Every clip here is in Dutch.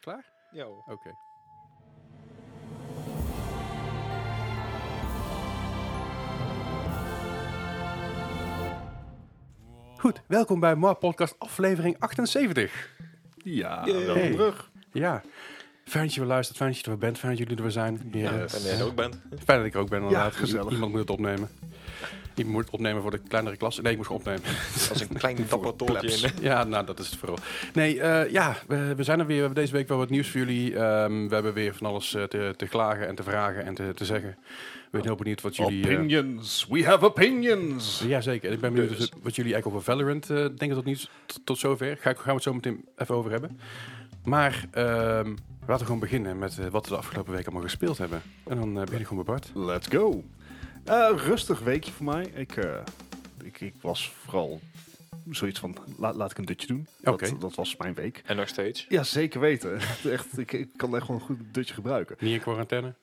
Klaar? Ja hoor. Oké. Goed, welkom bij Moa Podcast aflevering 78. Ja, Yay. wel. Hey. terug. Ja, fijn dat je weer luistert, fijn dat je er weer bent, fijn dat jullie er weer zijn. Weer, eh, Yes. En jij er ook bent. Fijn dat ik er ook ben inderdaad. gezellig. Iemand moet het opnemen. Ik moet het opnemen voor de kleinere klas. Nee, ik moest gewoon opnemen. Als een klein tappertoortje plebs. in. Ja, nou, dat is het vooral. Nee, eh, ja, we, we zijn er weer. We hebben deze week wel wat nieuws voor jullie. Ehm, we hebben weer van alles eh, te, te klagen en te vragen en te, te zeggen. Ik ben heel benieuwd wat jullie... eh, Opinions, we have opinions. ja, zeker. Ik ben benieuwd Dus. wat jullie eigenlijk over Valorant eh, denken tot, niet, tot, tot zover. Ga, ik- gaan we het zo meteen even over hebben. Maar ehm, laten we gewoon beginnen met eh, wat we de afgelopen week allemaal gespeeld hebben. En dan eh, begin ik gewoon bij Bart. Let's go. Eh, rustig weekje voor mij. Ik, eh, ik, ik was vooral zoiets van, laat, laat ik een dutje doen. Oké. Dat, dat was mijn week. En nog steeds. Ja, zeker weten. echt, ik, ik kan echt gewoon een goed dutje gebruiken. Niet in quarantaine?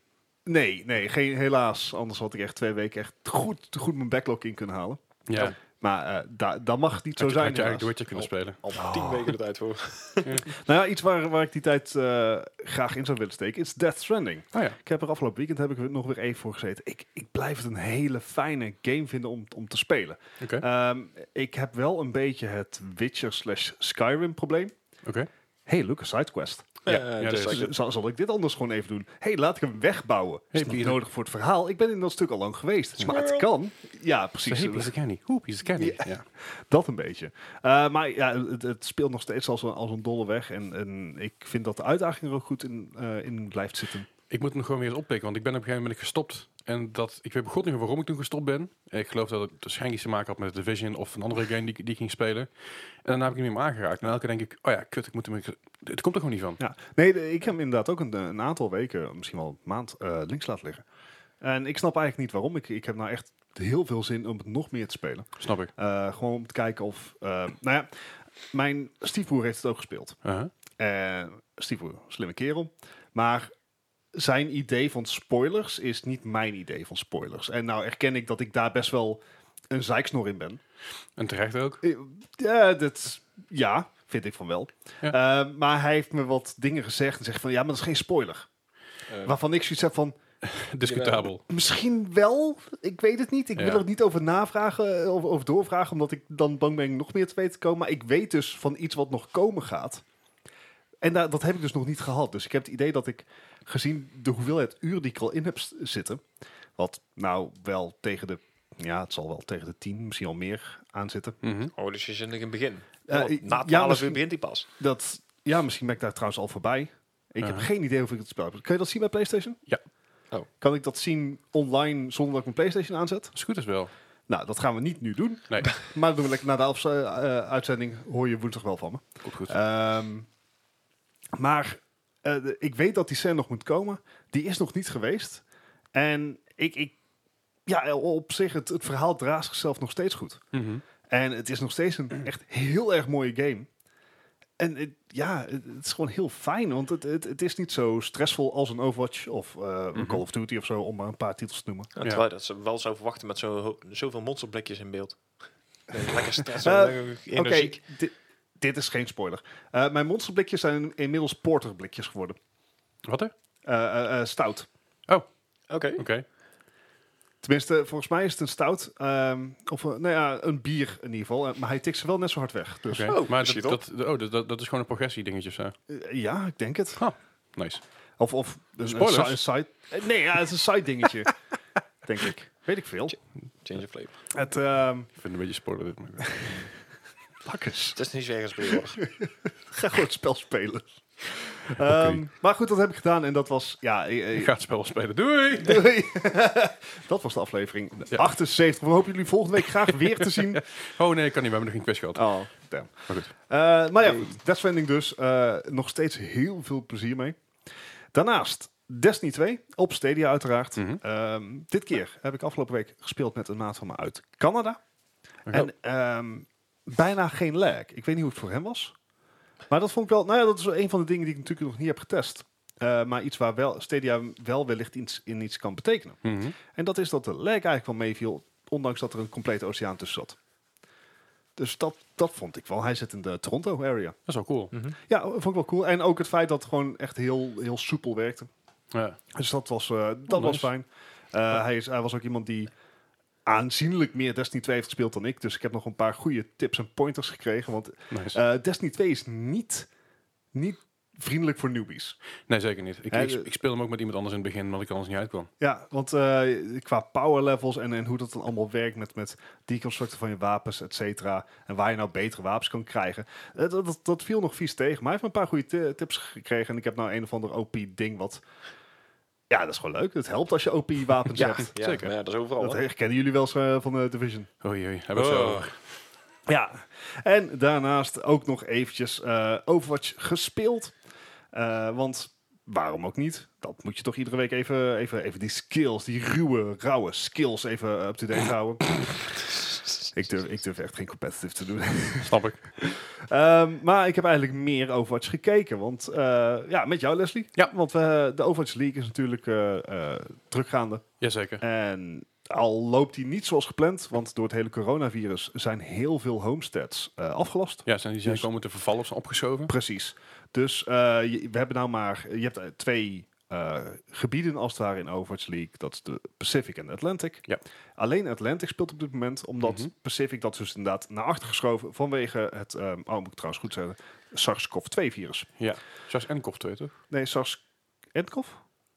Nee, nee, geen, helaas. Anders had ik echt twee weken echt goed, goed mijn backlog in kunnen halen. Ja, Maar eh, da, dat mag niet zo had je, zijn. had je eigenlijk The helaas. Oh. Witcher kunnen spelen. Al Ah. tien weken de tijd voor. Nou ja, iets waar, waar ik die tijd eh, graag in zou willen steken is Death Stranding. Oh ja. Ik heb er afgelopen weekend heb ik er nog weer even voor gezeten. Ik, ik blijf het een hele fijne game vinden om, om te spelen. Oké. Ehm, ik heb wel een beetje het Witcher slash Skyrim probleem. Oké. hey, look, een sidequest. Ja, Eh, ja, just dat is- like that. Z- Zal, zal ik dit anders gewoon even doen? hey, laat ik hem wegbouwen. Hey, is niet Pieter. nodig voor het verhaal. Ik ben in dat stuk al lang geweest. Maar het kan. Ja, precies. eh, Hey, piece of candy. Hoe, piece of candy. Ja. Ja. Dat een beetje. Eh, maar ja, het, het speelt nog steeds als een, als een dolle weg. En, en ik vind dat de uitdaging er ook goed in, eh, in blijft zitten. Ik moet hem gewoon weer eens oppikken, want ik ben op een gegeven moment gestopt. En dat, ik weet god niet meer waarom ik toen gestopt ben. Ik geloof dat het waarschijnlijk iets te maken had met Division of een andere game die, ik- die ik ging spelen. En daarna heb ik hem niet meer aangeraakt. En elke keer denk ik, oh ja, kut, ik moet hem... Het komt er gewoon niet van. Ja, nee, de- ik heb hem inderdaad ook een, een aantal weken, misschien wel een maand, eh, links laten liggen. En ik snap eigenlijk niet waarom. Ik, ik heb nou echt heel veel zin om het nog meer te spelen. Snap ik. Eh, gewoon om te kijken of... eh, nou ja, mijn stiefbroer heeft het ook gespeeld. Uh-huh. Eh stiefbroer, slimme kerel. Maar zijn idee van spoilers is niet mijn idee van spoilers. En nou erken ik dat ik daar best wel een zeiksnor in ben. En terecht ook. Eh, Ja, dat, ja vind ik van wel. Eh, maar hij heeft me wat dingen gezegd en zegt van ja, maar dat is geen spoiler. Eh, Waarvan ik zoiets heb van, Discutabel. misschien wel, ik weet het niet. Ik Ja. wil er niet over navragen eh, of, of doorvragen, omdat ik dan bang ben nog meer te weten te komen. Maar ik weet dus van iets wat nog komen gaat. En da- dat heb ik dus nog niet gehad. Dus ik heb het idee dat ik, gezien de hoeveelheid uren die ik al in heb s- zitten, wat nou wel tegen de, ja, het zal wel tegen de tien, misschien al meer aan zitten. Mhm. Oh, dus je zit nog in het begin. Eh, Want ja, na 12 uur misschien- begint die pas. Dat, ja, misschien ben ik daar trouwens al voorbij. Ik heb Uh-huh. geen idee hoeveel ik het spel heb. Kun je dat zien bij PlayStation? Ja. Oh. Kan ik dat zien online zonder dat ik mijn PlayStation aanzet? Als het goed is wel. Nou, dat gaan we niet nu doen. Nee, Maar dat doen we lekker na de afs- eh, eh, uitzending. Hoor je woensdag wel van me. komt goed. Ehm, maar eh, de- ik weet dat die scène nog moet komen. Die is nog niet geweest. En ik, ik ja, op zich, het, het verhaal draagt zichzelf nog steeds goed. Mhm. En het is nog steeds een echt heel erg mooie game. En het- ja, het, het is gewoon heel fijn, want het, het, het is niet zo stressvol als een Overwatch of eh, Mhm. Call of Duty of zo, om maar een paar titels te noemen. Ja, terwijl dat ze wel zou verwachten met zo, ho- zoveel monsterblikjes in beeld. Lekker stress, Eh, lekker Oké, energiek. di- dit is geen spoiler. Eh, mijn monsterblikjes zijn inmiddels porterblikjes geworden. Wat er? Eh, eh, eh, stout. Oké. Oké. Tenminste, volgens mij is het een stout. ehm, of eh, nou ja, een bier in ieder geval. Eh, maar hij tikt ze wel net zo hard weg. Dus oké. Oh, maar shit, dat, dat, oh, dat- dat, dat is gewoon een progressie dingetje of zo. eh, ja, ik denk het. Nice. Of, of een, een, Spoilers. si- een side... eh, nee, ja, het is een side dingetje. denk ik. Weet ik veel. Change of flavor. Het, ehm Ik vind het een beetje spoiler dit. maar- Bakkes. Het is niet zo erg als bij ons. Ga gewoon het spel spelen. Ehm, Maar goed, dat heb ik gedaan. En dat was... Ja, eh, eh, Ik ga het spel wel spelen. Doei! doei. dat was de aflevering Ja. 78. We hopen jullie volgende week graag weer te zien. Oh nee, ik kan niet. We hebben nog geen quiz gehad. Oh, damn. Maar goed. Eh, maar ja, goed. Death Stranding dus. eh, nog steeds heel veel plezier mee. Daarnaast Destiny 2 op Stadia uiteraard. Mhm. Ehm, dit keer heb ik afgelopen week gespeeld met een maat van me uit Canada. Oh. En ehm, bijna geen lag. Ik weet niet hoe het voor hem was. Maar dat vond ik wel... Nou ja, dat is wel een van de dingen die ik natuurlijk nog niet heb getest. Eh, maar iets waar wel, Stadia wel wellicht iets, in iets kan betekenen. Mhm. En dat is dat de lag eigenlijk wel meeviel, ondanks dat er een complete oceaan tussen zat. Dus dat, dat vond ik wel. Hij zit in de Toronto area. Dat is wel cool. Mhm. Ja, vond ik wel cool. En ook het feit dat het gewoon echt heel, heel soepel werkte. Ja. Dus dat was, eh, dat nice. was fijn. Eh, hij, is, hij was ook iemand die aanzienlijk meer Destiny 2 heeft gespeeld dan ik. Dus ik heb nog een paar goede tips en pointers gekregen. Want Nice. eh, Destiny 2 is niet, niet vriendelijk voor newbies. nee, zeker niet. Ik, hè, ik, de- ik speelde hem ook met iemand anders in het begin, omdat ik anders niet uitkwam. Ja, want eh, qua power levels en, en hoe dat dan allemaal werkt met, met deconstructen van je wapens, et cetera. En waar je nou betere wapens kan krijgen. eh, dat, dat, dat viel nog vies tegen. Maar hij heeft me een paar goede ti- tips gekregen. En ik heb nou een of ander OP-ding wat... Ja, dat is gewoon leuk. Het helpt als je OP-wapens Ja, hebt. ja, zeker. maar ja, dat is overal. Dat hè. herkennen jullie wel eens eh, van de Division. Oei, oei. Hebben we het zo Oh. over. Ja. En daarnaast ook nog eventjes eh, Overwatch gespeeld. Eh, want waarom ook niet? Dat moet je toch iedere week even, even, even die skills, die ruwe, rauwe skills even eh, up-to-date houden. ik, durf, ik durf echt geen competitive te doen. Snap ik. Ehm, maar ik heb eigenlijk meer Overwatch gekeken. Want eh, ja, met jou Leslie. Ja. Want we, de Overwatch League is natuurlijk eh, eh, drukgaande. Jazeker. En al loopt die niet zoals gepland, want door het hele coronavirus zijn heel veel homesteads eh, afgelast. Ja, zijn die zijn Dus- komen te vervallen of zijn opgeschoven? Precies. Dus eh, je, we hebben nou maar, je hebt eh, twee eh, gebieden als het ware in Overwatch League. Dat is de Pacific en de Atlantic. Ja. Alleen Atlantic speelt op dit moment, omdat Mhm. Pacific dat is dus inderdaad naar achter geschoven vanwege het, ehm oh moet ik trouwens goed zeggen, SARS-CoV-2-virus. Ja. Zoals Enkoff 2, toch? Nee, sars cov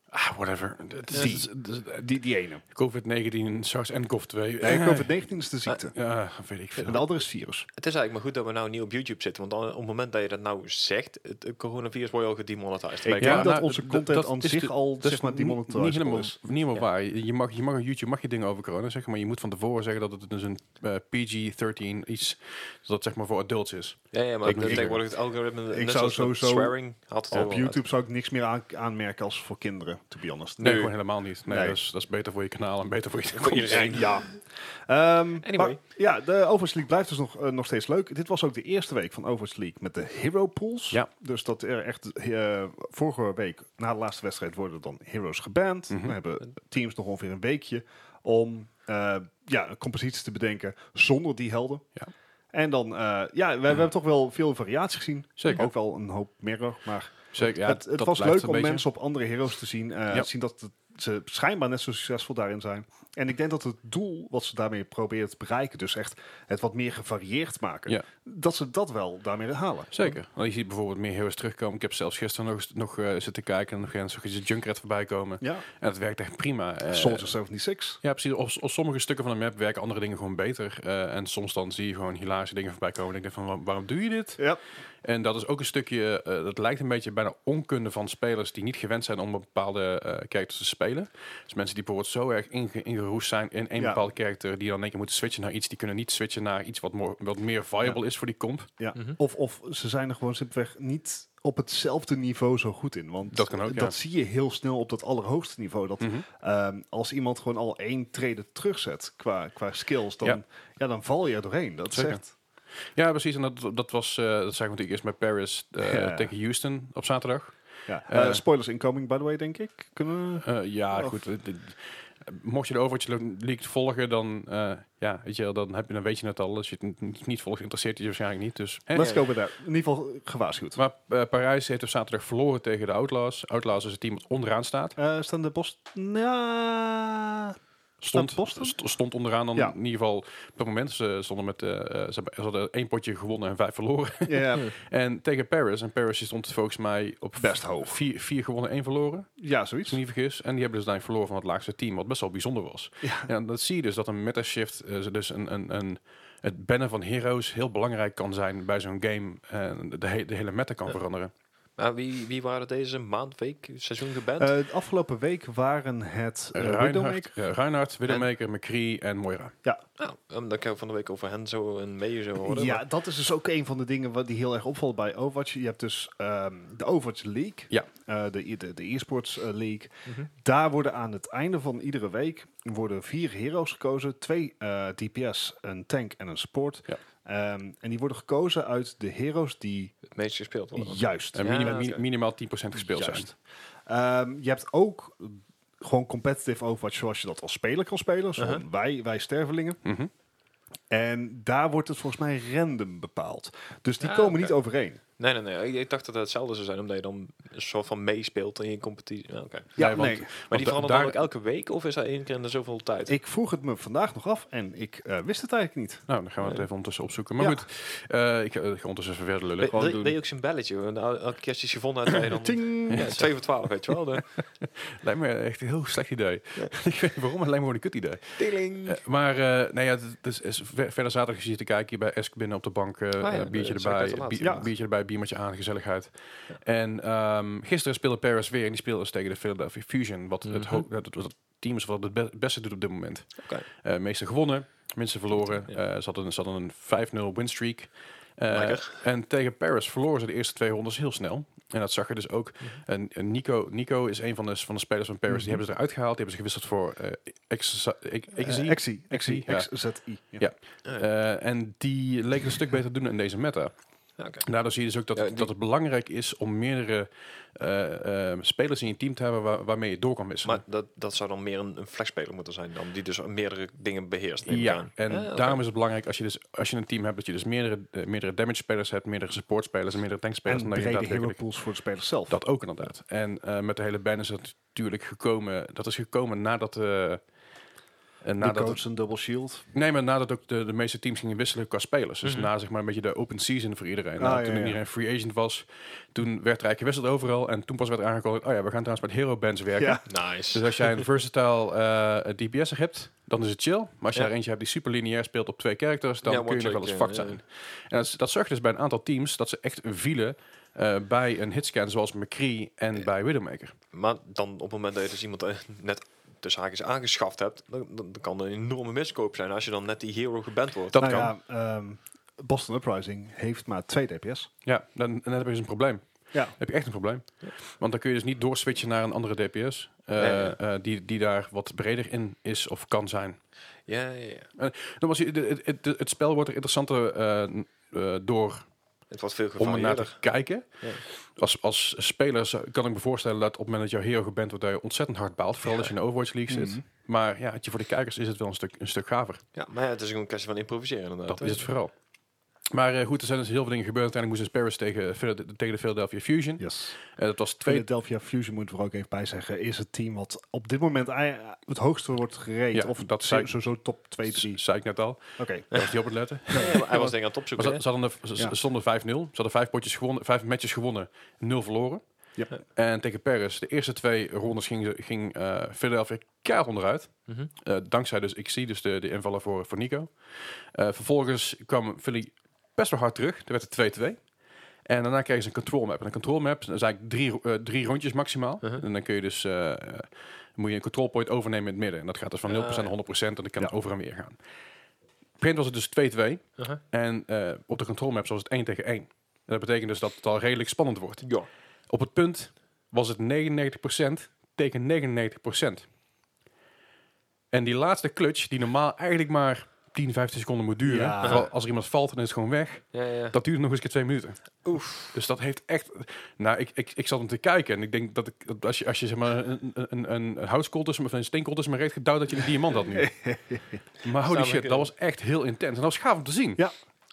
Ah, whatever. Dat is- dat Die. is- dat is- dus, Die, die ene. COVID-19, SARS Enkoff 2. Nee, Eh, COVID-19 is de ziekte. Ja, weet ik En veel. de andere is virus. Het is eigenlijk maar goed dat we nou niet op YouTube zitten. Want dan, op het moment dat je dat nou zegt, het, het coronavirus wordt je al gedemonetized. Ik Ben denk klaar. dat nou, onze d- d- content dat aan is zich de- Dat al zeg maar, dus- is niet- demonetizable niet helemaal, is. niet helemaal Ja. waar. Je je mag, je mag op YouTube mag je dingen over corona zeggen, maar je moet van tevoren zeggen dat het dus een eh, PG-13 iets, dat het zeg maar voor adults is. Ja, ja, maar Ik- ik, ik- tegenwoordig het algoritme, ik net zou zoals sowieso swearing, had het eh, Op al YouTube zou ik niks meer aan- aanmerken als voor kinderen, to be honest. Nee, Nee. gewoon helemaal niet. Nee, Nee. Dat, is, dat is beter voor je kanaal en beter voor je Voor iedereen. Ja. Ehm, Anyway. maar ja, de Overwatch League blijft dus nog, eh, nog steeds leuk. Dit was ook de eerste week van Overwatch League met de Hero Pools. Ja. Dus dat er echt eh, vorige week, na de laatste wedstrijd, worden dan heroes geband. Mhm. We hebben teams nog ongeveer een weekje om eh ja, composities te bedenken zonder die helden. Ja. En dan, eh, ja, we, we hebben toch wel veel variatie gezien. Zeker. Ook wel een hoop mirror, maar Zeker, ja, het, het dat was blijft leuk een om beetje. mensen op andere heroes te zien. eh Ja. Zien dat het- ze schijnbaar net zo succesvol daarin zijn. En ik denk dat het doel wat ze daarmee proberen te bereiken, dus echt het wat meer gevarieerd maken, Ja. dat ze dat wel daarmee halen. Zeker. Want je ziet bijvoorbeeld meer heroes terugkomen. Ik heb zelfs gisteren nog, eens- nog eh, zitten kijken en nog eens nog eens een Junkrat voorbij komen. Ja. En het werkt echt prima. Eh, Soldier 76. Ja, precies. Op, op sommige stukken van de map werken andere dingen gewoon beter. Eh, en soms dan zie je gewoon hilarische dingen voorbij komen. En ik denk van, wa- waarom doe je dit? Ja, En dat is ook een stukje, eh, dat lijkt een beetje bijna onkunde van spelers die niet gewend zijn om een bepaalde eh characters te spelen. Dus mensen die bijvoorbeeld zo erg inge- ingeroest zijn in één Ja. bepaald character, die dan in één keer moeten switchen naar iets, die kunnen niet switchen naar iets wat, more- wat meer viable is voor die comp. ja. Of, of ze zijn er gewoon simpelweg niet op hetzelfde niveau zo goed in. Want Dat kan ook, ja. dat zie je heel snel op dat allerhoogste niveau. Dat Mhm. ehm, als iemand gewoon al één trede terugzet qua, qua skills, dan, ja. Ja. dan val je er doorheen. Dat Zeker. zegt. Ja, precies. En dat, dat was, eh, dat zagen we natuurlijk eerst met Paris eh, Ja. tegen Houston op zaterdag. Ja. Eh, eh, spoilers incoming, by the way, denk ik. Kunnen we... Eh, ja, Of- goed. eh, dit- mocht je de Overwatch League volgen, dan, eh, ja, weet je, wel, dan, heb je, dan weet je het al. Als je het n- niet volgt, interesseert het je waarschijnlijk niet. Dus, hè. Let's go with that. In ieder geval eh, gewaarschuwd. Maar eh, Parijs heeft op zaterdag verloren tegen de Outlaws. Outlaws is het team dat onderaan staat. Eh, staan de Bos... Ja. Stond, Staat Boston? st- stond onderaan dan Ja. in ieder geval op dat moment. Ze, stonden met, eh, eh, ze, hebben- ze hadden één potje gewonnen en vijf verloren. ja, en tegen Paris. En Paris die stond volgens mij op Best hoog. Vier, vier gewonnen, één verloren. ja, Als zoiets. ik me niet vergis. En die hebben dus daar verloren van het laagste team, wat best wel bijzonder was. Ja. Ja, En dat zie je dus dat een meta-shift, eh, ze dus een, een, een, het bannen van heroes heel belangrijk kan zijn bij zo'n game. En de, he- de hele meta Eh, kan veranderen. Maar wie, wie waren deze maand, week, seizoen geband? Eh, de afgelopen week waren het... eh, Widowmaker. Reinhard, ja, Reinhard, Widowmaker, McCree en Moira. nou, ehm, dan kan ik van de week over hen zo en mee zo horen. Ja, maar- dat is dus ook een van de dingen wat die heel erg opvalt bij Overwatch. Je hebt dus ehm, de Overwatch League, Ja. eh, de, de, de e-sports eh, league. Mhm. Daar worden aan het einde van iedere week worden vier heroes gekozen. Twee eh, DPS, een tank en een support. Ja. Ehm, en die worden gekozen uit de heroes die het meest gespeeld worden. juist En Ja, minima- mi- oké. minimaal 10% gespeeld zijn. Juist. Ehm, je hebt ook gewoon competitive Overwatch zoals je dat als speler kan spelen. Zoals Uh-huh. wij, wij stervelingen. Mhm. En daar wordt het volgens mij random bepaald. Dus die Ah, komen oké. niet overeen. Nee, nee, nee. Ik, ik dacht dat het hetzelfde zou zijn, omdat je dan een soort van meespeelt in je competitie. Ja, oké. Ja, Nee, want- nee. Maar die da- veranderen daar- dan ook elke week of is dat één keer in de zoveel tijd? Ik vroeg het me vandaag nog af en ik eh, wist het eigenlijk niet. Nou, dan gaan we het Ja. even ondertussen opzoeken. Maar Ja. goed, eh, ik ga, ik ga ondertussen even verder lullen. Ben- Gewoon wil- doen. wil je ook zijn belletje? Want el- Elke keer als je gevonden hebt, dat je dan... Ting! Ja, 2 voor 12, weet je wel. De, Lijkt me echt een heel slecht idee. Ja. ik weet niet waarom, maar het lijkt me gewoon een kut idee. Tiling. Eh, maar eh, nee, ja, het is, is ver- verder zaterdag zit je te kijken hier bij Esk binnen op de bank. eh, Oh ja, eh, biertje dat zag ik erbij, net al bier- laatst. Ja. biertje erbij, biertje aan, gezelligheid. En ehm, gisteren speelde Paris weer en die speelde dus tegen de Philadelphia Fusion. Wat het, ho- dat- wat het team is wat het, be- het beste doet op dit moment. Mhm. Oké. Eh meeste gewonnen, minste verloren. Ja. Eh, ze, hadden, een- ze hadden een 5-0 winstreak. Eh, Lekker. en tegen Paris verloren ze de eerste twee rondes heel snel. En dat zag je dus Mhm. ook. En, en Nico, Nico is een van de, van de spelers van Paris. Die hebben ze eruit gehaald. Die hebben ze gewisseld voor eh Ex- ik- ik- Eh, Exi. Exi. ja. XZI. Ja. Ja. Eh, en die leek een stuk beter te doen in deze meta. Ja, oké. En Daardoor zie je dus ook dat, Ja, die- dat het belangrijk is om meerdere eh, eh, spelers in je team te hebben waar- waarmee je door kan wisselen. Maar dat, dat zou dan meer een, een flexspeler moeten zijn dan, die dus meerdere dingen beheerst. neem ik ja, aan. en Ah, oké. daarom is het belangrijk als je, dus, als je een team hebt dat je dus meerdere, eh, meerdere damage spelers hebt, meerdere support spelers en meerdere tankspelers. En dan dat je brede hero daadwerkelijk- pools voor de spelers zelf. Dat ook inderdaad. En eh, met de hele band is dat natuurlijk gekomen. Dat is gekomen nadat. eh, en de nadat het- coach een double shield. nee, maar nadat ook de, de meeste teams gingen wisselen qua spelers. Dus na zeg maar een beetje de open season voor iedereen. Nou, Mhm. Ah, ja, toen ja. iedereen free agent was, toen werd er eigenlijk gewisseld overal. En toen pas werd aangekondigd, oh ja, we gaan trouwens met hero bands werken. Ja. Nice. Dus als jij een versatile eh DPS'er hebt, dan is het chill. Maar als je Ja. er eentje hebt die super lineair speelt op twee characters, dan Ja, kun je nog one-trick, wel eens fucked ja, zijn. ja. En dat, is- dat zorgt dus bij een aantal teams dat ze echt vielen eh, bij een hitscan zoals McCree en bij Widowmaker. Maar dan op het moment dat je dus iemand eh, net tussen haakjes aangeschaft hebt, dan, dan, dan kan er een enorme miskoop zijn als je dan net die hero geband wordt. Dat nou kan. ja, ehm, Boston Uprising heeft maar twee DPS. Ja, dan, dan heb je dus een probleem. Ja. Dan heb je echt een probleem. Want dan kun je dus niet doorswitchen naar een andere DPS. eh, Nee, nee. eh, die, die daar wat breder in is of kan zijn. Eh, Ja, ja, ja. Nogmaals, je- de- het, het, het spel wordt er interessanter eh, n- eh, door Het wordt veel om ernaar te gevarieerder. kijken. Ja. Als, als speler zou- kan ik me voorstellen dat op het moment dat jouw hero geband wordt, dat je ontzettend hard baalt. Vooral als je in de Overwatch League zit. Maar ja, het- voor de kijkers is het wel een stuk, een stuk gaver. Ja, maar ja, het is ook een kwestie van improviseren inderdaad. Dat hè. is het vooral. Maar eh, goed, er zijn dus heel veel dingen gebeurd. Uiteindelijk moest dus Paris tegen, Phila- tegen de Philadelphia Fusion. Yes. Eh, dat was twee Philadelphia Fusion moet er ook even bij zeggen, is het team wat op dit moment ei- het hoogste wordt gereed. Ja, of dat dat zei- sowieso top 2, 3. zei ik net al. Oké. Daar was die op het letten. Ja, hij was denk ik aan het Maar opzoeken. ze, ze hadden een- ze- Ja. ze stonden 5-0. Ze hadden vijf, potjes gewonnen, vijf matches gewonnen, 0 verloren. Ja. En tegen Paris, de eerste twee rondes ging, ze- ging eh Philadelphia keihard onderuit. Mhm. Eh, dankzij dus ik zie dus de, de invallen voor, voor Nico. Eh, vervolgens kwam Philly best wel hard terug. Er werd het 2-2. En daarna kregen ze een control map. En een control map dat is eigenlijk drie, ro- eh, drie rondjes maximaal. Mhm. En dan kun je dus eh, eh, moet je een control point overnemen in het midden. En dat gaat dus van 0% Ah, naar ja. 100%. En dan kan het Ja. over en weer gaan. Op het begin was het dus 2-2. hè? Uh-huh. En eh, op de control maps was het 1 tegen 1. En dat betekent dus dat het al redelijk spannend wordt. Ja. Op het punt was het 99% tegen 99%. En die laatste clutch, die normaal eigenlijk maar 10, 15 seconden moet duren. Ja. Terwijl als er iemand valt, dan is het gewoon weg. Ja, ja. Dat duurde nog eens een keer twee minuten. Oef. Dus dat heeft echt... Nou, ik, ik, ik zat hem te kijken. En ik denk dat, ik, dat als je, als je zeg maar, een, een, een, een houtskool tussen me, of een steenkool tussen me reed gedouwd, dat je een diamant had nu. maar holy Samen shit, dat kunnen. was echt heel intens. En dat was gaaf om te zien. Ja.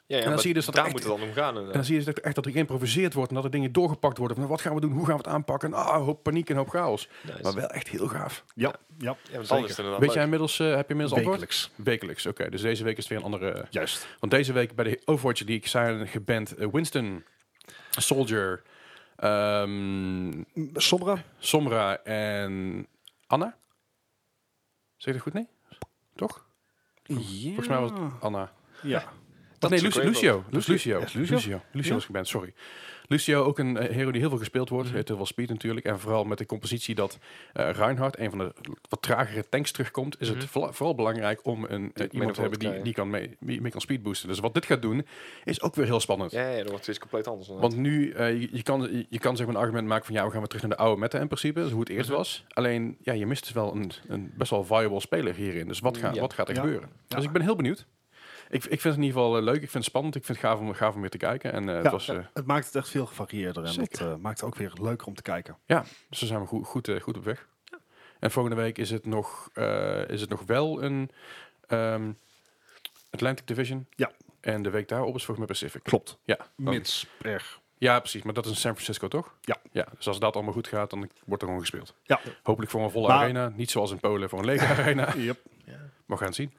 Ja, ja, dan maar zie je dus dat daar echt- moet het dan om gaan. En dan inderdaad. zie je dus echt dat er geïmproviseerd wordt en dat er dingen doorgepakt worden. Van, wat gaan we doen? Hoe gaan we het aanpakken? En, Ah, een hoop paniek en een hoop chaos. Nice. Maar wel echt heel gaaf. Ja, ja. Ja, want dan zeker. is het inderdaad Weet leuk. jij inmiddels, eh, heb je inmiddels antwoord? Wekelijks. Wekelijks, oké. Dus deze week is het weer een andere... Juist. Want deze week bij de Overwatch die ik zijn geband eh, Winston, Soldier, ehm, Sombra? Somra en Anna. Zeg ik dat goed? Nee? Toch? Volgens mij was het Anna. Ja. Dat nee, is Lucio. ook weer Lucio. Dus Lucio. Lucio. Is Lucio? Lucio, Lucio Ja. was geband, sorry. Lucio, ook een eh, hero die heel veel gespeeld wordt. Heeft heel veel speed natuurlijk. En vooral met de compositie dat eh Reinhardt, een van de wat tragere tanks, terugkomt... is het vola- vooral belangrijk om een, eh, iemand middenveld te hebben te die, die kan mee, die mee kan speedboosten. Dus wat dit gaat doen, is ook weer heel spannend. Ja, ja, dan wordt het iets compleet anders. inderdaad. Want nu, eh, je, je kan, je, je kan zeg maar een argument maken van... ja, we gaan weer terug naar de oude meta in principe. Dus hoe het eerst was. Alleen, ja, je mist dus wel een, een best wel viable speler hierin. Dus wat, ga, Ja. wat gaat er Ja. gebeuren? Ja. Dus ik ben heel benieuwd. Ik, ik vind het in ieder geval eh, leuk. Ik vind het spannend. Ik vind het gaaf om, gaaf om weer te kijken. En eh, het Ja. was, eh, Het maakt het echt veel gevarieerder en dat Zeker. eh, maakt het ook weer leuker om te kijken. ja, dus daar zijn we goed, goed, eh, goed op weg. En volgende week is het nog, eh, is het nog wel een... ehm, Atlantic Division. Ja. En de week daarop is volgens mij Pacific. Klopt. Ja, dan- Mits. Erg. ja, precies. Maar dat is in San Francisco, toch? Ja. ja. Dus als dat allemaal goed gaat, dan wordt er gewoon gespeeld. Ja. Hopelijk voor een volle Maar- arena. Niet zoals in Polen voor een lege arena. Yep. Maar we gaan het zien.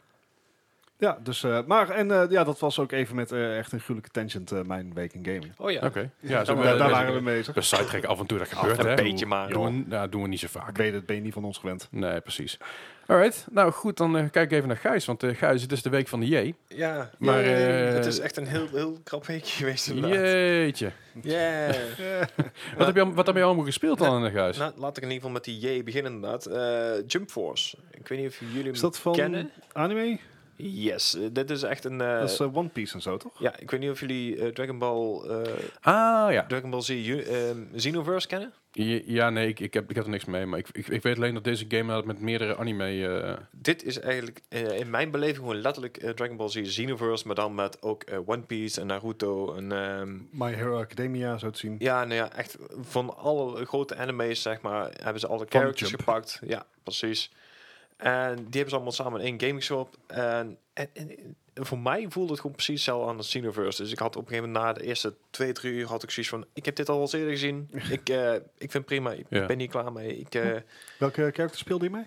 Ja, dus, eh, maar en eh, ja, dat was ook even met eh, echt een gruwelijke tangent eh, mijn week in gaming. Oh ja, Oké. Ja, zo maar we- daar we- daar we- waren we mee bezig. We sidetracken af en toe, dat gebeurt. een hè. beetje maar. Doen we, nou, doen we niet zo vaak. Ik weet het, ben je niet van ons gewend. Nee, precies. Alright, nou goed, dan eh, kijk ik even naar Gijs. Want eh Gijs, het is de week van de J. Ja, Maar, maar eh, het is echt een heel, heel krap weekje geweest inderdaad. Jeetje. Yeah. Wat heb je, al- wat heb je allemaal gespeeld dan, eh, Dus- Gijs? Nou, laat ik in ieder geval met die J beginnen inderdaad. Eh, Jump Force. Ik weet niet of jullie Is hem dat van kennen. anime? Yes, eh, dit is echt een... eh, dat is eh, One Piece en zo, toch? ja, ik weet niet of jullie eh, Dragon Ball, eh, Ah, ja. Dragon Ball Z, ju- ehm, Xenoverse kennen? Ja, ja, nee, ik, ik, heb, ik heb er niks mee. Maar ik, ik, ik weet alleen dat deze game inderdaad met meerdere anime... eh, Dit is eigenlijk eh, in mijn beleving gewoon letterlijk eh, Dragon Ball Z Xenoverse, maar dan met ook eh, One Piece en Naruto en... ehm, My Hero Academia, zo te zien. ja, nou ja, echt van alle grote anime's, zeg maar, hebben ze alle Van characters Jump. gepakt. Ja, precies. En die hebben ze allemaal samen in één gaming shop. En, en, en voor mij voelde het gewoon precies hetzelfde aan de Xenoverse. Dus ik had op een gegeven moment na de eerste twee, drie uur had ik zoiets van... Ik heb dit al eens eerder gezien. ik, eh, ik vind het prima. Ik Ja. ben hier klaar mee. Ik, eh, Welke character speelde je mee?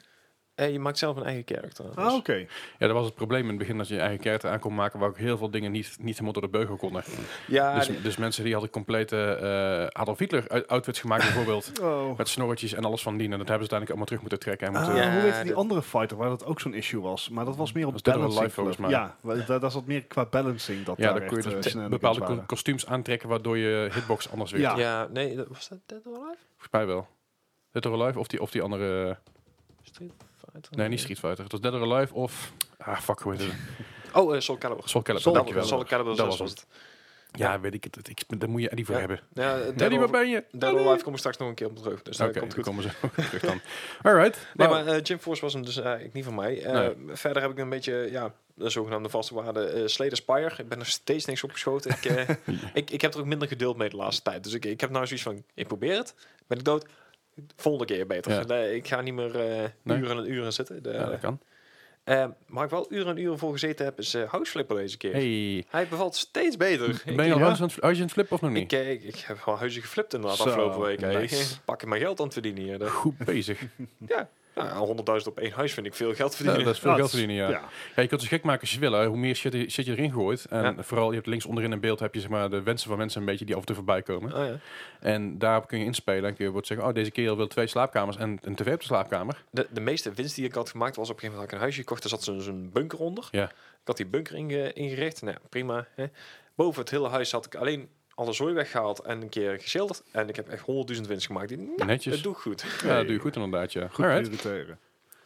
eh, je maakt zelf een eigen karakter. Dus- Oh. Ah, oké. Ja, dat was het probleem in het begin dat je je eigen karakter aan kon maken, waar ook heel veel dingen niet, niet helemaal door de beugel konden. Ja, dus, Ah, nee. dus mensen die hadden complete eh Adolf Hitler uit- outfits gemaakt bijvoorbeeld. Oh. Met snorretjes en alles van dien. En dat hebben ze uiteindelijk allemaal terug moeten trekken. En moeten, Ah, Ja, hoe heette die dit- andere fighter waar dat ook zo'n issue was? Maar dat was meer op Was Dead or balancing. Alive, geloof ik. volgens Ja, wa- daar, daar zat meer qua balancing. Ah, Dat ja, daar dan kon je echt, eh, dus snelle games bepaalde waren. ko- kostuums aantrekken, waardoor je hitbox anders weer. Ja. ja, nee, dat- was dat Dead or Alive? Volgens mij wel. Dead or Alive of die, of die andere... eh, Street Fighter? Nee, niet Street Fighter. Het was Dead or Alive of... Ah, fuck, hoe heet het? Oh, eh, Soul Calibur. Soul Calibur, Soul dankjewel. Soul Calibur, Dat zo was was het. Ja, weet ik het. het- Ik, daar moet je Eddie voor Ja. hebben. het. Ja, Dead Eddie, or- waar ben je? Dead or Alive kom ik straks nog een keer op terug. Dus Oké, dat komt dan goed. komen ze ook terug dan. Alright. Nee, nou, maar eh, Jim Force was hem dus eigenlijk niet van mij. Eh, Verder heb ik een beetje, ja, de zogenaamde vaste waarde eh Slater Spire. Ik ben er steeds niks opgeschoten. Ik, eh, ik, ik heb er ook minder geduld mee de laatste tijd. Dus ik, ik heb nou zoiets van, ik probeer het. Ben ik dood? Volgende keer beter. Ja. Nee, ik ga niet meer eh, Nee. uren en uren zitten. De, ja, dat kan. eh, waar ik wel uren en uren voor gezeten heb, is eh Houseflipper deze keer. Hey. Hij bevalt steeds beter. Ben je ik, al ja. huis aan het- huis aan het flippen of nog ik, niet? eh, ik, ik heb wel huizen geflipt inderdaad Zo, afgelopen week. hè. nice. Ik pak in mijn geld aan het verdienen hier. Dat- Goed bezig. ja, nou, 100.000 op één huis vind ik veel geld Ja, verdienen. dat is veel Ja, geld dat is- verdienen, ja. Ah, ja. Ja, je kunt het zo gek maken als je wil. hè. Hoe meer shit, je- shit je erin gooit. En Ja. vooral, je hebt links onderin in beeld heb je zeg maar, de wensen van mensen een beetje die af en toe voorbij komen. Oh, ja. En daarop kun je inspelen. En kun je wordt zeggen, oh, deze kerel wil twee slaapkamers en een tv op de slaapkamer. de, de meeste winst die ik had gemaakt was op een gegeven moment had ik een huisje gekocht. Er zat zo'n- zo'n bunker onder. Ja. Ik had die bunker inge- ingericht. Nou, ja, prima. Hè. Boven het hele huis had ik alleen alle zooi weggehaald en een keer geschilderd. En ik heb echt 100.000 winst gemaakt. Die, nou, Netjes. dat doe ik goed. Ja, dat doe je goed inderdaad, ja. Goed Alright. prioriteren.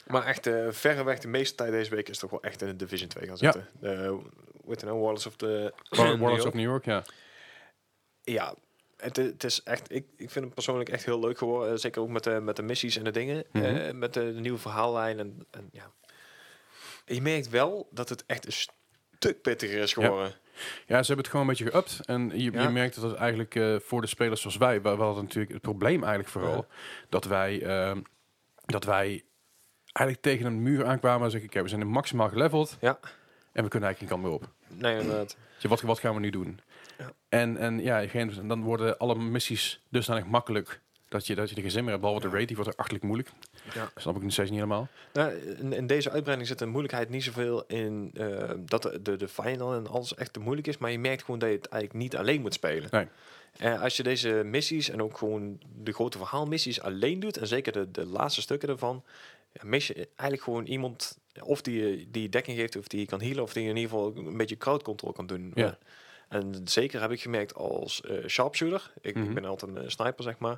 Maar echt eh, verreweg de meeste tijd deze week is toch wel echt in de Division 2 gaan Ja. zitten. Eh, With the Wallace of the... War- Warlords of New York, ja. Ja, het, i- het is echt, ik, ik vind hem persoonlijk echt heel leuk geworden. Eh, Zeker ook met de, met de missies en de dingen. Mhm. eh, met de, nieuwe verhaallijn. En, en ja. Je merkt wel dat het echt een stuk pittiger is geworden. Ja, ze hebben het gewoon een beetje geüpt. En je, Ja. je merkt dat het eigenlijk eh, voor de spelers zoals wij... We, we hadden natuurlijk het probleem eigenlijk vooral... dat wij... ehm, dat wij eigenlijk tegen een muur aankwamen en zeggen, oké, we zijn maximaal geleveld Ja. en we kunnen eigenlijk geen kant meer op. Nee, inderdaad. Dus wat, wat gaan we nu doen? Ja. En, en ja, geen, en dan worden alle missies dusdanig makkelijk dat je, dat je er geen zin meer hebt. Behalve de raid, die wordt er achterlijk moeilijk. Ja. Snap ik nog steeds niet helemaal. Nou, in, in deze uitbreiding zit de moeilijkheid niet zoveel in eh, dat de, de, de final en alles echt te moeilijk is. Maar je merkt gewoon dat je het eigenlijk niet alleen moet spelen. Nee. Eh, als je deze missies en ook gewoon de grote verhaalmissies alleen doet, en zeker de, de laatste stukken daarvan, ja, mis je eigenlijk gewoon iemand of die, eh, die dekking geeft, of die kan healen, of die in ieder geval een beetje crowd control kan doen. Ja. En zeker heb ik gemerkt als eh, sharpshooter, ik, Mhm. ik ben altijd een eh, sniper zeg maar,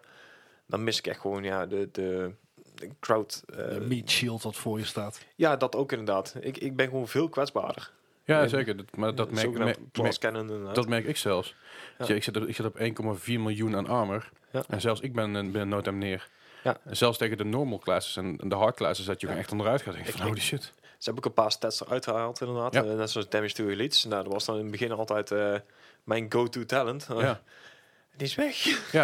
dan mis ik echt gewoon ja, de, de, de crowd. eh, De meat shield wat voor je staat. ja, dat ook inderdaad. Ik, ik ben gewoon veel kwetsbaarder. Ja, Nee, zeker. Dat, maar dat merk, Zogenaamd merk- glass cannon inderdaad. merk- dat merk ik zelfs. Ja. Ik, zit op, ik zit op 1,4 miljoen aan armor. Ja. En zelfs ik ben eh, binnen no time neer. Ja. En zelfs tegen de normal classes en en de hard classes dat je gewoon echt onderuit gaat. Ik Ik- van, holy shit. Ze hebben ook een paar stats eruit gehaald inderdaad. Ja. Eh, net zoals damage to elites. Nou, dat was dan in het begin altijd eh, mijn go-to talent. Ja. Het is weg. Ja,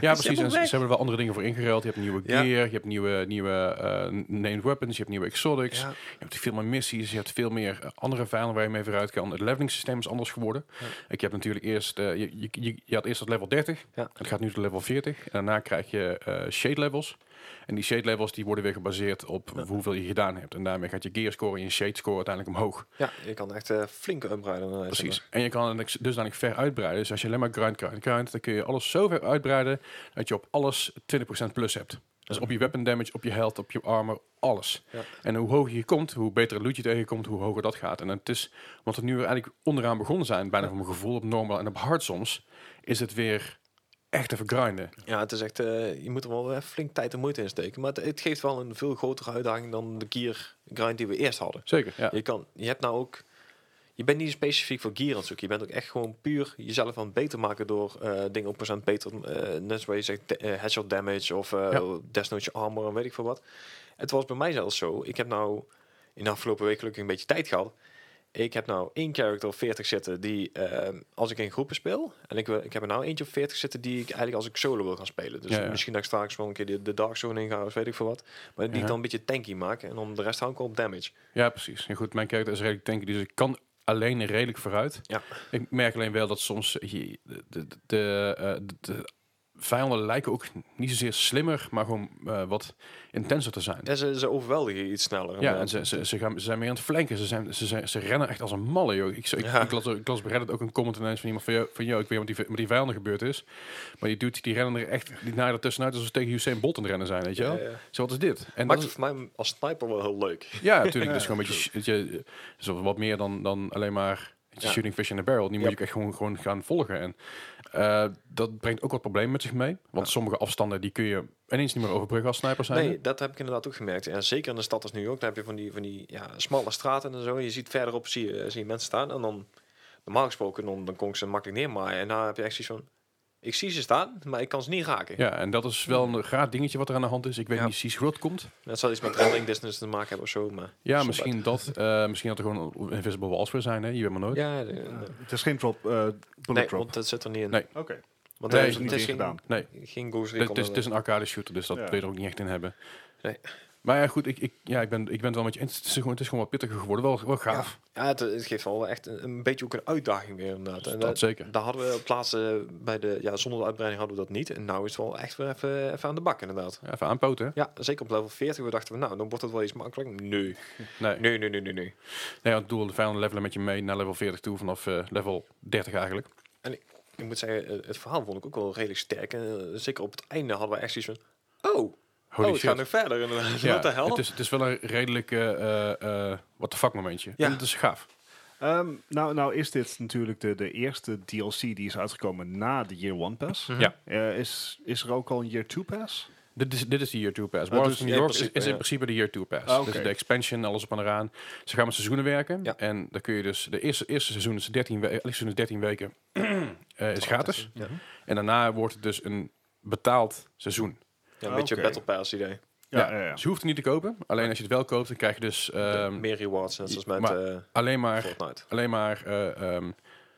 ja precies. helemaal En ze, weg. ze hebben er wel andere dingen voor ingeruild. Je hebt nieuwe Ja. gear, je hebt nieuwe, nieuwe eh, named weapons, je hebt nieuwe exotics. Ja. Je hebt veel meer missies, je hebt veel meer eh, andere vijanden waar je mee vooruit kan. Het leveling systeem is anders geworden. Ja. Ik heb natuurlijk eerst, eh, je, je, je- je had eerst dat level 30, Ja. het gaat nu tot level 40. En daarna krijg je eh, shade levels. En die shade levels die worden weer gebaseerd op hoeveel je gedaan hebt. En daarmee gaat je gear score en je shade score uiteindelijk omhoog. Ja, je kan echt eh flinke upgraden. eh, zeg Precies. maar. En je kan het dusdanig ver uitbreiden. Dus als je alleen maar grind, grind, grind, dan kun je alles zo ver uitbreiden dat je op alles 20% plus hebt. Dus op je weapon damage, op je health, op je armor, alles. Ja. En hoe hoger je komt, hoe beter loot je tegenkomt, hoe hoger dat gaat. En het is, want we nu weer eigenlijk onderaan begonnen zijn, bijna voor mijn gevoel, op normal en op hard soms, is het weer echt even grinden. Ja, het is echt, eh, je moet er wel eh, flink tijd en moeite in steken. Maar het, het geeft wel een veel grotere uitdaging dan de gear grind die we eerst hadden. Zeker, ja. Je, kan, je hebt nou ook. Je bent niet specifiek voor gear aan het zoeken. Je bent ook echt gewoon puur jezelf aan het beter maken door eh, dingen op procent beter. eh net zoals je zegt, de- eh, headshot damage of eh, Ja. desnoods je armor en weet ik veel wat. Het was bij mij zelfs zo. Ik heb nou in de afgelopen week gelukkig een beetje tijd gehad. Ik heb nou één character op 40 zitten die eh, als ik in groepen speel. En ik, wil, ik heb er nou eentje op 40 zitten die ik eigenlijk als ik solo wil gaan spelen. Dus Ja, ja. misschien dat ik straks wel een keer de, de Dark Zone in ga of weet ik veel wat. Maar die ik Ja. dan een beetje tanky maak. En dan de rest hou ik wel op damage. Ja, precies. En goed, mijn character is redelijk tanky, dus ik kan alleen redelijk vooruit. Ja. Ik merk alleen wel dat soms eh, je- de, de, de, eh, de- de vijanden lijken ook niet zozeer slimmer, maar gewoon eh, wat intenser te zijn. Ja, ze, ze overweldigen je iets sneller. Ja, eh, en ze, ze, ze, gaan, ze zijn meer aan het flanken. Ze, zijn, ze, zijn, ze rennen echt als een malle, joh. Ik, ik, Ja. ik, las, ik las op Reddit ook een comment ineens van iemand van... jou van joh, ik weet niet wat die, met die vijanden gebeurd is. Maar die dude, die rennen er echt die naaien er tussenuit... alsof ze tegen Usain Bolt aan het rennen zijn, weet je wel? Ja, ja. Zo, wat is dit? En maakt dat het is- voor mij als sniper wel heel leuk. ja, natuurlijk. Dus gewoon een beetje... Dat je, dus wat meer dan, dan alleen maar... weet je, Ja. Shooting fish in a barrel. Die moet Ja. je ook echt gewoon, gewoon gaan volgen. En eh, dat brengt ook wat problemen met zich mee. Want sommige afstanden die kun je ineens niet meer overbruggen als sniper zijn. Nee, dat heb ik inderdaad ook gemerkt. En zeker in de stad als New York, daar heb je van die, van die ja, smalle straten en zo. Je ziet verderop zie je, zie je mensen staan. En dan, normaal gesproken, dan, dan kon ik ze makkelijk neermaaien. En dan heb je echt zoiets van, ik zie ze staan, maar ik kan ze niet raken. Ja, en dat is wel een raar dingetje wat er aan de hand is. Ik weet Ja. niet precies hoe dat komt. Dat zal iets met traveling distance te maken hebben of zo. Maar Ja, Zo misschien dat, eh, misschien dat er gewoon invisible walls weer zijn. Hè? Je weet maar nooit. Ja, de- de- Het is geen drop, eh bullet nee, drop. want dat zit er niet in. Ah, Nee. Oké, Want Nee, eh, is er niet in gedaan. Nee, Geen, geen Ghost het Recon. is, het is een arcade shooter, dus dat Ja. weet je er ook niet echt in hebben. Nee. Maar ja, goed, ik, ik, ja, ik, ben, ik ben het wel met je eens. Het is gewoon, het is gewoon wat pittiger geworden. Wel, wel gaaf. Ja, het, het geeft wel echt een, een beetje ook een uitdaging weer inderdaad. En Dus dat dat- zeker. Daar hadden we op plaatsen bij de, ja, zonder de uitbreiding hadden we dat niet. En nou is het wel echt weer even, even aan de bak inderdaad. Ja, even aanpoten. hè? Ja, zeker op level 40. We dachten, we, nou, dan wordt het wel iets makkelijk. Nee, Nee. nee, nee, nee, nee. nee. nee, want doel de vijanden levelen met je mee naar level 40 toe, vanaf eh, level 30 eigenlijk. En ik, ik moet zeggen, eh, het verhaal vond ik ook wel redelijk sterk. En eh, zeker op het einde hadden we echt zoiets van, oh, Holy oh het shit. gaat nog verder inderdaad. Ja, Wat de hel? Het is, het is wel een redelijk eh wat de fuck momentje. Ja. En het is gaaf. Ehm, nou, nou is dit natuurlijk de, de eerste DLC die is uitgekomen na de Year One Pass. Ja. Eh, is, is er ook al een Year Two Pass? Dit is, dit is de Year 2 Pass. Ah, Warlords dus- of New ja, in York is, principe, is in ja. principe de Year 2 Pass. Ah, oké. Dus de expansion, alles op en eraan. Ze gaan met seizoenen werken. Ja. En dan kun je dus... De eerste, eerste seizoen is 13, we- elk seizoen is 13 weken. eh, is gratis. Ja, En daarna wordt het dus een betaald seizoen. ja, een Ah, beetje Oké. Battle Pass idee. Ja. Dus je hoeft het niet te kopen. Alleen als je het wel koopt, dan krijg je dus ehm, Meer rewards, net zoals met maar- eh, alleen maar... Fortnite. Alleen maar eh, ehm, noem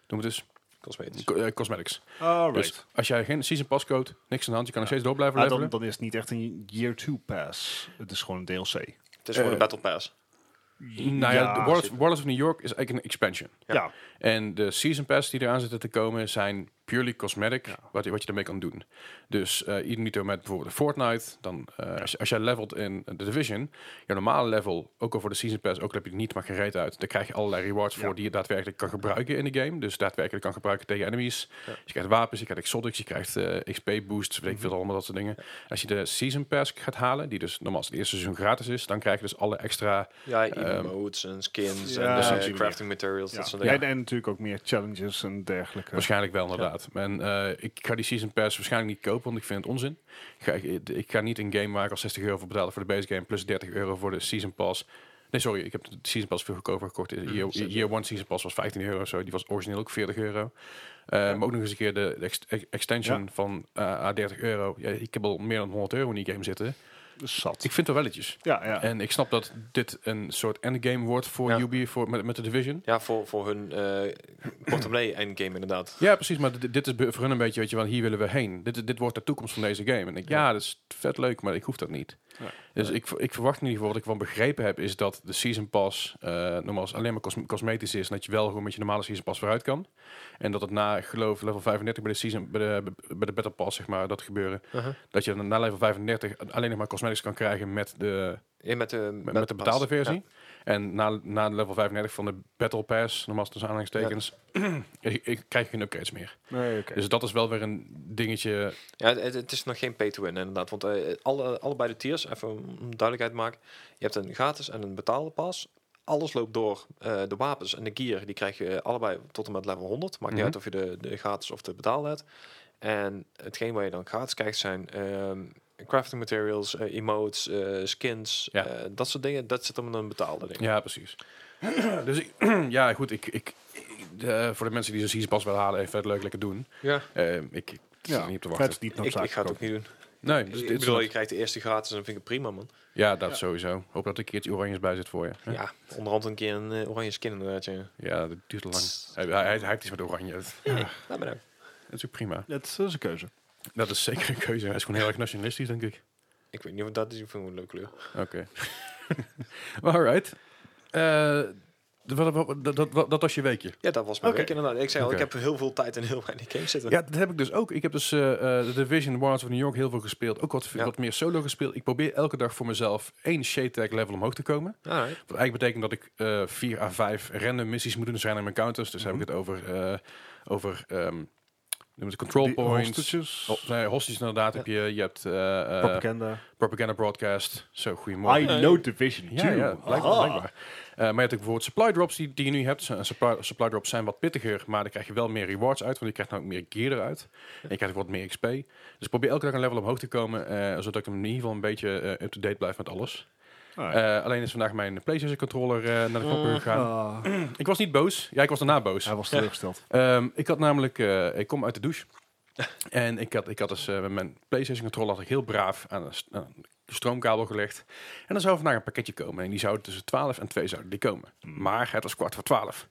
het eens, Cosmetisch. co- eh, cosmetics. Alright. Dus als jij geen season pass koopt, niks aan de hand. Je kan nog steeds door blijven Ah, dan, levelen. dan is het niet echt een Year Two Pass. Het is gewoon een DLC. Het is gewoon eh, een Battle Pass. Nou ja, de Warlords, zeker. Warlords of New York is eigenlijk een expansion. Ja. Ja. En de season pass die eraan zitten te komen zijn purely cosmetic, wat, je- wat je ermee kan doen. Dus eh ieder minuut met bijvoorbeeld Fortnite, dan, eh, als, je- als jij levelt in The Division, je normale level, ook al voor de season pass, ook al heb je er niet maar gereed uit, dan krijg je allerlei rewards voor die je daadwerkelijk kan gebruiken in de game. Dus daadwerkelijk kan gebruiken tegen enemies. Dus je krijgt wapens, je krijgt exotics, je krijgt eh, XP boosts, weet ik veel, allemaal dat soort dingen. Als je de season pass gaat halen, die dus normaal als het eerste seizoen gratis is, dan krijg je dus alle extra... Ja, emotes en skins ja, en dus eh, op die Dus crafting materials. Ja. Dat soort En, dingen. en natuurlijk ook meer challenges en dergelijke. Waarschijnlijk wel, inderdaad. En eh, ik ga die Season Pass waarschijnlijk niet kopen, want ik vind het onzin. Ik ga, ik, ik ga niet een game waar ik al 60 euro voor betalen voor de base game, plus 30 euro voor de Season Pass. Nee, sorry, ik heb de Season Pass veel goedkoper gekocht. De Year, year One Season Pass was 15 euro, of zo. die was origineel ook 40 euro. Eh, Maar ook nog eens een keer de ex- ex- extension van eh, à 30 euro. Ja, ik heb al meer dan 100 euro in die game zitten. Dus zat. Ik Eh, vind wel welletjes. ja, ja. En ik snap dat dit een soort endgame wordt voor Ja. Ubi voor, met, met de Division. Ja, voor, voor hun eh portemonnee endgame inderdaad. Ja, precies. Maar dit, dit is be- voor hun een beetje, weet je wel, hier willen we heen. Dit, dit wordt de toekomst van deze game. En ik, ja, dat is vet leuk, maar ik hoef dat niet. Ja. Dus ik, ik verwacht in ieder geval, wat ik van begrepen heb, is dat de Season Pass eh normaal als alleen maar cos- cosmetisch is. En dat je wel gewoon met je normale Season Pass vooruit kan. En dat het na, ik geloof, level 35 bij de, season, bij de, bij de Battle Pass, zeg maar, dat gebeuren. Uh-huh. Dat je dan na level 35 alleen nog maar cosmetics kan krijgen met de, Ja, met, de, met, met de pas. betaalde versie. Ja. En na, na level 35 van de Battle Pass, normaal tussen aanhalingstekens, ik, ik krijg geen upgrades meer. Nee, oké. Dus dat is wel weer een dingetje. Ja, het, het is nog geen pay to win inderdaad. Want eh, alle, allebei de tiers, even om duidelijkheid te maken. Je hebt een gratis en een betaalde pas. Alles loopt door. Eh, de wapens en de gear, die krijg je allebei tot en met level 100. Maakt Mhm. niet uit of je de, de gratis of de betaalde hebt. En hetgeen waar je dan gratis krijgt zijn ehm, crafting materials, eh, emotes, eh, skins. Ja. eh, dat soort dingen. Dat zit hem in een betaalde ding. Ja, precies. dus ik, ja, goed. Ik, ik, eh, voor de mensen die zo'n season pas willen halen, even vet leuk, lekker doen. Ja. Eh, ik ik zit er niet op te wachten. Het is niet Ik, ik noodzakelijk. ga het ook niet doen. Nee, dus ik dit is bedoel, nog- je krijgt de eerste gratis en vind ik het prima, man. ja, dat sowieso. Hoop dat er een keertje oranjes bij zit voor je. Ja, Ja, onderhand een keer een eh, oranje skin inderdaad. Ja. dat duurt te lang. Hij, hij, hij heeft iets met oranje. Dat, Nou, maar nou. dat is ook prima. Het is, dat is een keuze. Dat is zeker een keuze. Hij is gewoon heel erg nationalistisch, denk ik. Ik weet niet of dat is. Ik vind het een leuke kleur. Oké. Alright. Eh, wat- wat- dat, dat, dat was je weekje. Ja, dat was mijn Oké. week inderdaad. Ik zei al, Oké. ik heb heel veel tijd en heel weinig games zitten. Ja, dat heb ik dus ook. Ik heb dus eh, eh, de Division Wars of New York heel veel gespeeld. Ook wat, Ja. wat meer solo gespeeld. Ik probeer elke dag voor mezelf één shade tag level omhoog te komen. Alright. Wat eigenlijk betekent dat ik eh, vier à vijf random missies moet doen. zijn in mijn counters. Dus Mhm. heb ik het over, eh, over ehm, noem het control Die points. hostages, Oh, nee, hostages inderdaad Ja. heb je. Je hebt eh, eh, propaganda. propaganda broadcast. Zo, goedemorgen. I Nee. know Division Ja, 2. ja, blijkbaar. Aha. blijkbaar. Eh, maar je hebt ook bijvoorbeeld supply drops die, die je nu hebt. Su- Supply, supply drops zijn wat pittiger, maar dan krijg je wel meer rewards uit. Want je krijgt nou ook meer gear eruit. En je krijgt ook wat meer XP. Dus ik probeer elke dag een level omhoog te komen. eh, zodat ik in ieder geval een beetje eh, up-to-date blijf met alles. Ah, ja. Eh, alleen is vandaag mijn PlayStation controller eh, naar de knoppen gegaan. Ah, Ik was niet boos. Ja, ik was daarna boos. hij was teleurgesteld. Ehm, ik had namelijk, eh, ik kom uit de douche. en ik had, ik had dus eh, met mijn PlayStation controller had ik heel braaf aan een, s- aan een stroomkabel gelegd. En er zou vandaag een pakketje komen. En die zou tussen 12 en 2 zouden die komen. Maar het was kwart voor 12.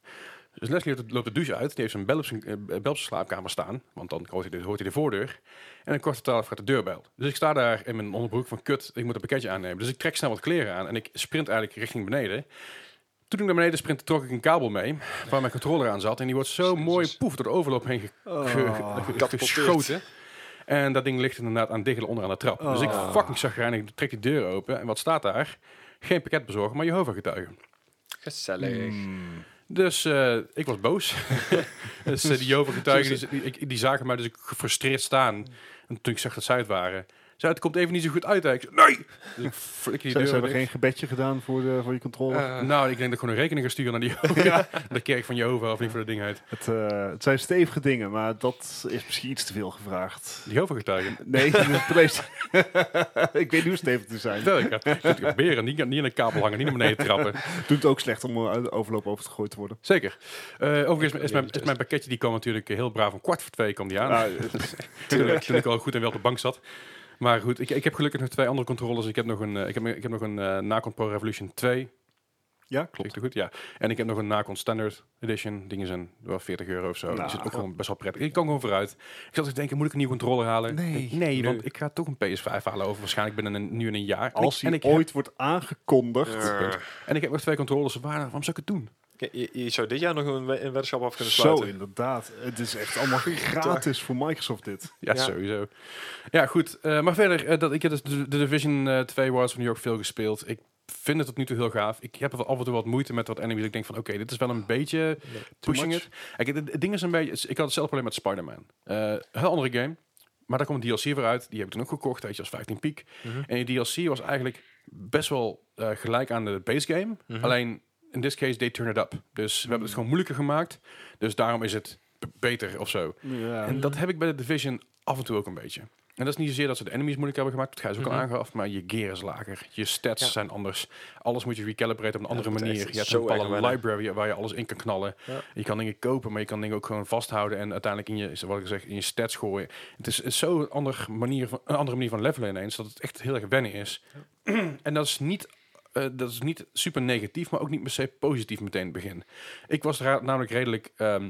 Dus Leslie loopt de, loopt de douche uit. Die heeft zijn bel op zijn, eh, bel op zijn slaapkamer staan. Want dan hoort hij, de, hoort hij de voordeur. En een kwart voor 12 gaat de deurbel. Dus ik sta daar in mijn onderbroek van kut, ik moet een pakketje aannemen. Dus ik trek snel wat kleren aan en ik sprint eigenlijk richting beneden. Toen ik naar beneden sprintte, trok ik een kabel mee waar mijn controller aan zat. En die wordt zo Jezus. Oh, mooi poef door de overloop heen ge- ge- Ah. ge- Katapulteerd. geschoten. En dat ding ligt inderdaad aan diggelen onderaan de trap. Dus ik Oh. Ah. fucking zag en ik trek die deur open. En wat staat daar? Geen pakket bezorgen, maar Jehovah getuigen. Gezellig. Mm. Dus eh, ik was boos. dus eh, die Jehovah getuigen, die, die, ik- die zagen mij dus ik gefrustreerd staan. En toen ik zag dat zij het waren. Zei, het komt even niet zo goed uit. hè." Ik zei, nee! Dus ik flikker Ze, die deur ze hebben dicht. geen gebedje gedaan voor, de, voor je controle. Eh, Nou, ik denk dat ik gewoon een rekening ga sturen naar die Jehovah. de kerk van Jehovah, of niet voor dat ding heet. het, eh, het zijn stevige dingen, maar dat is misschien iets te veel gevraagd. Die Jehovah getuigen. Nee, de PlayStation. ik weet niet hoe stevig te zijn. Vertel ik het. Zit ik beren, niet, niet aan een kabel hangen, niet naar beneden trappen. Doet het ook slecht om eh, uit de overloop over te gegooid te worden. Zeker. Eh, overigens is mijn, is mijn pakketje, die kwam natuurlijk eh, heel braaf om kwart voor twee kwam die aan. Ah, Tuurlijk. Toen ik al goed en wel op de bank zat. Maar goed, ik, ik heb gelukkig nog twee andere controllers. Ik heb nog een, eh, ik heb, ik heb nog een eh, Nacon Pro Revolution 2. ja, klopt. Klopt. Goed, ja. En ik heb nog een Nacon Standard Edition. Dingen zijn wel 40 euro of zo. Nou. die zit ook gewoon best wel prettig. Ik kan gewoon vooruit. Ik zat te denken, moet ik een nieuwe controller halen? Nee. Ik denk, nee, Nee. want ik ga toch een PS5 halen over waarschijnlijk binnen een, nu in een jaar. En Als ik, en hij ik heb- ooit wordt aangekondigd. Eh, en ik heb nog twee controllers. Waar, waarom zou ik het doen? je, je zou dit jaar nog een, we- een weddenschap af kunnen Zo, sluiten. inderdaad. Het is echt allemaal gratis voor Microsoft dit. Ja, Ja. sowieso. Ja, goed. Eh, maar verder, eh, dat, ik heb dus de, de Division eh, 2 Wars van New York veel gespeeld. Ik vind het tot nu toe heel gaaf. Ik heb er af en toe wat moeite met wat enemies. Ik denk van, oké, dit is wel een beetje Nee, pushing much. it. Kijk, het, het ding is een beetje... Ik had hetzelfde probleem met Spider-Man. Eh, een heel andere game. Maar daar komt een DLC voor uit. Die heb ik toen ook gekocht. Weet je, als 15 piek. Mhm. En die DLC was eigenlijk best wel eh, gelijk aan de base game. Mhm. Alleen, in this case, they turn it up. Dus we hebben het gewoon moeilijker gemaakt. Dus daarom is het b- beter of zo. Ja. En dat heb ik bij de Division af en toe ook een beetje. En dat is niet zozeer dat ze de enemies moeilijk hebben gemaakt. Dat ga je ook al Mhm. aangaf. Maar je gear is lager. Je stats Ja. zijn anders. Alles moet je recalibrate op een andere dat is echt manier. Je hebt zo een bepaalde erg wennen. library waar je alles in kan knallen. Ja. Je kan dingen kopen, maar je kan dingen ook gewoon vasthouden. En uiteindelijk in je, wat ik zeg, in je stats gooien. Het is, is zo'n andere manier, van, een andere manier van levelen ineens. Dat het echt heel erg wennen is. en dat is niet... eh, dat is niet super negatief, maar ook niet per se positief meteen in het begin. Ik was ra- namelijk redelijk, ehm,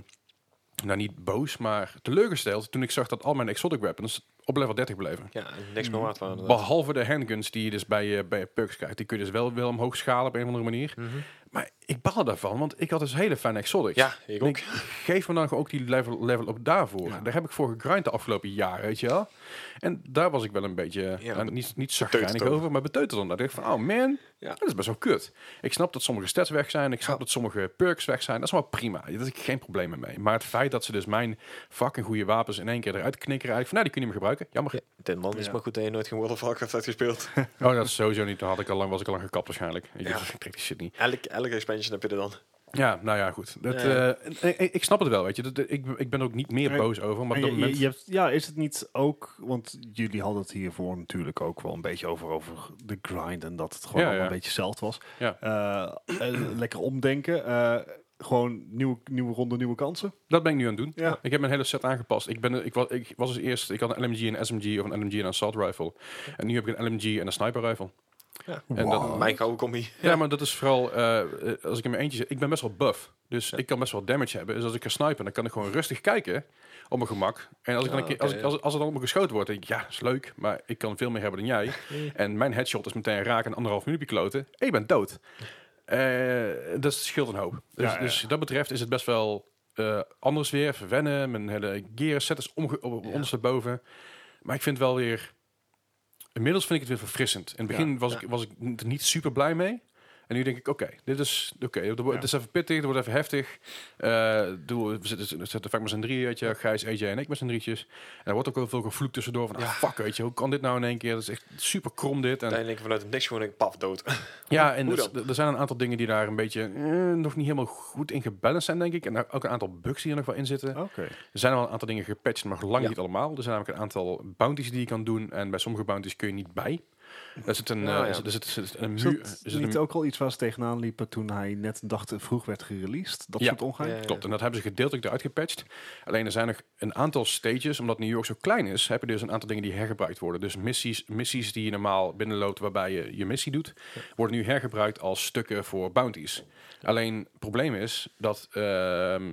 nou niet boos, maar teleurgesteld toen ik zag dat al mijn exotic weapons op level 30 bleven. Ja, en niks Mm. meer waard waren. inderdaad. Behalve de handguns die je dus bij, eh, bij Perks krijgt. Die kun je dus wel, wel omhoog schalen op een of andere manier. Mhm. Maar ik baal daarvan, want ik had dus hele fijne exotics. Ja, ik En ook. ik- geef me dan gewoon ook die level, level op daarvoor. Daar heb ik voor gegrind de afgelopen jaren, weet je wel. En daar was ik wel een beetje, Ja, nou, niet, niet zagrijnig over. over, maar beteuterd omdat. Ik dacht van, oh man, Ja. dat is best wel kut. Ik snap dat sommige stats weg zijn, ik snap Ja. dat sommige perks weg zijn. Dat is wel prima, daar heb ik geen problemen mee. Maar het feit dat ze dus mijn fucking goede wapens in één keer eruit knikkeren, eigenlijk van, nou, die kun je niet meer gebruiken, jammer. Ja, dit man is Ja. maar goed dat je nooit geen World of Warcraft hebt gespeeld. Oh, dat is sowieso niet, dan had ik al lang, was ik al lang gekapt waarschijnlijk. Ik, dacht, ik trek die shit niet. elke, elke expansion heb je er dan. Ja, nou ja, goed. Dat, Nee. eh, eh, ik, ik snap het wel, weet je. Dat, dat- ik, ik ben er ook niet meer Nee. boos over, maar En op dat je, je, moment... je hebt, ja, is het niet ook, want jullie hadden het hiervoor natuurlijk ook wel een beetje over, over de grind en dat het gewoon Ja, allemaal ja. een beetje zelf was. Ja. Eh, eh, lekker omdenken, eh, gewoon nieuwe, nieuwe ronde, nieuwe kansen. Dat ben ik nu aan het doen. Ja. Ik heb mijn hele set aangepast. Ik, ben, ik, was, ik was als eerst, ik had een LMG, een SMG of een LMG en een assault rifle. En nu heb ik een LMG en een sniper rifle. Ja. En dat, Mijn gouden combi. ja, maar dat is vooral, eh, eh, als ik in mijn eentje zit, ik ben best wel buff. Dus ik kan best wel damage hebben. Dus als ik ga snipen, dan kan ik gewoon rustig kijken op mijn gemak. En als, ik dan een Ah, keer, als, oké. ik- als, als er dan op me geschoten wordt, denk ik, ja, is leuk, maar ik kan veel meer hebben dan jij. En mijn headshot is meteen raak en anderhalf minuutje kloten. En je bent dood. Eh, dat scheelt een hoop. Dus, Ja, ja. dus dat betreft is het best wel eh, anders weer. Verwennen. Mijn hele gear set is omge- op- op ondersteboven. Maar ik vind wel weer... Inmiddels vind ik het weer verfrissend. In het begin was, Ik, was ik er niet super blij mee. En nu denk ik, oké, dit is oké. het wordt- Het is even pittig, het wordt even heftig. Eh, doe, we zitten, we zitten vaak met z'n drieën, weet je. Gijs, AJ en ik met z'n drietjes. En er wordt ook wel veel gevloekt tussendoor. Van, ah, fuck, weet je. Hoe kan dit nou in één keer? Dat is echt super krom dit. En, Uiteindelijk vanuit het niks gewoon een paf dood. ja, en hoe dus d- er zijn een aantal dingen die daar een beetje eh, nog niet helemaal goed in gebalanced zijn, denk ik. En daar ook een aantal bugs die er nog wel in Oh, zitten. Oké. Er zijn wel een aantal dingen gepatcht, maar nog lang Ja. niet allemaal. Er zijn namelijk een aantal bounties die je kan doen. En bij sommige bounties kun je niet bij. Er zit een, eh, Ah, ja. er zit, er zit- er zit een eh, Is muur. dat er zit niet een, ook al iets waar ze tegenaan liepen toen hij net een dag te vroeg werd gereleased? Dat Ja. soort ongein? Ja. klopt, en dat hebben ze gedeeltelijk eruit gepatcht. Alleen er zijn nog een aantal stages. Omdat New York zo klein is, heb je dus een aantal dingen die hergebruikt worden. Dus missies, missies die je normaal binnenloopt waarbij je je missie doet, worden nu hergebruikt als stukken voor bounties. Alleen het probleem is dat ehm,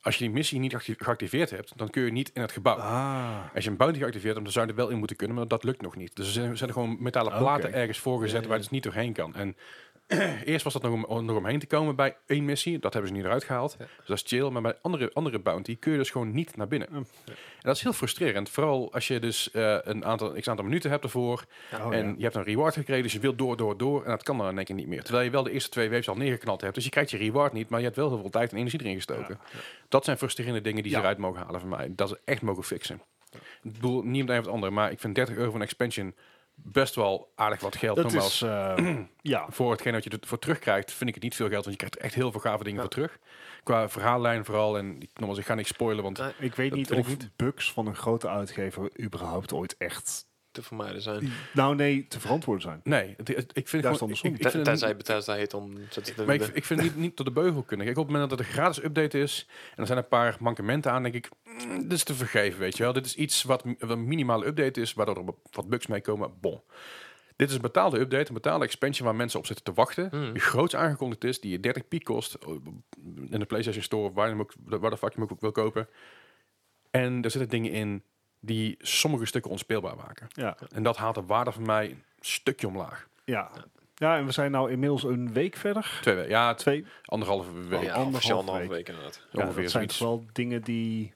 als je die missie niet acti- geactiveerd hebt, dan kun je niet in het gebouw. Ah, Als je een bounty geactiveerd hebt, dan zou je er wel in moeten kunnen, maar dat lukt nog niet. Dus er zijn, zijn er gewoon metalen platen Oké. ergens voorgezet waar Ja, ja. het dus niet doorheen kan. En eerst was dat nog om, om- nog omheen te komen bij één missie. Dat hebben ze niet eruit gehaald. Ja. Dus dat is chill. Maar bij andere, andere bounty kun je dus gewoon niet naar binnen. Ja. En dat is heel frustrerend. Vooral als je dus eh, een aantal, x aantal minuten hebt ervoor. Oh, en ja. je hebt een reward gekregen, dus je wilt door, door, door. En dat kan dan in één keer niet meer. Terwijl je wel de eerste twee waves al neergeknald hebt. Dus je krijgt je reward niet, maar je hebt wel heel veel tijd en energie erin gestoken. Dat zijn frustrerende dingen die ze Ja. eruit mogen halen van mij. Dat ze echt mogen fixen. Ik bedoel, niet om het een of het ander, maar ik vind 30 euro voor een expansion best wel aardig wat geld. dat nogmaals. is... eh, ja, Voor hetgeen dat je ervoor terugkrijgt, vind ik het niet veel geld. Want je krijgt er echt heel veel gave dingen voor terug. Qua verhaallijn vooral. En ik, nogmaals, ik ga niks spoilen, want Nee. ik weet Dat niet vind of ik bugs van een grote uitgever überhaupt ooit echt... Te vermijden zijn. Nou nee, te verantwoorden zijn. nee, het- het- ik vind Daar is gewoon... het Ik, andersom. ik vind het, Tenzij Bethesda heet dan... zet het in maar ik, Eh, de- ik vind het niet, niet tot de beugel kunnen. Kijk, op het moment dat het een gratis update is... en er zijn een paar mankementen aan, denk ik... mm, dit is te vergeven, weet je wel. Dit is iets wat, mi- wat een minimale update is... waardoor er wat bugs mee komen. Bon. Dit is een betaalde update, een betaalde expansion... waar mensen op zitten te wachten. Hmm. Die groots aangekondigd is, die je 30 piek kost... oh, in de PlayStation Store, waar, je hem ook, waar de fuck je hem ook wil kopen. En er zitten dingen in die sommige stukken onspeelbaar maken. Ja, En dat haalt de waarde van mij een stukje omlaag. ja. ja, en we zijn nou inmiddels een week verder. Twee, we- ja, t- Twee, anderhalve week. ja, anderhalf officieel anderhalf week. week inderdaad. Ja, ongeveer Oh, dat zijn zoiets. toch wel dingen die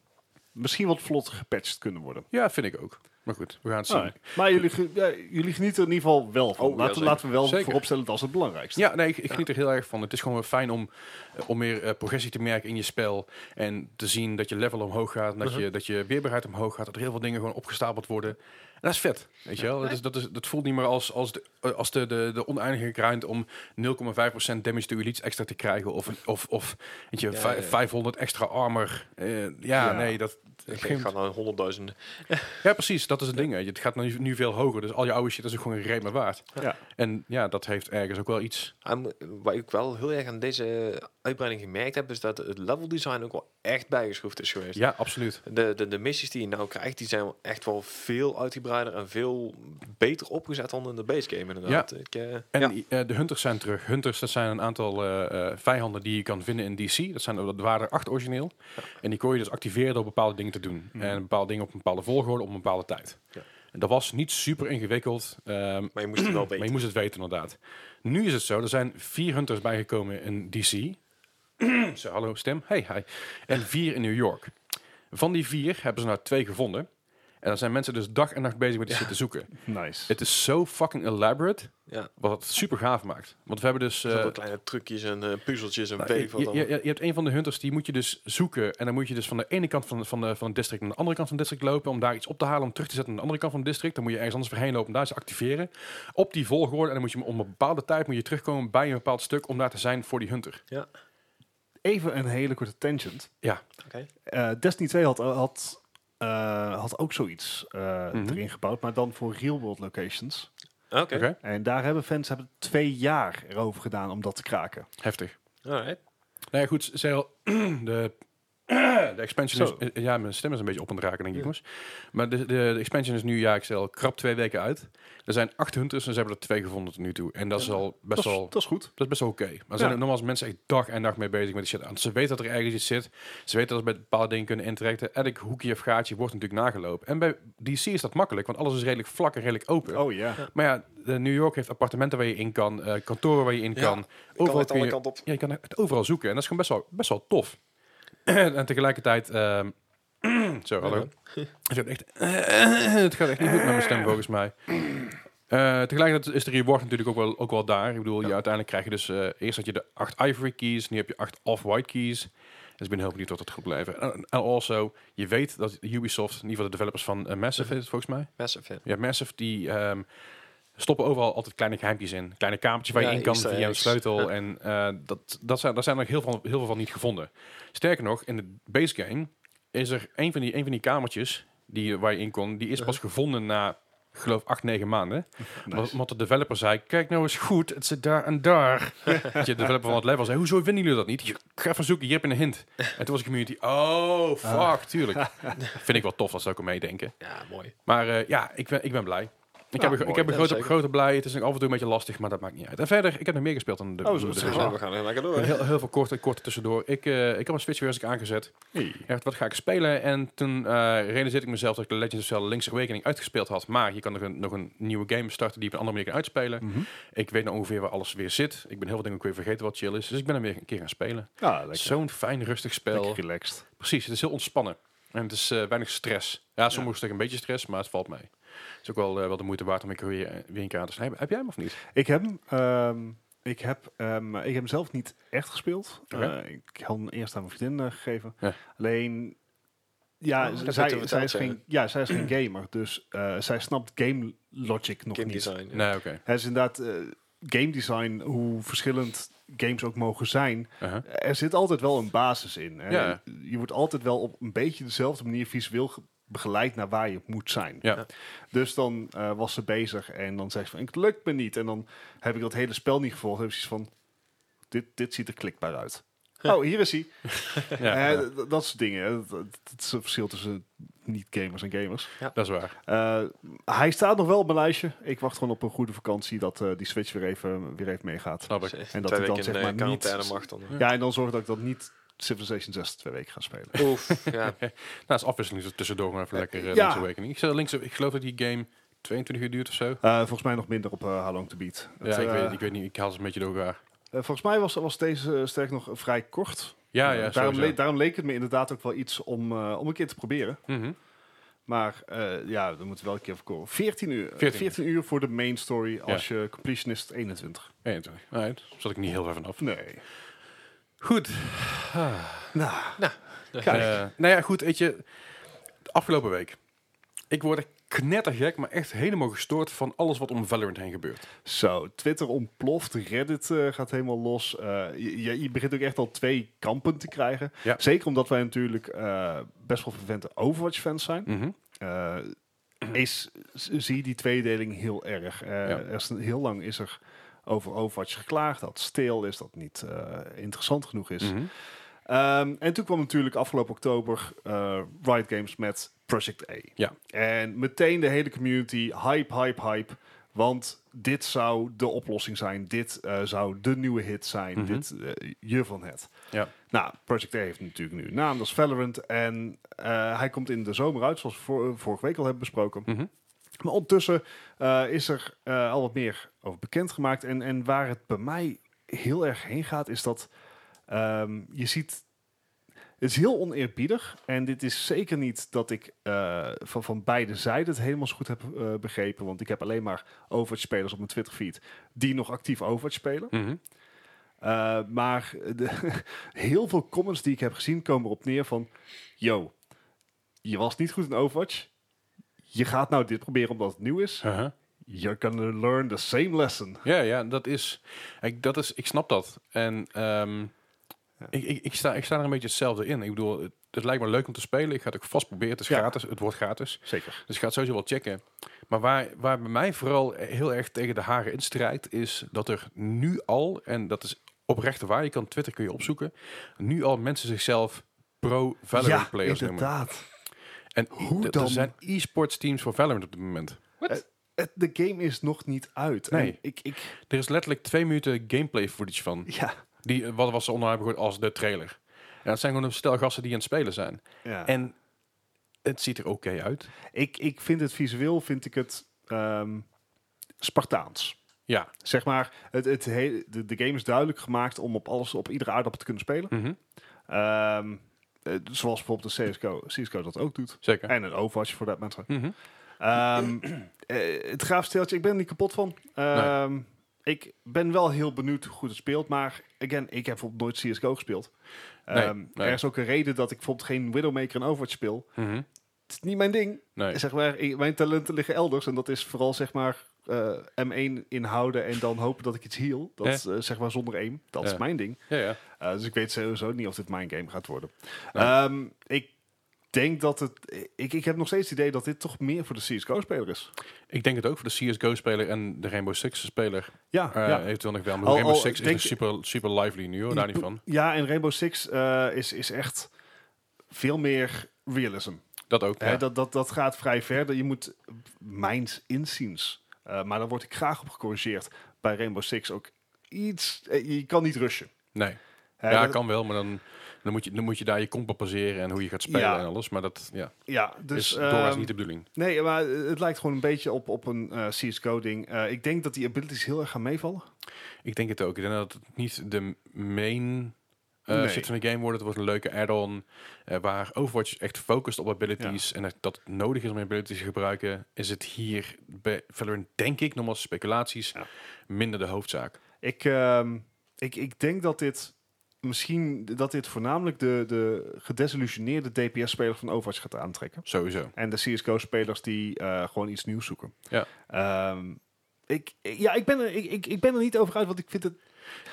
misschien wat vlotter gepatcht kunnen worden. Ja, vind ik ook. Maar goed, we gaan het zien. Ah, maar jullie, ge- ja, jullie genieten er in ieder geval wel van. Oh, ja, laten, zeker. laten we wel Zeker. vooropstellen dat is het belangrijkste. Ja, nee, ik, ik geniet er heel erg van. Het is gewoon weer fijn om, eh, om meer eh, progressie te merken in je spel. En te zien dat je level omhoog gaat. En dat, Mhm. je, dat je weerbaarheid omhoog gaat. Dat er heel veel dingen gewoon opgestapeld worden. En dat is vet, weet je wel. Dat, is, dat, is, dat voelt niet meer als, als, de, eh, als de, de, de oneindige grind om 0,5% damage to elites extra te krijgen. Of, of, of weet je, Ja, vij- ja. 500 extra armor. Eh, ja, Ja. nee, dat... Ik ga naar honderdduizenden. Ja, precies. Dat, dat is het ding. weet je. Het gaat nu, nu veel hoger. Dus al je oude shit is ook gewoon een reet meer waard. Ja. En ja, dat heeft ergens ook wel iets. Hij moet- Wat ik wel heel erg aan deze uitbreiding gemerkt heb, is dat het level design ook wel echt bijgeschroefd is geweest. Ja, absoluut. De, de, de missies die je nou krijgt, die zijn wel echt wel veel uitgebreider en veel beter opgezet dan in de base game inderdaad. Ik, eh, En ja. eh, de hunters zijn terug. Hunters, dat zijn een aantal eh, eh, vijanden die je kan vinden in DC. Dat, zijn, dat waren er acht origineel. En die kon je dus activeren door bepaalde dingen te doen. Mhm. En bepaalde dingen op een bepaalde volgorde, op een bepaalde tijd. Ja. En dat was niet super ingewikkeld. ehm, Maar je moest het wel Maar weten. je moest het weten, inderdaad. Nu is het zo, er zijn vier hunters bijgekomen in DC. zo, hallo stem. Hey, hi. En vier in New York. Van die vier hebben ze nou twee gevonden. En dan zijn mensen dus dag en nacht bezig met die shit te zoeken. Nice. Het is zo fucking elaborate, Ja. wat het super gaaf maakt. Want we hebben dus... Er eh, zijn wel kleine trucjes en eh, puzzeltjes en nou, weet ik je, wat je, dan. je- je hebt een van de hunters, die moet je dus zoeken. En dan moet je dus van de ene kant van, van, de, van het district naar de andere kant van het district lopen. Om daar iets op te halen, om terug te zetten aan de andere kant van het district. Dan moet je ergens anders voorheen lopen, om daar ze activeren. Op die volgorde. En dan moet je om een bepaalde tijd moet je terugkomen bij een bepaald stuk. Om daar te zijn voor die hunter. Even een hele korte tangent. Ja. Oké. Eh, Destiny 2 had, had, eh, had ook zoiets eh, Mhm. erin gebouwd, maar dan voor real world locations. Oké. Ah, Oké, En daar hebben fans hebben twee jaar erover gedaan om dat te kraken. Heftig. alright. Nou ja, goed. Cel, de, de expansion Zo. is... eh, Ja, mijn stem is een beetje op aan het raken, denk ik, jongens. Maar de, de, de expansion is nu, ja, ik stel, krap twee weken uit. Er zijn acht hunters en ze hebben er twee gevonden tot nu toe. En dat is al best Dat is, wel... dat is goed. Dat is best wel oké. Maar er Ja. zijn normaal zijn mensen echt dag en nacht mee bezig met die shit. Want ze weten dat er ergens iets zit. Ze weten dat ze bij bepaalde dingen kunnen interacten. Elk hoekje of gaatje wordt natuurlijk nagelopen. En bij DC is dat makkelijk, want alles is redelijk vlak en redelijk open. Oh ja. Maar ja, de New York heeft appartementen waar je in kan, eh, kantoren waar je in Ja, kan. Kan het kun alle je, kanten op. ja, je kan het overal zoeken. En dat is gewoon best wel, best wel tof. en tegelijkertijd... ehm, zo, hallo. Het gaat echt, het gaat echt niet goed met mijn stem, volgens mij. Eh, tegelijkertijd is de reward natuurlijk ook wel, ook wel daar. Ik bedoel, ja, uiteindelijk krijg je dus... eh, eerst had je de acht ivory keys, nu heb je acht off-white keys. Dus ik ben heel benieuwd wat dat gaat blijven. En en also, je weet dat Ubisoft, in ieder geval de developers van eh, Mhm. Massive is het volgens mij... Massive, ja. Ja, Massive die ehm, stoppen overal altijd kleine geheimpjes in. Kleine kamertjes waar je Ja, in kan Easter via een eggs. sleutel. Ja. En eh, dat, dat zijn, daar zijn er heel veel, heel veel van niet gevonden. Sterker nog, in de base game is er een van die, een van die kamertjes die, waar je in kon, die is pas gevonden na, ik geloof, acht, negen maanden. Want, want de developer zei, kijk nou eens goed, het zit daar en daar. Dat je de developer van het level zei, hoezo vinden jullie dat niet? Je, ga even zoeken, hier heb je een hint. En toen was de community, oh, fuck, Ah. tuurlijk. Vind ik wel tof als ze ook al meedenken. Ja, mooi. Maar eh, ja, ik ben, ik ben blij. Ik Ja, heb, een- ik Nou, mooi. heb een Ja, grote, zeker. grote blij. Het is nog af en toe een beetje lastig, maar dat maakt niet uit. En verder, ik heb nog meer gespeeld dan de, Oh, zo- de- zo- de- Dus, zo. nou, we gaan lekker door. hè. Heel, heel veel korte, korte tussendoor. Ik, eh, ik heb een Switch weer eens aangezet. Ik dacht, wat ga ik spelen? En toen eh realiseerde ik mezelf dat ik Legends of Zelda Link's Awakening uitgespeeld had. Maar je kan nog een, nog een nieuwe game starten die je op een andere manier kan uitspelen. Mhm. Ik weet nou ongeveer waar alles weer zit. Ik ben heel veel dingen ook weer vergeten wat chill is. Dus ik ben hem weer een keer gaan spelen. Ja, Ah, lekker. Zo'n fijn, rustig spel. Lekker relaxed. Precies, het is heel ontspannen. En het is eh, weinig stress. Ja, sommige stukken een beetje stress, maar het valt mee. Het is ook wel, eh, wel de moeite waard om ik weer, eh, weer een keer aan te snijden. Heb jij hem of niet? Ik heb hem. ehm, ik heb, ehm, ik heb hem zelf niet echt gespeeld. Oké. Eh, ik had hem eerst aan mijn vriendin eh, gegeven. Ja. Alleen, ja, Oh, dat zij, moeten we zij, is verteld geen, ja, zij is geen gamer. Dus eh, zij snapt game logic nog Game niet. design. ja. Nee, oké. Het is inderdaad eh, game design, hoe verschillend games ook mogen zijn. Uh-huh. Er zit altijd wel een basis in. Hè? Ja. Je wordt altijd wel op een beetje dezelfde manier visueel ge- begeleid naar waar je moet zijn. Ja. Ja. Dus dan eh, was ze bezig en dan zei ze van, het lukt me niet. En dan heb ik dat hele spel niet gevolgd. Dan heb ik zoiets van, dit, dit ziet er klikbaar uit. Oh, hier is hij. Ja, Eh, ja, d- d- Dat soort dingen. hè. Dat, dat- dat is het verschil tussen niet-gamers en gamers. dat is waar. Eh, hij staat nog wel op mijn lijstje. Ik wacht gewoon op een goede vakantie dat eh, die Switch weer even, weer even meegaat. Snap ik. Twee En dat hij dan weken zeg in, eh, maar niet... quarantaine mag dan. Ja, en dan zorg dat ik dat niet Civilization 6 twee weken ga spelen. Oef, ja. Nou, is afwisseling er tussendoor maar even lekker eh, Ja. Link's Awakening. Ik, zat links, ik geloof dat die game 22 uur duurt of zo. Eh, volgens mij nog minder op eh How Long To Beat. Het, Ja, ik, eh, weet, ik weet niet. Ik haal ze een beetje door elkaar. eh, volgens mij was, was deze eh, sterk nog vrij kort. Ja, Eh, ja, daarom, sowieso. le- daarom leek het me inderdaad ook wel iets om, eh, om een keer te proberen. Mhm. Maar eh, ja, we moeten wel een keer verkopen. 14 uur. 14 14, uur voor de main story als je completionist 21. 21. Alright. Nou, Zat ik niet heel ver vanaf. Nee. Goed. Nou, Eh, nou ja, goed, weet je, de afgelopen week. Ik word er knettergek, maar echt helemaal gestoord van alles wat om Valorant heen gebeurt. Zo, Twitter ontploft, Reddit eh, gaat helemaal los. Eh, je, je- je begint ook echt al twee kampen te krijgen. Ja. Mhm. Zeker omdat wij natuurlijk eh, best wel vervente Overwatch-fans zijn. Eh, is, z- zie je die tweedeling heel erg. Eh, Ja. er is, een- heel lang is er over Overwatch geklaagd dat stil is, dat niet eh, interessant genoeg is. Mhm. Ehm, en toen kwam natuurlijk afgelopen oktober eh Riot Games met Project A. Ja. En meteen de hele community, hype, hype, hype. Want dit zou de oplossing zijn. Dit eh, zou de nieuwe hit zijn. Mhm. Dit eh, je van het. Ja. Nou, Project A heeft natuurlijk nu een naam, dat is Valorant. En eh, hij komt in de zomer uit, zoals we vor- vorige week al hebben besproken. Mhm. Maar ondertussen eh, is er eh, al wat meer over bekendgemaakt. En, en waar het bij mij heel erg heen gaat, is dat ehm, je ziet. Het is heel oneerbiedig. En dit is zeker niet dat ik eh, van, van beide zijden het helemaal zo goed heb eh, begrepen. Want ik heb alleen maar Overwatch-spelers op mijn Twitter-feed die nog actief Overwatch spelen. Mhm. Eh, maar de, heel veel comments die ik heb gezien komen erop neer van... Yo, je was niet goed in Overwatch. Je gaat nou dit proberen omdat het nieuw is. Aha. You're gonna learn the same lesson. Uh-huh. Ja, ja, dat is, ik, dat is, ik snap dat. En ehm, ik, ik, ik, sta, ik sta er een beetje hetzelfde in. Ik bedoel, het, het lijkt me leuk om te spelen. Ik ga het ook vast proberen. Het is Ja. gratis, het wordt gratis. Zeker. Dus ik ga het sowieso wel checken. Maar waar, waar bij mij vooral heel erg tegen de haren instrijdt, is dat er nu al, en dat is oprecht waar, je kan Twitter kun je opzoeken, nu al mensen zichzelf pro-Valorant ja, players noemen. inderdaad. En Hoe d- dan? er zijn e-sports teams voor Valorant op dit moment. Het- De game is nog niet uit. Nee. En ik, ik, Er is letterlijk twee minuten gameplay footage van. ja. Die, eh, wat was er onderaan gegooid als de trailer. En dat zijn gewoon een stel gasten die aan het spelen zijn. ja. En het ziet er oké uit. ik, ik vind het visueel, vind ik het ehm, Spartaans. Ja. Zeg maar, het, het hele, de, de game is duidelijk gemaakt om op alles, op iedere aardappel te kunnen spelen. Mhm. Ehm, eh, zoals bijvoorbeeld de CSGO, CSGO dat ook doet. Zeker. En een Overwatch voor dat matter. Mhm. Ehm, eh, het gaaf steeltje, ik ben er niet kapot van. Ehm, Ik ben wel heel benieuwd hoe goed het speelt. Maar again, ik heb bijvoorbeeld nooit CSGO gespeeld. Nee, Ehm, nee. Er is ook een reden dat ik bijvoorbeeld geen Widowmaker en Overwatch speel. Mhm. Het is niet mijn ding. Nee. Zeg maar, ik- mijn talenten liggen elders. En dat is vooral zeg maar eh, M1 inhouden en dan hopen dat ik iets heal. Dat is, eh, zeg maar zonder aim. Dat is Ja. mijn ding. Ja, ja. Uh, dus ik weet sowieso niet of dit mijn game gaat worden. Nee. Ehm, ik denk dat het... Ik, ik heb nog steeds het idee dat dit toch meer voor de CSGO-speler is. Ik denk het ook voor de CSGO-speler en de Rainbow Six-speler. Ja, Eh Ah, ja. Eventueel nog wel. Maar Al- Rainbow al, Six denk- is dus super, super lively nu, hoor. daar niet van. Ja, en Rainbow Six eh, is, is echt veel meer realism. Dat ook. Hè, ja. dat, dat, dat gaat vrij verder. Je moet mijns inziens. Eh, maar daar word ik graag op gecorrigeerd. Bij Rainbow Six ook iets... eh, je kan niet rushen. nee. Hè, ja, dat- kan wel, maar dan, dan, moet je, dan moet je daar je compa passeren en hoe je gaat spelen Ja. en alles. Maar dat ja, ja, dus, is doorgaans ehm, niet de bedoeling. Nee, maar het lijkt gewoon een beetje op, op een eh, CSGO-ding. Eh, ik denk dat die abilities heel erg gaan meevallen. Ik denk het ook. Ik denk dat het niet de main eh, Nee. shit van de game wordt. Het wordt een leuke add-on eh, waar Overwatch echt focust op abilities en dat- dat het nodig is om abilities te gebruiken. Is het hier bij Valorant, denk ik, nogmaals speculaties, Ja. minder de hoofdzaak. Ik, ehm, ik, ik denk dat dit misschien dat dit voornamelijk de, de gedesillusioneerde DPS-spelers van Overwatch gaat aantrekken. Sowieso. En de CSGO-spelers die eh, gewoon iets nieuws zoeken. Ja. Ehm, ik, ik- ja, ik ben, er, ik, ik, ik ben er niet over uit, want ik vind het...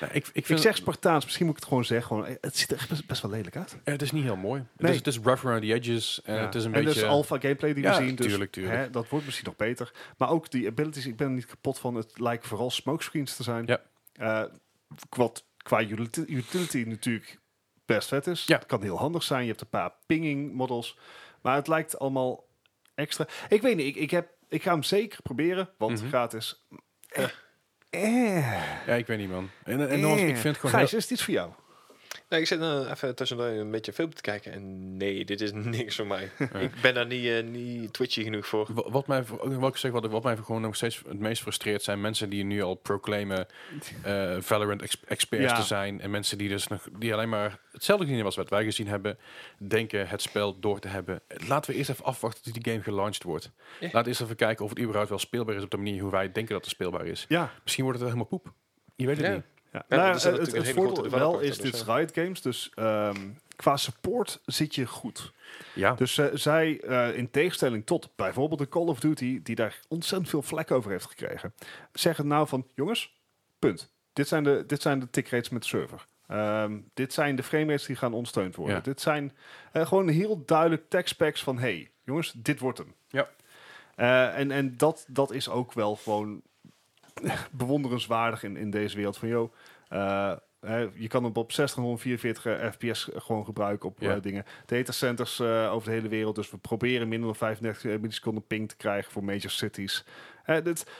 Ja, ik, ik, Ik vind zeg Spartaans, misschien moet ik het gewoon zeggen. Gewoon, het ziet er echt best, best wel lelijk uit. Eh, het is niet heel mooi. Nee. Het, is, het is rough around the edges. En Ja. het is een en beetje... dat is alpha gameplay die Ja, we zien. Dus tuurlijk, tuurlijk. Hè, dat wordt misschien nog beter. Maar ook die abilities, ik ben er niet kapot van. Het lijken vooral smokescreens te zijn. Ja. Eh, wat qua utility, utility natuurlijk best vet is. Ja. Het kan heel handig zijn. Je hebt een paar pinging models. Maar het lijkt allemaal extra. Ik weet niet, ik, ik, heb, ik ga hem zeker proberen. Want Mhm. gratis. Eh. Eh. Ja, ik weet niet, man. En, en nogmaals, ik vind het gewoon Gijs, heel- is dit voor jou? Nee, ik zit eh, even tussendoor een beetje film te kijken. En nee, dit is niks voor mij. Ik ben daar niet, eh, niet twitchy genoeg voor. Wa- Wat mij, voor- wat, ik zeg, wat, wat mij gewoon nog steeds het meest frustreert zijn mensen die nu al proclaimen eh, Valorant ex- experts Ja. te zijn. En mensen die dus nog, die alleen maar hetzelfde gezien hebben als wat wij gezien hebben, denken het spel door te hebben. Laten we eerst even afwachten tot die game gelanceerd wordt. Ja. Laten we eerst even kijken of het überhaupt wel speelbaar is op de manier hoe wij denken dat het speelbaar is. Ja, Misschien wordt het wel helemaal poep. Je weet het Ja. niet. Ja, Ja, nou, want er zit eh, het, natuurlijk het een hele grote voordeel wel developer is, achter, dit dus, is Riot Games, dus ehm, qua support zit je goed. Ja. Dus eh, zij, eh, in tegenstelling tot bijvoorbeeld de Call of Duty, die daar ontzettend veel vlek over heeft gekregen, zeggen nou van, jongens, punt. Dit zijn de, dit zijn de tickrates met de server. Ehm, dit zijn de framerates die gaan ondersteund worden. Ja. Dit zijn eh, gewoon heel duidelijk tekstpacks van, hey, jongens, dit wordt hem. Ja. Eh, en en dat, dat is ook wel gewoon bewonderenswaardig in, in deze wereld. Van, joh, eh, hè, je kan hem op 60, 144 fps gewoon gebruiken op Ja. eh, dingen. Datacenters eh, over de hele wereld. Dus we proberen minder dan 35 milliseconden ping te krijgen voor major cities. Eh, dit,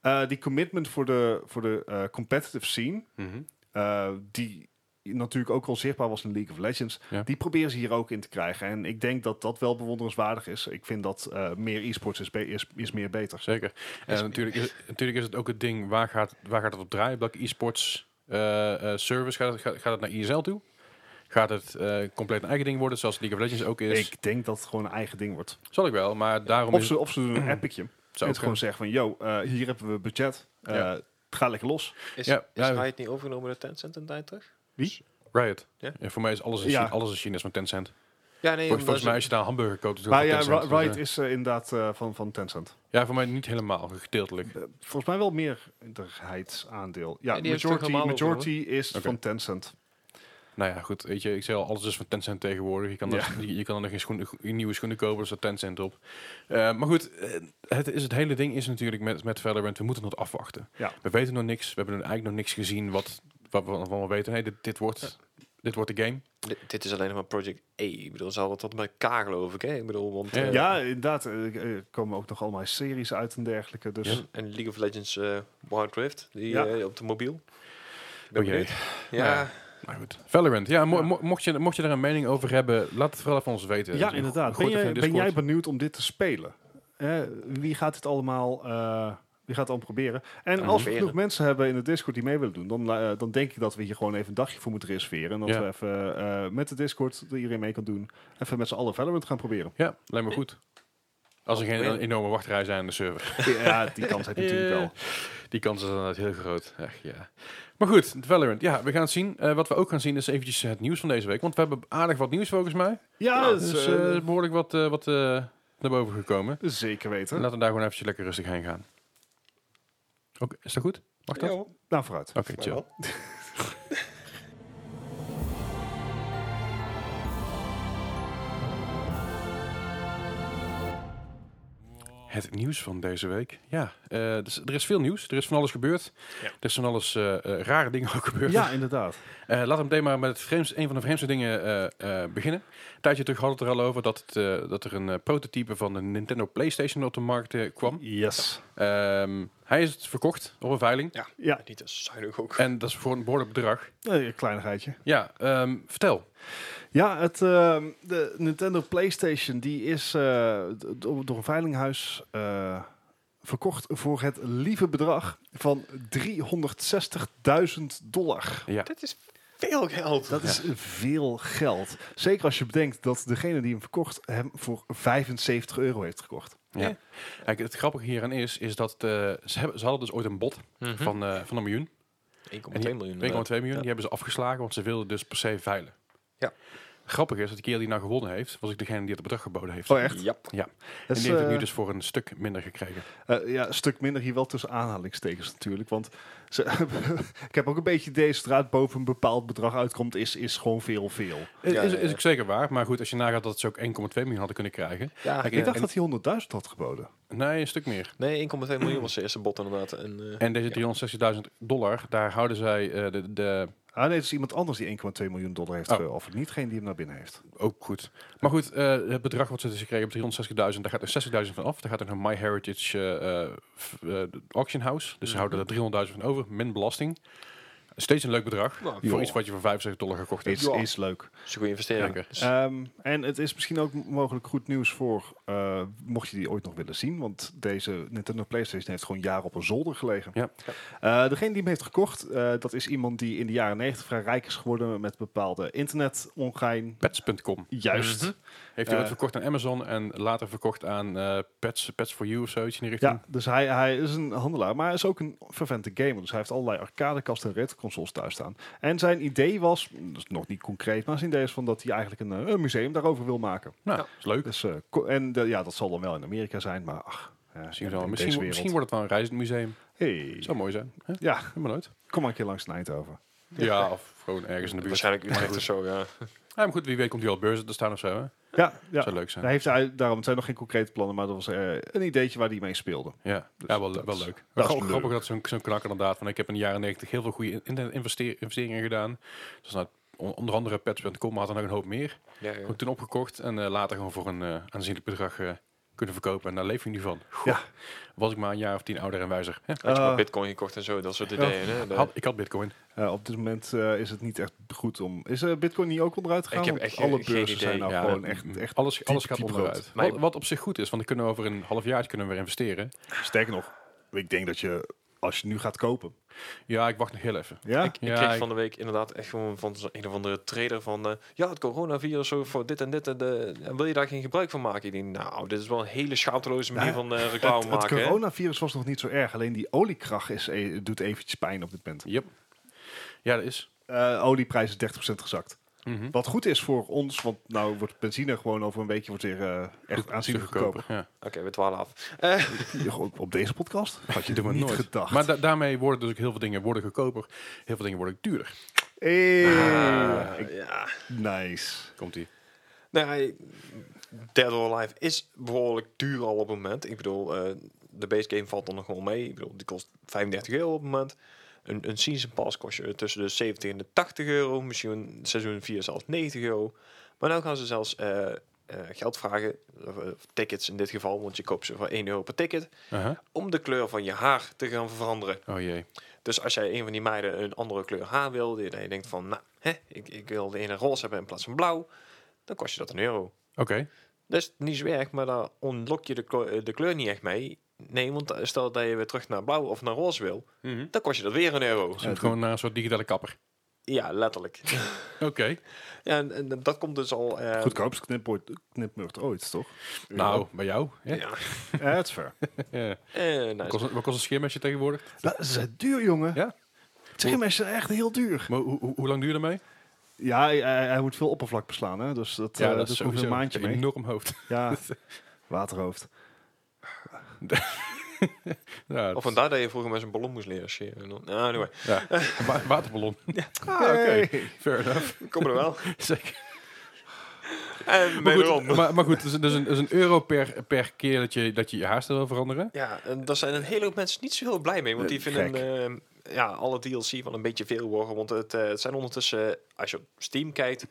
eh, die commitment voor de, voor de eh, competitive scene Mhm. eh, die natuurlijk ook al zichtbaar was in League of Legends, Ja. die proberen ze hier ook in te krijgen. En ik denk dat dat wel bewonderenswaardig is. Ik vind dat eh, meer e-sports is, be- is, is meer beter. Zeker. En natuurlijk is, natuurlijk is het ook het ding, waar gaat, waar gaat het op draaien? Op Welke e-sports eh, eh, service gaat het, gaat, gaat het naar ISL toe? Gaat het eh, compleet een eigen ding worden, zoals League of Legends ook is? Ik denk dat het gewoon een eigen ding wordt. Zal ik wel, maar daarom Of is ze, of ze doen een epicje. het En ook, het gewoon zeggen van, yo, eh, hier hebben we budget. Eh, Ja. Het gaat lekker los. Is, Ja, is ja. Riot niet overgenomen door Tencent een tijd terug? Wie? eh, Riot. Ja? En voor mij is alles in, Ja. China, alles in China is van Tencent. Ja, nee. Vol- Volgens mij als omdat je daar een hamburger koopt... is het Maar ook ja, van Ri- Tencent. Dus, Riot eh, is eh, inderdaad eh, van, van Tencent. Ja, voor mij niet helemaal, gedeeltelijk. Eh, volgens mij wel meerderheidsaandeel. Ja, Ja, die heeft het majority, toch helemaal majority is Oké. van Tencent. Nou ja, goed, weet je, ik zei al, alles is van Tencent tegenwoordig. Je kan, Ja. er, je, je kan er nog geen schoenen, go- nieuwe schoenen kopen, er staat Tencent op. Eh, maar goed, eh, het, is, het hele ding is natuurlijk met, met Valorant, we moeten het afwachten. Ja. We weten nog niks, we hebben eigenlijk nog niks gezien wat, wat we allemaal weten. Nee, dit, dit, wordt, dit wordt de game. ze- Dit, dit is alleen nog maar Project E. Ik bedoel, ze hadden het tot bij elkaar geloof ik. Hè? Ik bedoel, want... Ja. eh, Ja, inderdaad. eh, Er komen ook nog allemaal series uit en dergelijke. Dus Ja. En League of Legends eh Wild Rift, die, Ja. eh, op de mobiel. Ik ben Oh jee. benieuwd. Ja, Nou ja. Maar goed, Valorant, ja, mo- Ja. mo- mocht, je, mocht je daar een mening over hebben, laat het vooral van ons weten. Ja, Dus inderdaad. gooi Ben, het even jij, in de ben jij Discord. benieuwd om dit te spelen? Eh, wie gaat dit allemaal... eh, wie gaat het allemaal proberen? En als we Proberen. genoeg mensen hebben in de Discord die mee willen doen, dan, eh, dan denk ik dat we hier gewoon even een dagje voor moeten reserveren. En dat Ja. we even eh, met de Discord, dat iedereen mee kan doen, even met z'n allen Valorant gaan proberen. Ja, lijkt me goed. Als er geen Proberen. enorme wachtrij zijn aan de server. ja, die kans heb je natuurlijk wel. Die kans is inderdaad heel groot. Echt, ja. Maar goed, Valorant. Ja, we gaan het zien. Eh, wat we ook gaan zien is eventjes het nieuws van deze week. Want we hebben aardig wat nieuws volgens mij. Ja, Er dat is, dus eh, eh, behoorlijk wat, eh, wat eh, naar boven gekomen. zeker weten. Laten we daar gewoon eventjes lekker rustig heen gaan. Oké, is dat goed? Mag dat? Oké, Nou, vooruit. chill. Het nieuws van deze week. Ja, eh, dus er is veel nieuws. Er is van alles gebeurd. Ja. Er is van alles eh, eh, rare dingen ook gebeurd. Ja, inderdaad. Eh, laten we meteen maar met het vreemdste, een van de vreemdste dingen eh, eh, beginnen. Een tijdje terug hadden we het er al over dat, het, eh, dat er een eh, prototype van de Nintendo PlayStation op de markt eh, kwam. Yes. Ehm, hij is verkocht op een veiling. Ja, Ja, niet als zuinig ook. En dat is voor een behoorlijk bedrag. een kleinigheidje. Ja, ehm, vertel. Ja, het, ehm, de Nintendo PlayStation die is eh, d- door door een veilinghuis eh, verkocht voor het lieve bedrag van 360.000 dollar. Ja. Dit is veel geld. Dat is veel geld. Zeker als je bedenkt dat degene die hem verkocht hem voor 75 euro heeft gekocht. Ja. Kijk, het grappige hieraan is, is dat eh, ze, hebben, ze hadden dus ooit een bod Mhm. van, eh, van een miljoen. 1,2 1,2 miljoen. miljoen. Ja. Die hebben ze afgeslagen, want ze wilden dus per se veilen. Ja. Grappig is dat de keer die nou gewonnen heeft, was ik degene die het bedrag geboden heeft. Oh, echt? Ja. En Dat die is, heeft het nu eh, dus voor een stuk minder gekregen. Eh, ja, een stuk minder hier wel tussen aanhalingstekens natuurlijk. Want ze, ik heb ook een beetje deze straat boven een bepaald bedrag uitkomt, is, is gewoon veel, veel. Ja, is, ja, is ja. ook zeker waar. Maar goed, als je nagaat dat ze ook 1,2 miljoen hadden kunnen krijgen. Ja, Kijk, Ik dacht en- dat hij 100.000 had geboden. Nee, een stuk meer. Nee, 1,2 miljoen was de eerste bot inderdaad. En, eh, En deze 360.000 dollar, daar houden zij eh, de, de, Ah nee, het is iemand anders die 1,2 miljoen dollar heeft Oh. geofferd. Niet geen die hem naar binnen heeft. ook goed. Maar goed, eh, het bedrag wat ze dus kregen op 360.000, daar gaat er 60.000 van af. Daar gaat er nog My Heritage eh, eh, f- eh, de auction house. Dus ze houden er 300.000 van over, min belasting. Steeds een leuk bedrag. Nou, Voor ja. iets wat je voor 75 dollar gekocht hebt. eh, Is, Ja. is leuk. dat is een goede investering. Zeker. Dus- Ehm, en het is misschien ook m- mogelijk goed nieuws voor, eh, mocht je die ooit nog willen zien. Want deze Nintendo Playstation heeft gewoon jaren op een zolder gelegen. Ja. Eh, degene die hem heeft gekocht, eh, dat is iemand die in de jaren 90 vrij rijk is geworden met bepaalde internet-ongein. Pets.com. Mhm. Juist. Heeft hij Eh. ooit verkocht aan Amazon en later verkocht aan eh, Pets, Pets for You of zoiets in die richting. Ja, dus hij, hij is een handelaar, maar hij is ook een vervente gamer. Dus hij heeft allerlei arcadekasten en retroconsoles thuis staan. En zijn idee was, mm, dat is nog niet concreet, maar zijn idee is van dat hij eigenlijk een, eh, een museum daarover wil maken. Nou, Ja. is leuk. Dus, eh, ko- en de- ja, dat zal dan wel in Amerika zijn, maar ach, ja, Misschien, in wel. deze Misschien, wereld. misschien wordt het wel een reizend museum. Hey. Zou mooi zijn. Hè? Ja. Helemaal nooit. Kom maar een keer langs naar Eindhoven. Ja, of gewoon ergens in de buurt. Waarschijnlijk Utrecht of zo, ja. Ja, maar goed, wie weet komt hij wel op beurzen te staan of zo. Hè? Ja, ja. Zou leuk zijn. Hij heeft daar- daarom het zijn nog geen concrete plannen, maar dat was eh, een ideetje waar hij mee speelde. Ja, ja wel, wel leuk. Dus dat Wel is gewoon leuk. grappig dat zo'n zo'n knakker inderdaad. Van ik heb in de jaren 90 heel veel goede in- in- investeer- investeringen gedaan. Dus nou, on- onder andere pets.com maar had er nog een hoop meer. ja, ja. Gewoon toen opgekocht en eh, later gewoon voor een eh, aanzienlijk bedrag eh, kunnen verkopen. En daar leef je nu van. Goh, Ja. Was ik maar een jaar of tien ouder en wijzer. Hè? Had je maar Eh, bitcoin gekocht en zo, dat soort ja. ideeën. hè? De- Had, ik had bitcoin. Eh, op dit moment eh, is het niet echt goed om... Is eh, Bitcoin niet ook onderuit gegaan? Ik heb Want echt alle geen- geen beurzen idee. zijn nou Ja, gewoon dat- hm. echt, echt... Alles, alles diep, gaat diep onderuit. Maar- Wat, wat op zich goed is, want dan kunnen we over een half jaar kunnen we weer investeren. Sterker nog, ik denk dat je, als je nu gaat kopen... Ja, ik wacht nog heel even. Ja? Ik, ik Ja, kreeg ik- van de week inderdaad echt gewoon van zo'n een of andere trader van... eh, ja, het coronavirus zo voor dit en dit. En de, wil je daar geen gebruik van maken? Ik denk, nou, dit is wel een hele schaamteloze manier Ja, van eh, reclame het, maken. Het hè? coronavirus was nog niet zo erg. Alleen die oliekracht is, eh, doet eventjes pijn op dit moment. Yep. Ja, dat is. Eh olieprijs is 30% gezakt. Mhm. Wat goed is voor ons, want nou wordt benzine gewoon over een weekje wordt weer eh, echt aanzienlijk goedkoper. Ja. Oké, we dwalen af. Eh, Hier, Op, op deze podcast had je Doe maar niet nooit. gedacht. Maar da- daarmee worden dus ook heel veel dingen worden goedkoper. Heel veel dingen worden duurder. Hey, Ah. eh, ik- ja. nice. Komt ie. Nou ja, Dead or Alive is behoorlijk duur al op het moment. Ik bedoel, eh, de base game valt dan nog wel mee. Ik bedoel, die kost 35 euro op het moment. Een, een season pass kost je tussen de 70 en de 80 euro. Misschien seizoen 4 zelfs 90 euro. Maar nu gaan ze zelfs eh, eh, geld vragen, of, eh, tickets in dit geval, want je koopt ze voor 1 euro per ticket, Aha. om de kleur van je haar te gaan veranderen. Oh jee. Dus als jij een van die meiden een andere kleur haar wil, die dat je denkt van, nou, hè, ik, ik wil de ene roze hebben in plaats van blauw, dan kost je dat een euro. Oké. Dat is niet zo erg, maar daar ontlok je de, klo- eh, de kleur niet echt mee. Nee, want stel dat je weer terug naar blauw of naar roze wil, dan kost je dat weer een euro. Dus je moet gewoon naar een soort digitale kapper. Ja, letterlijk. Oké. ja, en, en dat komt dus al... eh, Goedkoopste knipmoord- knipmurd ooit, toch? Nou, bij jou. Hè? Ja. Ja, het is fair. Ja. Eh, nou, Wat, kost, wat kost een scheermesje tegenwoordig? Dat is eh, duur, jongen. Ja? Trimmers zijn echt heel duur. Maar hoe, hoe, hoe lang duurde mee? Ja, hij, hij- hij moet veel oppervlak beslaan, hè? Dus dat, eh, dat, hoeft een maandje mee. enorm hoofd. Ja, waterhoofd. Ja, of vandaar dat je vroeger met zo'n ballon moest leren scheren. En dan- Nou, Anyway, ja. Een wa- waterballon. Ah, oké. Fair enough. kom er wel. Zeker. en Maar wederom. goed, maar, maar goed dus, dus, een, dus een euro per, per keer dat je, dat je je haarstijl wil veranderen. Ja, en daar zijn een hele hoop mensen niet zo heel blij mee. Want Eh, die vinden eh, ja, alle DLC wel een beetje veel worden. Want het, eh, het zijn ondertussen, eh, als je op Steam kijkt,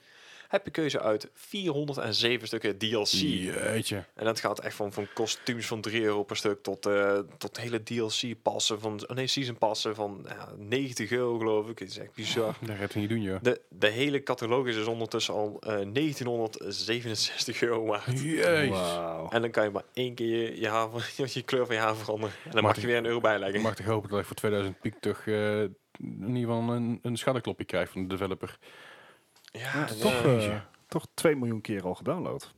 heb je keuze uit 407 stukken DLC. Jeetje. En dat gaat echt van, van kostuums van 3 euro per stuk tot, eh, tot hele DLC-passen van, oh nee, season-passen van ja, 90 euro, geloof ik. Het is echt bizar. Dat gaat hij niet doen, joh. De, de hele catalogus is ondertussen al eh, 1967 euro waard. Jezus. Wauw. En dan kan je maar één keer je, je, haar, je kleur van je haar veranderen. En dan mag je Martin. weer een euro bijleggen. Ik mag toch hopen dat ik voor 2000 piek toch eh, in ieder geval een, een schadeklopje krijg van de developer. Ja, Toch, ja. eh, toch 2 miljoen keer al gedownload.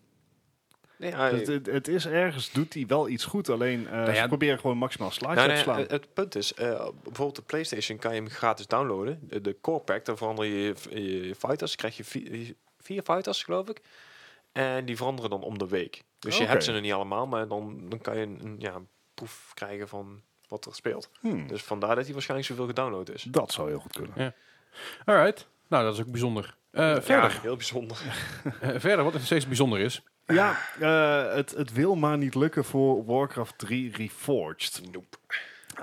Nee, ja, Dus het, het is ergens, doet hij wel iets goed. Alleen eh ja, ze proberen gewoon maximaal slaatje nou, op nee, te slaan. het, het punt is, eh, bijvoorbeeld de PlayStation kan je hem gratis downloaden. De, de Core Pack, daar verander je je, je fighters. krijg je vier, vier fighters, geloof ik. En die veranderen dan om de week. Dus je Oké. hebt ze nog niet allemaal, maar dan, dan kan je een, een, ja, een proef krijgen van wat er speelt. Hmm, Dus vandaar dat hij waarschijnlijk zoveel gedownload is. dat zou heel goed kunnen. Alright. Nou, dat is ook bijzonder. Eh, verder. Ja, heel bijzonder. Eh, verder, wat nog steeds bijzonder is. Ja, eh, het, het wil maar niet lukken voor Warcraft 3 Reforged. Nope.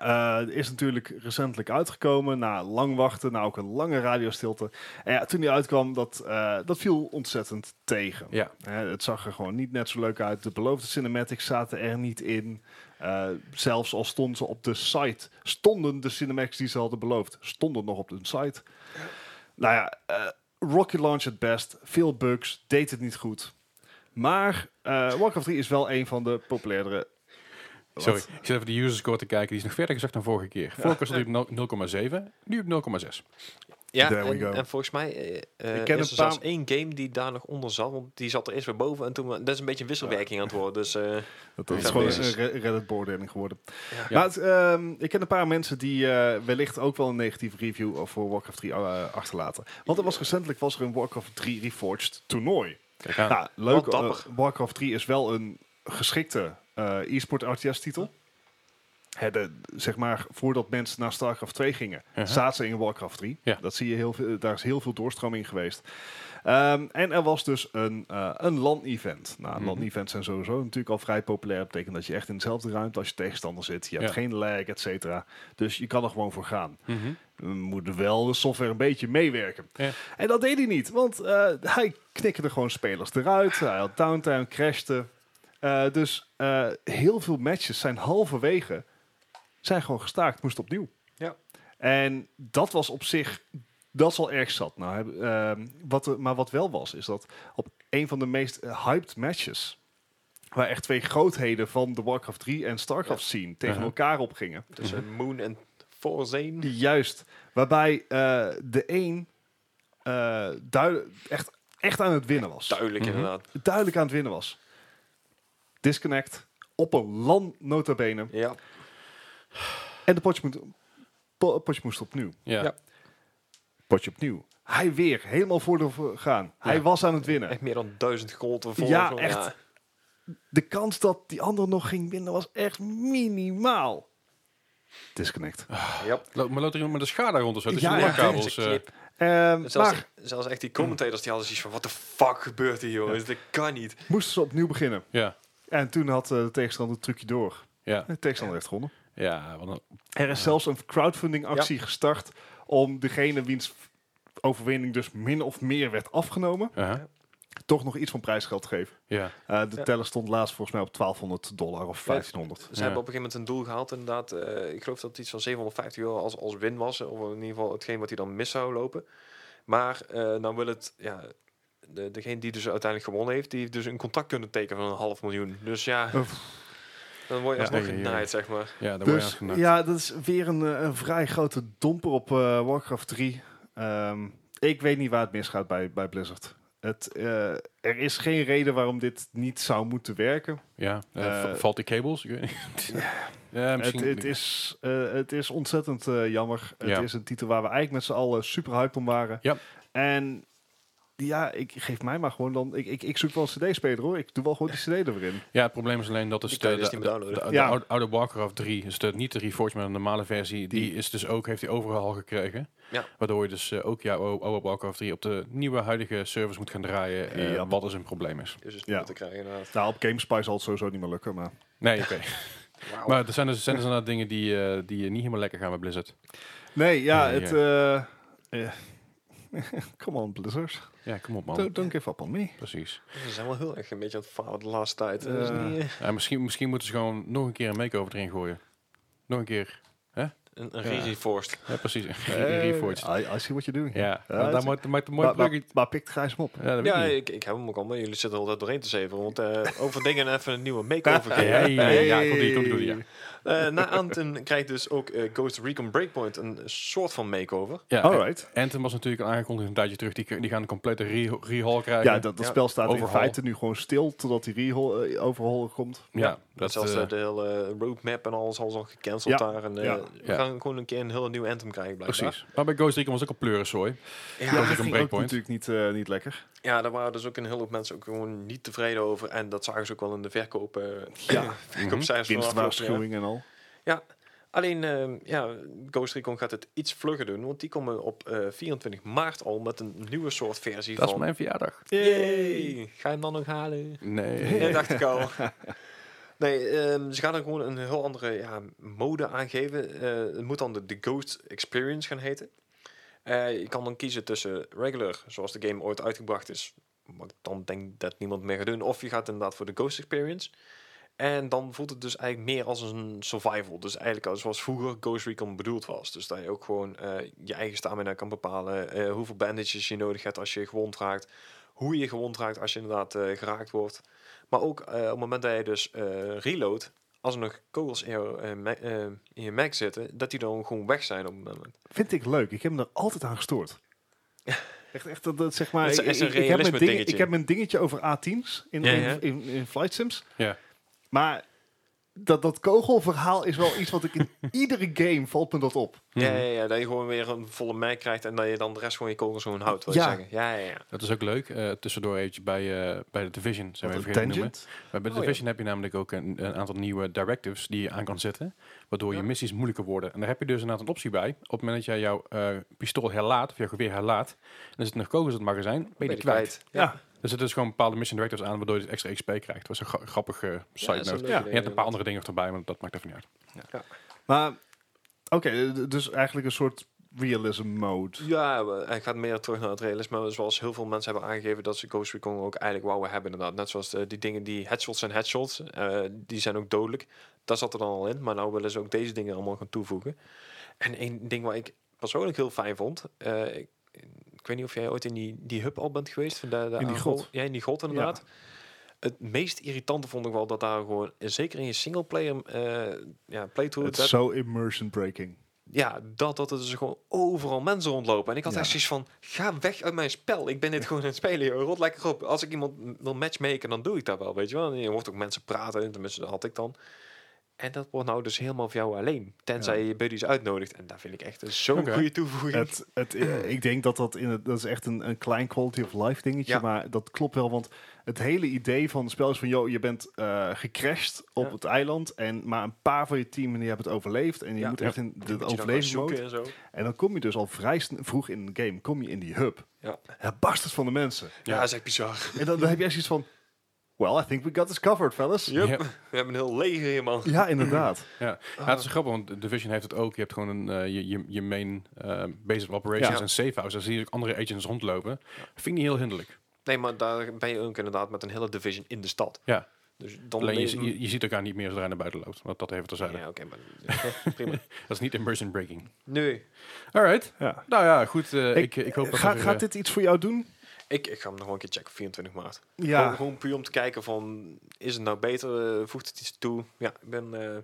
Eh, is natuurlijk recentelijk uitgekomen na lang wachten, na ook een lange radiostilte. En ja, toen die uitkwam, dat, eh, dat viel ontzettend tegen. Ja. Hè, het zag er gewoon niet net zo leuk uit. De beloofde cinematics zaten er niet in. Eh, zelfs al stonden ze op de site, stonden de cinematics die ze hadden beloofd, stonden nog op hun site. Nou ja, eh, rocky launch at best, veel bugs, deed het niet goed. Maar eh Warcraft 3 is wel een van de populairdere. Wat? Sorry, ik zit even de userscore te kijken. Die is nog verder gezakt dan vorige keer. Vorige keer stond die op 0,7. Nu op 0,6. Ja, There we en, go. en volgens mij eh, eh, Ik ken is een er paar- zelfs één game die daar nog onder zat. Want die zat er eerst weer boven. En toen, dat is een beetje een wisselwerking aan het worden. Dus eh, Dat is Ja, gewoon precies. een Re- Reddit-beoordeling geworden. Ja. Maar het, ehm, ik ken een paar mensen die eh, wellicht ook wel een negatieve review voor Warcraft 3 eh, achterlaten. Want er was recentelijk was er een Warcraft 3 Reforged toernooi. Kijk aan. Nou, leuk. wat dapper. eh, Warcraft 3 is wel een geschikte eh e-sport RTS-titel. hè, de- zeg maar, voordat mensen naar StarCraft 2 gingen, Ja. zaten ze in Warcraft 3. Uh-huh. Ja. Dat zie je heel veel, daar is heel veel doorstroming geweest. Ehm, en er was dus een, eh een LAN-event. Nou, Mhm. LAN-events zijn sowieso natuurlijk al vrij populair. Dat betekent dat je echt in dezelfde ruimte als je tegenstander zit. Je hebt Ja. geen lag, et cetera. Dus je kan er gewoon voor gaan. Mhm. We moeten wel de software een beetje meewerken. Ja. En dat deed hij niet, want eh, hij knikkerde gewoon spelers eruit. Hij had downtime, crashte. Eh, dus eh, heel veel matches zijn halverwege zijn gewoon gestaakt, moest opnieuw. Ja. En dat was op zich, dat is al erg zat. Nou, heb- ehm, wat er- maar wat wel was, is dat op een van de meest eh, hyped matches, waar echt twee grootheden van de Warcraft 3 en Starcraft scene tegen Ja. elkaar opgingen. Tussen Moon en Forzane. Juist. Waarbij eh, de een eh, duid- echt, echt aan het winnen was. Duidelijk Mhm. inderdaad. Duidelijk aan het winnen was. Disconnect. Op een LAN notabene. Ja. En de potje, moet, po- potje moest opnieuw. Ja. Ja. Potje opnieuw. Hij weer. Helemaal voor de voor gaan. Hij Ja. was aan het winnen. Echt meer dan duizend golden voor. Ja, voor- echt. De kans dat die ander nog ging winnen was echt minimaal. Disconnect. Ja. Ja. Lo- Maar loopt er iemand met een schade rond of zo? Dus Ja, ja, ja. LAN-kabels. Ze eh, knip- Ehm, zelfs, maar zelfs echt die commentators die hadden zoiets van, wat de fuck gebeurt hier jongens? Dat kan niet. moesten ze opnieuw beginnen. ja. En toen had eh, de tegenstander het trucje door. Ja. De tegenstander heeft gewonnen. Ja. want dan- Er is zelfs een crowdfunding actie gestart om degene wiens overwinning dus min of meer werd afgenomen, aha. toch nog iets van prijsgeld te geven. Ja. Eh, de Ja. teller stond laatst volgens mij op 1200 dollar of Ja. 1500. Ze Ja. hebben op een gegeven moment een doel gehaald inderdaad. Eh, ik geloof dat het iets van 750 euro als, als win was. Of in ieder geval hetgeen wat hij dan mis zou lopen. Maar eh dan wil het... Ja, de, degene die dus uiteindelijk gewonnen heeft, die heeft dus een contract kunnen tekenen van een half miljoen. Dus ja, Uff. dan word je Ja. alsnog Ja, ja, ja. genaaid, zeg maar. Ja, daar word je aan Dus genakt. ja, dat is weer een, eh, een vrij grote domper op eh, Warcraft 3. Ehm, ik weet niet waar het misgaat bij, bij Blizzard. Het, eh, er is geen reden waarom dit niet zou moeten werken. Ja, eh, Eh, v- valt die kabels? Ik weet niet. ja, Het, misschien. het, is, eh, het is ontzettend eh, jammer. Ja. Het is een titel waar we eigenlijk met z'n allen super hyped om waren. Ja. En ja, ik geef mij maar gewoon dan. Ik, ik, ik zoek wel een CD-speler hoor. Ik doe wel gewoon die CD er weer in. ja, het probleem is alleen dat is Die de, kan je dus de, niet de- meer downloaden. de- de Ja. oude, oude Warcraft 3, is de, niet de Reforged, maar de normale versie, die, is dus ook, heeft hij overal gekregen. Ja. Waardoor je dus eh, ook jouw ou- oude Warcraft 3 op de nieuwe huidige servers moet gaan draaien, eh, Ja. wat dus een probleem is. Dus is Ja. ja. te krijgen inderdaad. Nou, op GameSpy zal het sowieso niet meer lukken. Maar Nee, oké. Wauw. maar er zijn dus, zijn dus inderdaad dingen die, eh, die eh, niet helemaal lekker gaan bij Blizzard. nee, ja, Nee, het. eh, eh, Come on, Blizzard. Ja, kom op man. Don't, don't give up on me. Precies. Ze zijn wel heel erg een beetje aan het falen de laatste tijd. Dat is Eh, niet, eh, Ja, misschien, misschien moeten ze gewoon nog een keer een makeover erin gooien. Nog een keer. een een ja. re-reforced. Ja, precies. Eh, Reforged. I, I see what you're doing. Ja, Ja, daar het- maakt maakt een mooi Maar, maar, bruggetje. maar pikt Gijs hem op. Ja, dat weet ik Ja, niet. ik, ik heb hem ook al, maar jullie zitten al doorheen te zeven. Want eh, over dingen even een nieuwe make-over geven. Ja, ja, ja, ja, komt-ie, komt-ie, komt-ie, ja. Eh, na Anten krijgt dus ook eh, Ghost Recon Breakpoint een soort van makeover. Ja, Alright. Anthem was natuurlijk al aangekondigd een tijdje terug. Die, die gaan een complete re- rehaul krijgen. Ja, dat, dat Ja. spel staat in Overhaul. feite nu gewoon stil totdat die rehaul eh, overhaul komt. Ja, Dat dat, zelfs eh, eh, de hele roadmap en alles al al gecanceld Ja, daar. En, ja. eh We Ja. gaan gewoon een keer een heel nieuw Anthem krijgen blijkbaar. precies. Maar bij Ghost Recon was ook al pleurensooi. Ja, Ja, dat dat is een ging ook breakpoint. natuurlijk niet, eh, niet lekker. Ja, daar waren dus ook een hele hoop mensen ook gewoon niet tevreden over. En dat zagen ze ook wel in de verkoop, eh Ja. Mhm. verkoopcijfers van de afgelopen Winstwaarschuwing en al. jaar. Ja, alleen eh, ja, Ghost Recon gaat het iets vlugger doen. Want die komen op eh, 24 maart al met een nieuwe soort versie Dat is van... mijn verjaardag. Yay! Ga je hem dan nog halen? Nee. Ja, dacht ik al. Nee, ehm, ze gaan er gewoon een heel andere ja, mode aan geven. Eh, het moet dan de, de Ghost Experience gaan heten. Eh, je kan dan kiezen tussen regular, zoals de game ooit uitgebracht is. Wat ik dan denk dat niemand meer gaat doen. Of je gaat inderdaad voor de Ghost Experience. En dan voelt het dus eigenlijk meer als een survival. Dus eigenlijk als zoals vroeger Ghost Recon bedoeld was. Dus dat je ook gewoon eh, je eigen stamina kan bepalen. eh, hoeveel bandages je nodig hebt als je gewond raakt. Hoe je gewond raakt als je inderdaad eh, geraakt wordt. Maar ook eh, op het moment dat je dus eh reload, als er nog kogels in, jou, eh, ma- eh, in je mag zitten, dat die dan gewoon weg zijn op het moment. Vind ik leuk. Ik heb me daar altijd aan gestoord. Echt, echt dat, dat zeg maar. Dat is ik- echt ik- een ik, heb mijn realisme dingetje. dingetje. ik heb mijn dingetje over A-teams in, Ja, in- ja. In, in, Flight Sims. Ja. Maar dat, dat kogelverhaal is wel iets wat ik in iedere game valt me dat op. Mhm. Ja, ja, ja, dat je gewoon weer een volle merk krijgt en dat je dan de rest van je kogels gewoon houdt. Wil Ja. Je zeggen. ja, ja, ja. Dat is ook leuk. eh, tussendoor eventjes bij, eh, bij de Division, zijn we Wat even vergeten een te noemen. tangent. Maar bij de Oh, ja. Division heb je namelijk ook een, een aantal nieuwe directives die je aan kan zetten. Waardoor je Ja. missies moeilijker worden. En daar heb je dus inderdaad een optie bij. Op het moment dat jij jouw eh, pistool herlaat, of jouw geweer herlaat, en er zitten nog kogels in het magazijn, ben je die Ben je kwijt. Ja, Ja. Er zitten dus gewoon bepaalde mission directives aan, waardoor je dus extra XP krijgt. Dat was een gra- grappige Ja, side dat is note. een leuk Ja. idee, Je hebt een paar inderdaad. andere dingen nog erbij, maar dat maakt even niet uit. Maar, oké, d- dus eigenlijk een soort realism mode. Ja, we- hij gaat meer terug naar het realisme. Zoals heel veel mensen hebben aangegeven dat ze Ghost Recon ook eigenlijk wauw hebben inderdaad. Net zoals eh, die dingen die headshots en headshots, eh, die zijn ook dodelijk. Daar zat er dan al in, maar nou willen ze ook deze dingen allemaal gaan toevoegen. En één ding waar ik persoonlijk heel fijn vond, eh, ik, ik weet niet of jij ooit in die, die hub al bent geweest. Van de, de die aanval. grot. Ja, in die grot inderdaad. Het meest irritante vond ik wel dat daar gewoon, eh, zeker in je singleplayer eh ja, playthrough, Het dat- is zo immersion breaking. ja, dat, dat er dus gewoon overal mensen rondlopen. En ik had Ja. echt zoiets van, ga weg uit mijn spel. Ik ben dit gewoon aan het spelen. joh. Rot lekker op. Als ik iemand m- wil matchmaken, dan doe ik dat wel, weet je wel. En je hoort ook mensen praten, tenminste dat had ik dan. En dat wordt nou dus helemaal voor jou alleen. Tenzij je je buddies uitnodigt. En daar vind ik echt zo'n Oké. goede toevoeging. Het, het, eh, ik denk dat dat, in het, dat is echt een, een klein quality of life dingetje, Ja. maar dat klopt wel, want het hele idee van het spel is van, joh, je bent eh, gecrashed op Ja. het eiland, en maar een paar van je team die hebben het overleefd, en je Ja. moet echt in Die de moet je dan gaan zoeken overlevingsmode. en zo. En dan kom je dus al vrij sn- vroeg in de game, kom je in die hub. Ja. Het barst het van de mensen. Ja, dat is echt bizar. En dan, dan heb je echt iets van, well, I think we got this covered, fellas. Yep. Ja. We hebben een heel leger hier, man. Ja, inderdaad. Ja. Ja, het is grappig, want Division heeft het ook. Je hebt gewoon een, eh, je, je, je main eh, base of operations Ja. en safe house. Daar zie je ook andere agents rondlopen. Vind ik niet heel hinderlijk. Nee, maar daar ben je ook inderdaad met een hele division in de stad. Ja. Dus dan Alleen ben je, je, je ziet elkaar niet meer zodra je naar buiten loopt. Want dat even terzijde. Ja, oké, maar prima. Dat is niet immersion breaking. Nee, Alright. Ja. Nou ja, goed. eh, ik, Ik- ik, hoop dat Ga, er, gaat eh, dit iets voor jou doen? Ik, ik ga hem nog wel een keer checken, 24 maart. Ja. Gewoon, gewoon puur om te kijken van, is het nou beter? eh, voegt het iets toe? Ja, ik ben... eh, ja.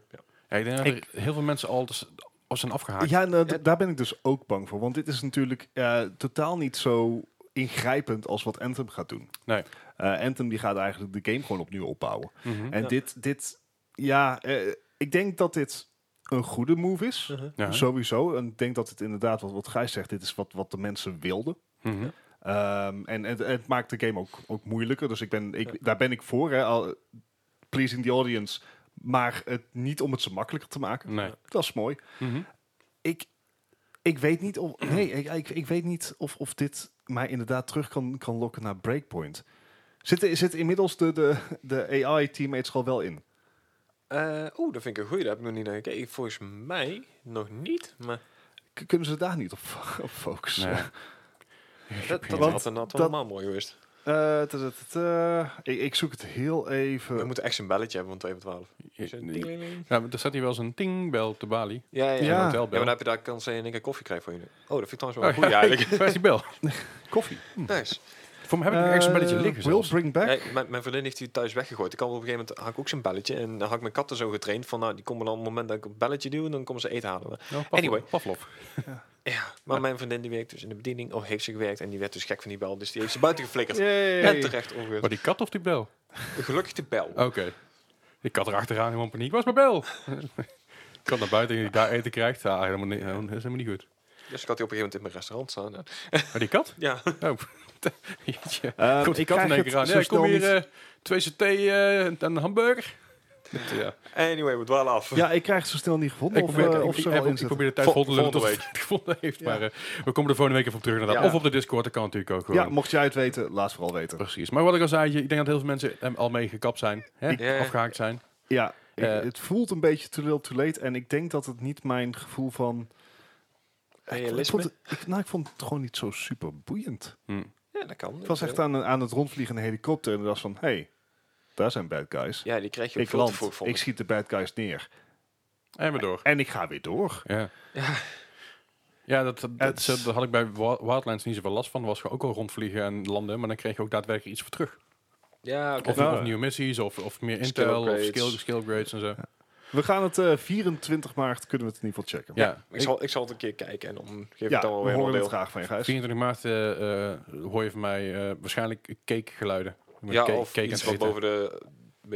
ja, ik denk dat er heel veel mensen al dus, al zijn afgehaakt. Ja, nou, d- Ja. daar ben ik dus ook bang voor. Want dit is natuurlijk eh, totaal niet zo ingrijpend als wat Anthem gaat doen. Nee. Eh, Anthem die gaat eigenlijk de game gewoon opnieuw opbouwen. Mhm. En Ja. dit, dit, ja, eh, ik denk dat dit een goede move is. Uh-huh. Ja. Sowieso. En ik denk dat het inderdaad, wat, wat Gijs zegt, dit is wat, wat de mensen wilden. Mhm. Ehm, en het, het maakt de game ook, ook moeilijker. Dus ik ben, ik, daar ben ik voor. Hè, al, pleasing the audience. Maar het, niet om het ze makkelijker te maken. Nee. Dat is mooi Mhm. ik, ik weet niet of. Nee, ik, ik, ik weet niet of, of dit mij inderdaad terug kan, kan lokken naar Breakpoint. Zit, zit inmiddels de, de, de AI-teammates er al wel in? Eh, Oeh, dat vind ik een goeie. Daar heb ik nog niet naar gekeken. Volgens mij nog niet, maar K- kunnen ze daar niet op, f- op focussen? Nee. dat, dat Want had inderdaad dat- allemaal mooi geweest. Eh, ta- ta- ta- ta. ik, ik zoek het heel even. We moeten echt een belletje hebben van 2 voor 12. Ja, Zo'n nee. tingeling. Ja, maar er staat hier wel eens een tingbel te Bali. Ja, ja, ja. Een Ja. Ja, maar hotelbel. dan heb je daar kans dat je in één keer koffie krijgt voor je. Oh, dat vind ik trouwens wel Oh, een goeie ja, eigenlijk. Waar is die bel? koffie. Nice. Voor me heb ik nog ergens een belletje Eh, liggen Will zelfs. bring back. Ja, mijn, mijn vriendin heeft die thuis weggegooid. Ik had op een gegeven moment had ik ook zo'n belletje. En dan had ik mijn katten zo getraind van, nou, die komen dan op het moment dat ik het belletje duw, dan komen ze eten halen. Maar Nou, Pavlov. Anyway. Pavlov. Ja, maar mijn vriendin die werkt dus in de bediening. Oh, heeft ze gewerkt en die werd dus gek van die bel. Dus die heeft ze buiten geflikkerd. Yay. En terecht ongeveer. Maar Oh, die kat of die bel? Gelukkig de Oh. bel. Oké. Ik had erachteraan gewoon paniek. Waar is mijn bel? ik kan naar buiten en die daar eten krijgt. Ah, helemaal niet, dat is helemaal niet goed. Dus ik had die op een gegeven moment in mijn restaurant staan. Maar die kat? Ja, Oh. Jeetje. Eh, Komt die ik kat krijg in één keer het aan. zo Ja, ik kom snel hier niet- eh, twee saté eh, en een hamburger. ja. anyway, we dwalen af. ja, ik krijg het zo snel niet gevonden. Ik of, probeer, eh, ik- of ik, ze er ik- al in ik zitten. probeer de tijd Vol- vol te lullen tot volgende het gevonden heeft. Ja. Maar eh, we komen er volgende week even op terug. Inderdaad. Ja. Of op de Discord, dat kan natuurlijk ook gewoon. Ja, mocht jij het weten, laat het vooral weten. Precies. Maar wat ik al zei, je- ik denk dat heel veel mensen hem al mee gekapt zijn. Hè? Ja. Afgehaakt zijn. Ja, ik- Eh, het voelt een beetje too little too late. En ik denk dat het niet mijn gevoel van... Ik Realisme. vond, het, ik, nou, ik vond het gewoon niet zo super boeiend. Ja, dat kan. Ik was echt aan, een- aan het rondvliegen in een helikopter en ik dacht van... Hé, hey, daar zijn bad guys. Ja, die krijg je ook eh, ik veel te land, vroeg voor. ik schiet de bad guys neer. En we door. En ik ga weer door. Ja. Ja. Ja, dat, dat, Het- zo- daar had ik bij Wa- Wildlands niet zoveel last van. was gewoon ook al rondvliegen en landen, maar dan kreeg je ook daadwerkelijk iets voor terug. Ja, oké. Of, Ja. of nieuwe missies, of, of meer Skill intel, of upgrades. skill, skill grades en zo. Ja, We gaan het eh, 24 maart, kunnen we het in ieder geval checken. Ik zal, ik zal het een keer kijken en dan geef ja ik dan wel we weer een horen het oordeel. graag van je, Gijs. 24 maart eh, eh, hoor je van mij eh, waarschijnlijk cakegeluiden. Ik ben Ja, cake- of cake aan iets het wat eten. boven de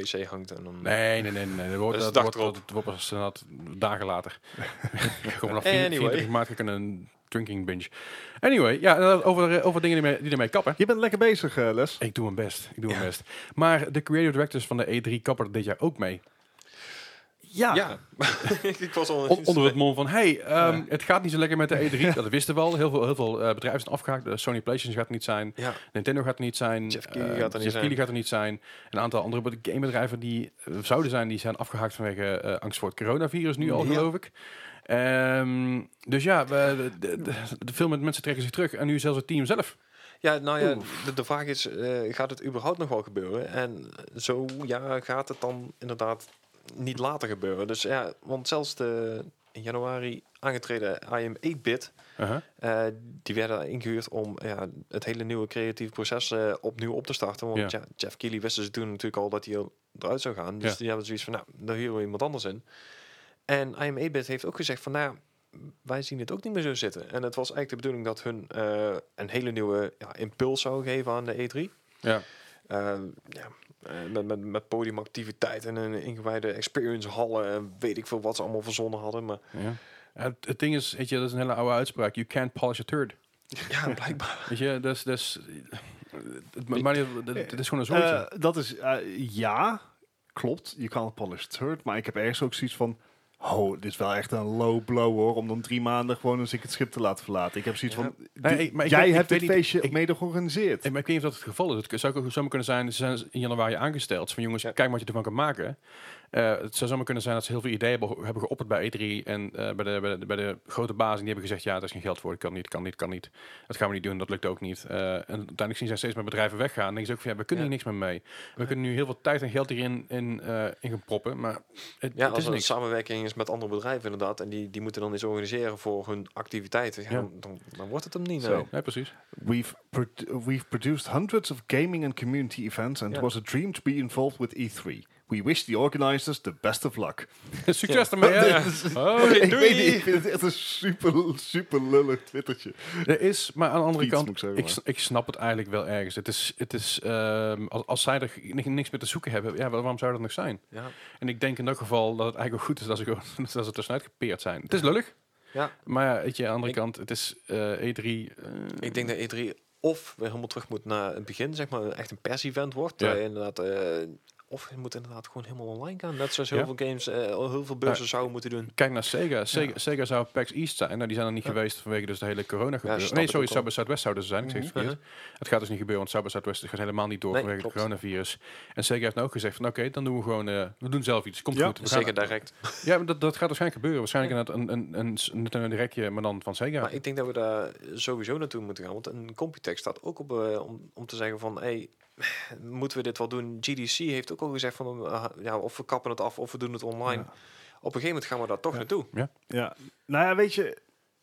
wc hangt. En dan... Nee, nee, nee. nee. Dat wordt, Dat Dus is dat de wordt, dag erop. dat wordt pas inderdaad dagen later. Gewoon vanaf 4 Anyway. 24 maart ga ik een drinking binge. Anyway, ja, inderdaad, over, over dingen die, mee, die ermee kappen. Je bent lekker bezig, eh, Les. Ik doe mijn best, ik doe mijn best. Maar de creative directors van de E3 kapper dit jaar ook mee. Ja. Ja, ik was al On- onder het mom van, hey, ehm, het gaat niet zo lekker met de E3. Dat wisten we al. Heel veel, heel veel eh, bedrijven zijn afgehaakt. De Sony PlayStation gaat er niet zijn. Ja, Nintendo gaat er niet zijn. Jeff Keighley eh, gaat er Jeff niet zijn. Keighley gaat er niet zijn. Een aantal andere be- gamebedrijven die eh, zouden zijn, die zijn afgehaakt vanwege eh, angst voor het coronavirus nu al, Ja. geloof ik. Ehm, dus ja, we, de, de- de- veel met mensen trekken zich terug. En nu zelfs het team zelf. ja nou ja, de, de vraag is, eh, gaat het überhaupt nog wel gebeuren? En zo, ja, gaat het dan inderdaad niet later gebeuren. Dus ja, want zelfs de in januari aangetreden IM8-bit, Uh-huh. eh, die werden ingehuurd om ja, het hele nieuwe creatieve proces eh, opnieuw op te starten. Want Ja. ja, Jeff Keighley wisten ze toen natuurlijk al dat hij er- eruit zou gaan. Dus Ja. die hebben zoiets van, nou, daar huren we iemand anders in. En IM8-bit heeft ook gezegd van, nou, wij zien het ook niet meer zo zitten. En het was eigenlijk de bedoeling dat hun eh, een hele nieuwe ja, impuls zou geven aan de E3. Ja. Eh, ja, eh, met, met, met podiumactiviteit en een ingewijde experience hallen en weet ik veel wat ze allemaal verzonnen hadden. Maar ja. Het, het ding is, weet je, dat is een hele oude uitspraak. You can't polish a turd. ja, blijkbaar. Weet je, dat is... Dat is eh, het, ma- maar niet- dat- dat is gewoon een soortje. Eh, dat is, eh, ja, klopt. Je kan het polished third, maar ik heb ergens ook zoiets van... Oh, dit is wel echt een low blow hoor, om dan drie maanden gewoon eens ik het schip te laten verlaten. Ik heb zoiets Ja. van, Nee, die- ik- maar ik jij weet- ik hebt weet dit niet- feestje ik- mede georganiseerd. Ik, maar ik weet niet of dat het geval is. Het zou ook zomaar kunnen zijn, ze zijn in januari aangesteld. Zo Van jongens, Ja. kijk maar wat je ervan kan maken. Eh, het zou zomaar kunnen zijn dat ze heel veel ideeën hebben, hebben geopperd bij E3. En eh, bij, de, bij, de, bij de grote bazen, die hebben gezegd, ja, daar is geen geld voor. Dat kan niet, kan niet, kan niet. Dat gaan we niet doen, dat lukt ook niet. Eh, en uiteindelijk zien zij steeds meer bedrijven weggaan. Dan denken ze ook van, ja, we kunnen Ja. hier niks meer mee. We kunnen nu heel veel tijd en geld hierin in, eh, in gaan proppen. Maar het, Ja, het als is er een niks. samenwerking is met andere bedrijven inderdaad. En die, die moeten dan iets organiseren voor hun activiteiten. Ja, Ja. Dan, dan, dan wordt het hem niet. Zo. nee. Ja, precies. We've, produ- we've produced hundreds of gaming and community events and Ja. it was a dream to be involved with E3. We wish the organizers the best of luck. Succes ermee, hè? Ja. Oh, ik doei! weet niet, ik vind het echt een super, super lullig twittertje. Er is, maar aan de andere Iets, kant, moet ik, ik zeggen, s- ik snap het eigenlijk wel ergens. Het is, het is ehm, als, als zij er ni- niks meer te zoeken hebben, ja, wa- waarom zou dat nog zijn? Ja. En ik denk in dat geval dat het eigenlijk ook goed is dat ze, gewoon, dat ze tussenuit gepeerd zijn. Het is lullig, ja, maar ja, weet je, aan de andere Ik- kant, het is eh, E3. eh, ik denk dat E3 of weer helemaal terug moet naar het begin, zeg maar, echt een pers-event wordt. Ja. eh, inderdaad, eh, of je moet inderdaad gewoon helemaal online gaan. Net zoals Ja. heel veel games, eh, al heel veel beurzen zouden moeten doen. Kijk naar Sega. Sega, Sega zou PAX East zijn. Nou, die zijn er niet geweest vanwege dus de hele corona gebeuren. snap nee, ik sorry, ook al. South by Southwest zouden ze zijn. Ik zeg het verkeerd. Het gaat dus niet gebeuren, want South by Southwest gaat helemaal niet door Nee, vanwege klopt. het coronavirus. En Sega heeft nou ook gezegd van oké, dan doen we gewoon, eh, we doen zelf iets. Komt Ja, goed. We gaan- Zeker direct. Ja, maar dat, dat gaat waarschijnlijk gebeuren. Waarschijnlijk inderdaad een, een, een, s- net een rekje, maar dan van Sega. Maar ik denk dat we daar sowieso naartoe moeten gaan. Want een Computex staat ook op eh, om, om te zeggen van... Hey, moeten we dit wel doen? GDC heeft ook al gezegd van... eh, ja, of we kappen het af of we doen het online. Ja. Op een gegeven moment gaan we daar toch naartoe. Ja, nou ja, weet je,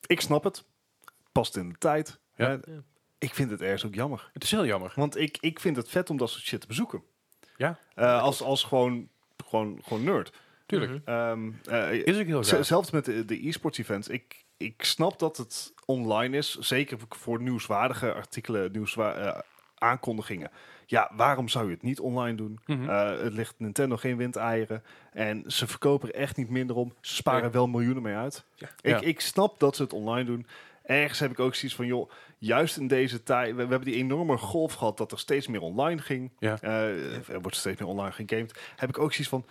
ik snap het. Past in de tijd. Ja. Maar Ik vind het ergens ook jammer. het is heel jammer. Want ik, ik vind het vet om dat soort shit te bezoeken. Ja. Eh, als als gewoon, gewoon, gewoon nerd. Tuurlijk. Mhm. Ehm eh, Is ook heel z- gaaf. zelfs met de, de e-sports events. Ik, ik snap dat het online is. Zeker voor nieuwswaardige artikelen, nieuwswa eh, aankondigingen. Ja, waarom zou je het niet online doen? Mhm. Eh, het ligt Nintendo geen windeieren. En ze verkopen er echt niet minder om. Ze sparen Nee. wel miljoenen mee uit. Ja. Ik, Ja. ik snap dat ze het online doen. Ergens heb ik ook zoiets van, joh, juist in deze tijd... We, we hebben die enorme golf gehad dat er steeds meer online ging. Ja. Eh, er wordt steeds meer online gegamed. Heb ik ook zoiets van,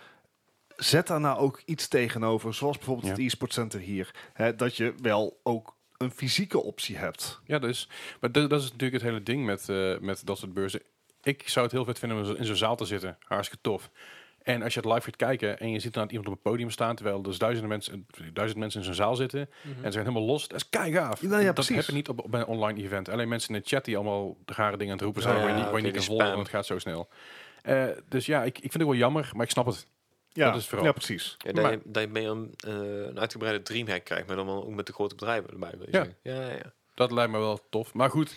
zet daar nou ook iets tegenover. Zoals bijvoorbeeld Ja. het e-sport center hier. Hè, dat je wel ook een fysieke optie hebt. Ja, dus. Maar dat, dat is natuurlijk het hele ding met, eh, met dat soort beurzen. Ik zou het heel vet vinden om in zo- in zo'n zaal te zitten. Hartstikke tof. En als je het live gaat kijken en je ziet dan iemand op het podium staan, terwijl er dus duizenden mensen, duizend mensen in zo'n zaal zitten Mhm. en ze zijn helemaal los, dat is keigaaf. Ja, nou ja, dat precies. heb je niet op, op een online event. Alleen mensen in de chat die allemaal de rare dingen aan het roepen zijn, Ja, waar je niet, oké, waar je niet die kan volgen, spam. want het gaat zo snel. Eh, dus ja, ik, ik vind het wel jammer, maar ik snap het. Ja, Dat is vooral. ja precies. Ja, dat, Maar- je, dat je meer een, eh, een uitgebreide dreamhack krijgt. Maar dan wel ook met de grote bedrijven erbij. wil je Ja. zeggen. ja, ja, ja. Dat lijkt me wel tof. Maar goed,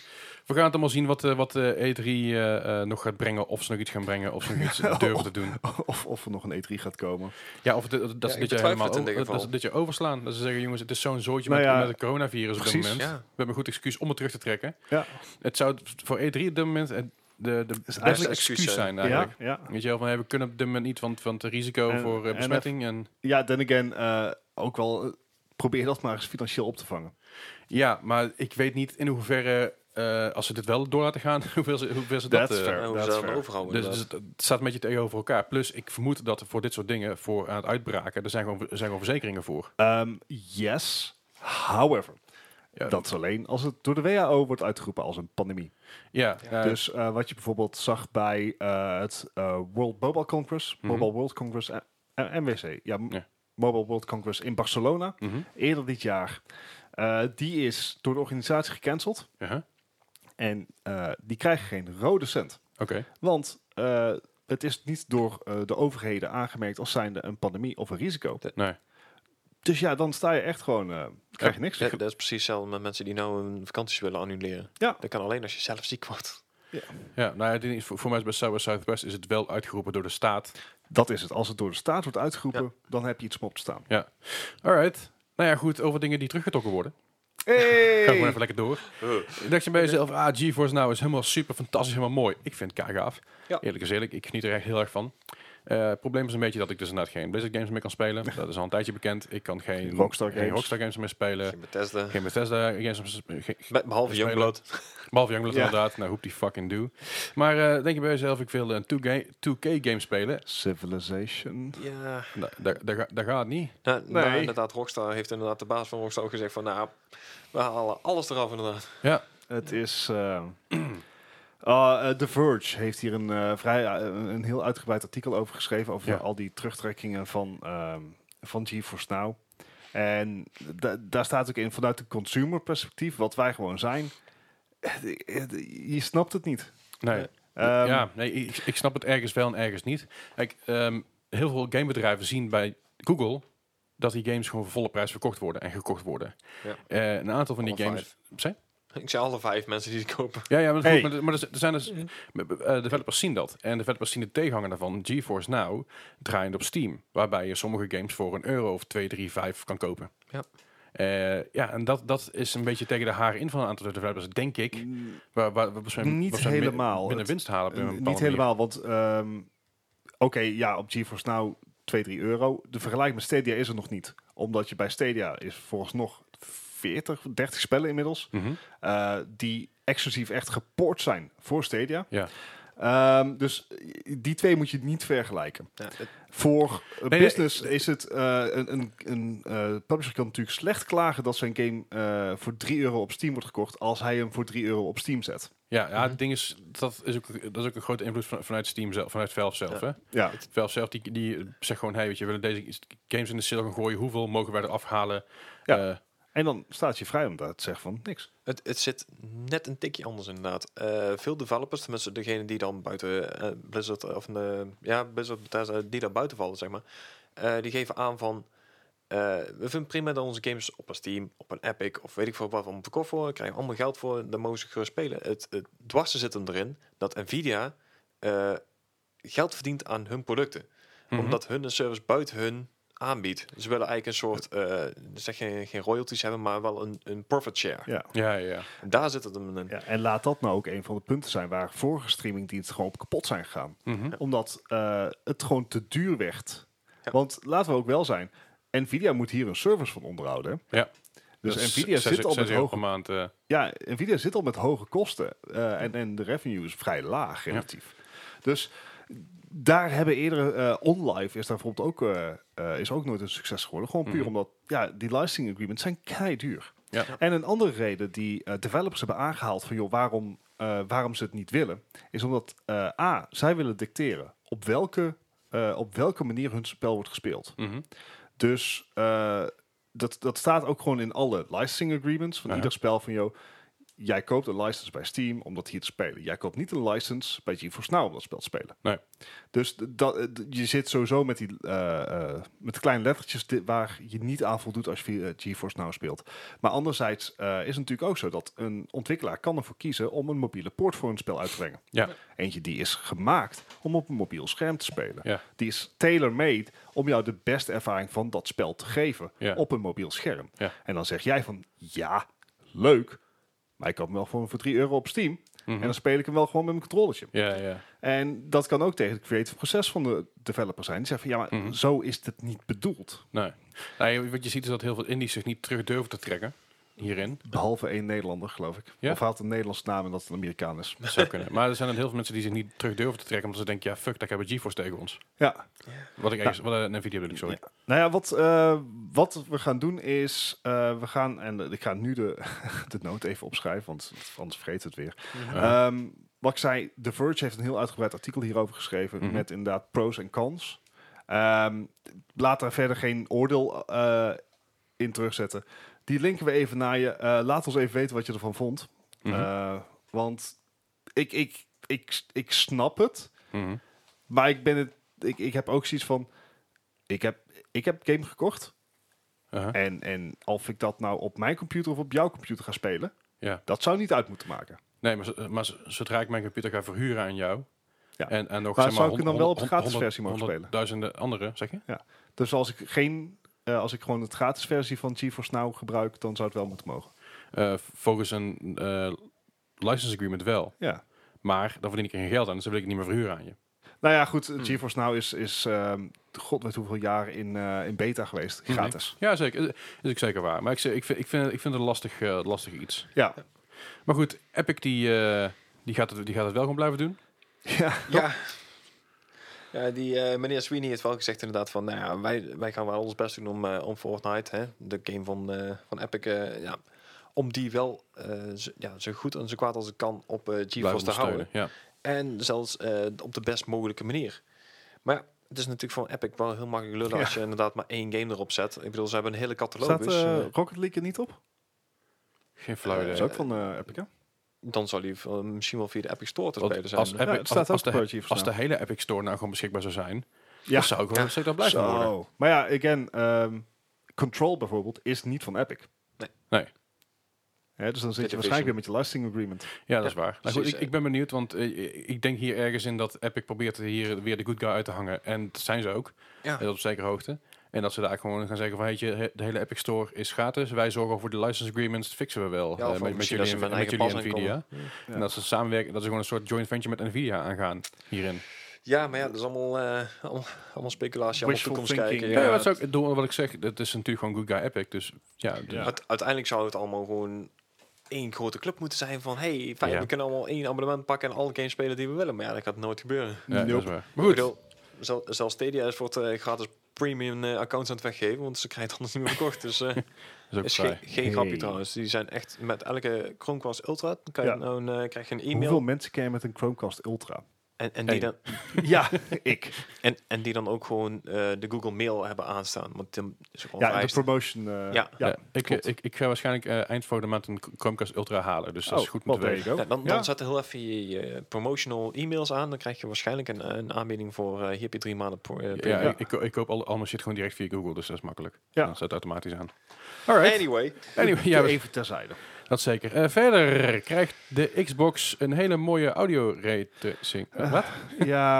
we gaan het allemaal zien wat, eh, wat eh, E3 eh, eh, nog gaat brengen. Of ze nog iets gaan brengen. Of ze nog iets durven te doen. Of, of er nog een E3 gaat komen. Ja, of de- dat ze ik dit jaar betwijfel helemaal het in over- dat- dat dit ze geval. dit jaar overslaan. Dat ze zeggen, jongens, het is zo'n zootje Nou met, ja, met het coronavirus op precies. dit moment. Ja. We hebben een goed excuus om het terug te trekken. Ja. Het zou voor E3 op dit moment... eh, de, de is beste eigenlijk excuus excuus, hè? zijn Ja, eigenlijk. ja. Weet je wel, van hey, we kunnen op dit moment niet, want, want het risico En- voor eh, en besmetting. En, ja, then again, eh, ook wel, eh, probeer dat maar eens financieel op te vangen. ja, maar ik weet niet in hoeverre, eh, als ze dit wel door laten gaan, hoeveel ze, hoeveel ze dat... That's eh, fair. En hoe dat ze is dat fair. overhouden. dus, dus het, het staat een beetje tegenover elkaar. Plus, ik vermoed dat er voor dit soort dingen, voor aan het uitbraken, er zijn gewoon, er zijn gewoon verzekeringen voor. Ehm, yes, however. Ja, Dat is alleen als het door de WHO wordt uitgeroepen als een pandemie. Ja, Ja. eh, Dus eh, wat je bijvoorbeeld zag bij eh, het eh, World Mobile Congress, Mhm. Mobile World Congress, eh, eh, MWC, ja, m- Ja. Mobile World Congress in Barcelona, mhm, eerder dit jaar. Eh, die is door de organisatie gecanceld aha, en eh, die krijgen geen rode cent. Oké. Want eh, het is niet door eh, de overheden aangemerkt als zijnde een pandemie of een risico. Nee. Dus ja, dan sta je echt gewoon, eh krijg je niks. Ja, dat is precies hetzelfde met mensen die nou hun vakanties willen annuleren. Ja. Dat kan alleen als je zelf ziek wordt. Ja, nou ja, het is- voor, voor mij is bij South by Southwest is het wel uitgeroepen door de staat. Dat is het. Als het door de staat wordt uitgeroepen, dan heb je iets om op te staan. Alright. Nou ja, goed, over dingen die teruggetrokken worden. Ga Hey! gewoon even lekker door. Dacht je bij jezelf, ah, GeForce nou is helemaal super, fantastisch, helemaal mooi. Ik vind het gaaf. Ja. Eerlijk is eerlijk, ik geniet er echt heel erg van. Eh, het probleem is een beetje dat ik dus inderdaad geen Blizzard games meer kan spelen. Dat is al een tijdje bekend. Ik kan geen Rockstar geen games. Rockstar games meer spelen. Geen Bethesda. Geen Bethesda games meer sp- ge- ge- Be- Behalve Spelen. Youngblood. Behalve Youngblood Ja. inderdaad. Nou, hoep die fucking do. Maar eh, denk je bij jezelf, ik wil een 2K, 2K game spelen. Civilization. Ja. Nou, daar- daar ga- daar gaat niet. Nou, Nee. nou, inderdaad, Rockstar heeft inderdaad de baas van Rockstar ook gezegd van, nou, we halen alles eraf inderdaad. Ja, Het is. eh, ah, eh, The Verge heeft hier een, eh, vrij, eh, een- een heel uitgebreid artikel over geschreven. Over Ja. al die terugtrekkingen van, ehm van GeForce Now. En da- daar staat ook in vanuit een consumer perspectief, wat wij gewoon zijn. eh, Je snapt het niet. nee. Ehm, ja, nee, ik, ik snap het ergens wel en ergens niet. Kijk, ehm, heel veel gamebedrijven zien bij Google dat die games gewoon voor volle prijs verkocht worden en gekocht worden. Ja. Eh, een aantal van die Alle games. Zijn? Ik zei alle vijf mensen die het kopen. Ja, ja, maar, dat Hey. maar, maar er zijn dus. eh, developers zien dat. En developers zien de tegenhanger daarvan. GeForce Now draaiend op Steam. Waarbij je sommige games voor een euro of 2, 3, 5 kan kopen. Ja. Eh, ja, en dat, dat is een beetje tegen de haren in van een aantal developers, denk ik. Waar, waar, waar ze- Niet waar ze min- helemaal. Binnen Het- winst halen. op een Eh, bepaalde niet manier. helemaal, want ehm, oké, ja, op GeForce Now 2, 3 euro. De vergelijking met Stadia is er nog niet. Omdat je bij Stadia is volgens nog 40, 30 spellen inmiddels. Mhm. eh, die exclusief echt gepoord zijn voor Stadia. Ja. Ehm, dus die twee moet je niet vergelijken. Ja, het- Voor nee, business is het eh, een, een, een eh, publisher kan natuurlijk slecht klagen dat zijn game eh, voor 3 euro op Steam wordt gekocht als hij hem voor 3 euro op Steam zet. Ja, ja Mhm. het ding is, dat is ook, dat is ook een grote invloed van, vanuit Steam zelf, vanuit Valve zelf. Ja. Hè? Ja, Valve zelf, die, die zegt gewoon, hey, weet je, we willen deze games in de sale gaan gooien, hoeveel mogen wij eraf halen? Ja. Eh, en dan staat je vrij om daar te zeggen van niks. Het, het zit net een tikje anders inderdaad. Eh, veel developers, tenminste degene die dan buiten eh, Blizzard of eh, ja, Blizzard Bethesda, die daar buiten vallen, zeg maar, eh, die geven aan van eh, we vinden prima dat onze games op een Steam, op een Epic of weet ik veel wat we verkocht worden, krijgen we allemaal geld voor, daar mogen ze gerust spelen. Het, het dwarsen zit hem erin dat Nvidia eh, geld verdient aan hun producten, mhm. omdat hun een service buiten hun aanbiedt. Ze willen eigenlijk een soort, eh, zeg geen, geen royalties hebben, maar wel een, een profit share. Ja. Ja, ja, ja. En daar zit het hem in. ja, en laat dat nou ook een van de punten zijn waar vorige streamingdiensten gewoon op kapot zijn gegaan. Mhm. Omdat eh, het gewoon te duur werd. Ja. Want laten we ook wel zijn, Nvidia moet hier een service van onderhouden. Ja. Dus Dat is Nvidia, zes- zit al zes met euro per hoge, maand. eh, ja, Nvidia zit al met hoge kosten eh, en, en de revenue is vrij laag relatief. Dus daar hebben eerder, eh OnLive is daar bijvoorbeeld ook, eh, eh, is ook nooit een succes geworden. Gewoon puur Mhm. omdat ja, die licensing agreements zijn kei duur. ja. En een andere reden die eh, developers hebben aangehaald van joh, waarom, eh, waarom ze het niet willen, is omdat eh, A, zij willen dicteren op welke, eh, op welke manier hun spel wordt gespeeld. Mhm. Dus eh, dat, dat staat ook gewoon in alle licensing agreements van Ja. ieder spel van joh, jij koopt een license bij Steam om dat hier te spelen. Jij koopt niet een license bij GeForce Now om dat spel te spelen. Nee. Dus d- dat, eh, d- je zit sowieso met die eh, eh, met kleine lettertjes di- waar je niet aan voldoet als je via, eh, GeForce Now speelt. Maar anderzijds eh, is het natuurlijk ook zo dat een ontwikkelaar kan ervoor kiezen om een mobiele port voor een spel uit te brengen. Ja. Eentje die is gemaakt om op een mobiel scherm te spelen. Ja. Die is tailor-made om jou de beste ervaring van dat spel te geven Ja. op een mobiel scherm. Ja. En dan zeg jij van ja, leuk, maar ik koop hem wel voor, voor 3 euro op Steam. Mhm. En dan speel ik hem wel gewoon met mijn controllertje. Ja, ja. En dat kan ook tegen het creative proces van de developer zijn. Die zeggen van, ja, maar Mhm. zo is dit niet bedoeld. Nee. Nou, je- wat je ziet is dat heel veel indies zich niet terug durven te trekken hierin. Behalve één Nederlander, geloof ik. Ja? Of hij had een Nederlandse naam en dat het een Amerikaan is. Dat zou kunnen. Maar er zijn dan heel veel mensen die zich niet terug durven te trekken omdat ze denken, ja fuck, daar hebben we GeForce tegen ons. Ja. Wat ik eigenlijk, wat, een Nvidia bedoel ik, sorry. Nou ja, wat, eh, wat we gaan doen is, eh, we gaan, en eh, ik ga nu de, de noot even opschrijven, want anders vergeet het weer. Mhm. Ehm, wat ik zei, The Verge heeft een heel uitgebreid artikel hierover geschreven Mhm. met inderdaad pros en cons. Ehm, laat daar verder geen oordeel eh, in terugzetten. Die linken we even naar je. Eh, laat ons even weten wat je ervan vond. Mhm. Eh, want ik, ik, ik, ik snap het, Mhm. maar ik, ben het, ik, ik heb ook zoiets van, ik heb, ik heb game gekocht. Aha. En, en of ik dat nou op mijn computer of op jouw computer ga spelen, Ja. dat zou niet uit moeten maken. Nee, maar, zo- maar zo- zodra ik mijn computer ga verhuren aan jou... Ja. En, en nog, Maar zeg zou ik hond- hem dan wel op de hond- gratis honderd- versie mogen spelen? Duizenden andere, zeg je? Dus als ik geen, eh, als ik gewoon het gratis versie van GeForce Now gebruik, dan zou het wel moeten mogen. Eh, volgens een eh, license agreement wel. Ja. Maar dan verdien ik er geen geld aan, dus dan wil ik het niet meer verhuren aan je. Nou ja, goed. GeForce Now is, is ehm, god weet hoeveel jaar in, eh, in beta geweest. Mhm. Gratis. Ja, zeker. Dat is ook zeker waar. Maar ik, zeg- ik, vind, ik, vind, ik vind het een lastig, eh, lastig iets. Ja. Maar goed, Epic die, eh, die, gaat het, die gaat het wel gewoon blijven doen. Ja. Ja. Ja, die eh, meneer Sweeney heeft wel gezegd inderdaad van, nou ja, wij, wij gaan wel ons best doen om, eh, om Fortnite, hè, de game van, eh, van Epic, eh, ja, om die wel eh, zo, ja, zo goed en zo kwaad als het kan op eh GeForce te houden. ondersteunen, Ja. En zelfs eh, op de best mogelijke manier. Maar ja, het is natuurlijk van Epic wel heel makkelijk lullen Ja. als je inderdaad maar één game erop zet. Ik bedoel, ze hebben een hele Staat catalogus. eh, eh, Rocket League er niet op? Geen flauw Eh, idee. Dat is ook van eh Epic, hè? dan zal die eh, misschien wel via de Epic Store te Want spelen zijn. als Epic- ja, het staat als ook de- per GeForce Als de hele Epic Store nou gewoon beschikbaar zou zijn, Ja. dan zou ik wel Ja. zeker blijven Zo. worden. Maar ja, again, ehm, Control bijvoorbeeld is niet van Epic. Nee. Nee. Hè, dus dan zit Activision. je waarschijnlijk weer met je licensing agreement. Ja, dat is waar. Nou, goed, precies, ik, eh. ik ben benieuwd, want eh, ik denk hier ergens in dat Epic probeert hier weer de good guy uit te hangen. En dat zijn ze ook, Ja. eh, op zekere hoogte. En dat ze daar gewoon gaan zeggen van, weet je, he- de hele Epic Store is gratis. Wij zorgen voor de license agreements, fixen we wel. eh, Ja, of met, met misschien dat jullie, ze en- met met, een eigen jullie pas Nvidia. aankomen. En dat ze samenwerken, dat ze gewoon een soort joint venture met Nvidia aangaan hierin. Ja, maar ja, dat is allemaal, eh, allemaal, allemaal speculatie, allemaal Wishful toekomst thinking, kijken. Ja, Ja, maar het- het is ook, het doel wat ik zeg, dat is natuurlijk gewoon good guy Epic. Dus ja, Ja. uite- uiteindelijk zou het allemaal gewoon één grote club moeten zijn van... hey, fijn, Ja. we kunnen allemaal één abonnement pakken en alle games spelen die we willen. Maar ja, dat gaat nooit gebeuren. ja, eh, dat is Nope. waar. Maar Ik goed, bedoel, zel- zelfs Stadia is voor het eh, gratis premium eh, accounts aan het weggeven, want ze krijgen het anders niet meer verkocht. Dus eh dat is is ook geen, vrij. geen grapje Hey. trouwens. Die zijn echt met elke Chromecast Ultra, dan kan je Ja. nou een, eh, krijg je een Hoeveel e-mail. mensen kennen met een Chromecast Ultra? En, en, die Hey. dan, ja, ik. en, en die dan ook gewoon eh, de Google Mail hebben aanstaan. Want Tim is gewoon Ja, in de vereist. promotion. eh, Ja. Ja, ik, klopt. ik, ik ga waarschijnlijk eh, eind volgende maand een Chromecast Ultra halen. Dus dat is Oh, goed well, met weten. there you Ja, go. dan, Ja. dan zet er heel even je, je promotional e-mails aan. Dan krijg je waarschijnlijk een, een aanbieding voor eh, hier heb je drie maanden pro, eh, Ja, premium. Ik, ik, ko- ik koop al, al mijn shit gewoon direct via Google, dus dat is makkelijk. Ja. Dan staat het automatisch aan. Alright. Anyway, Anyway, ja, dus even terzijde. dat zeker. Eh, verder krijgt de Xbox een hele mooie audio rating. Eh, wat? Ja,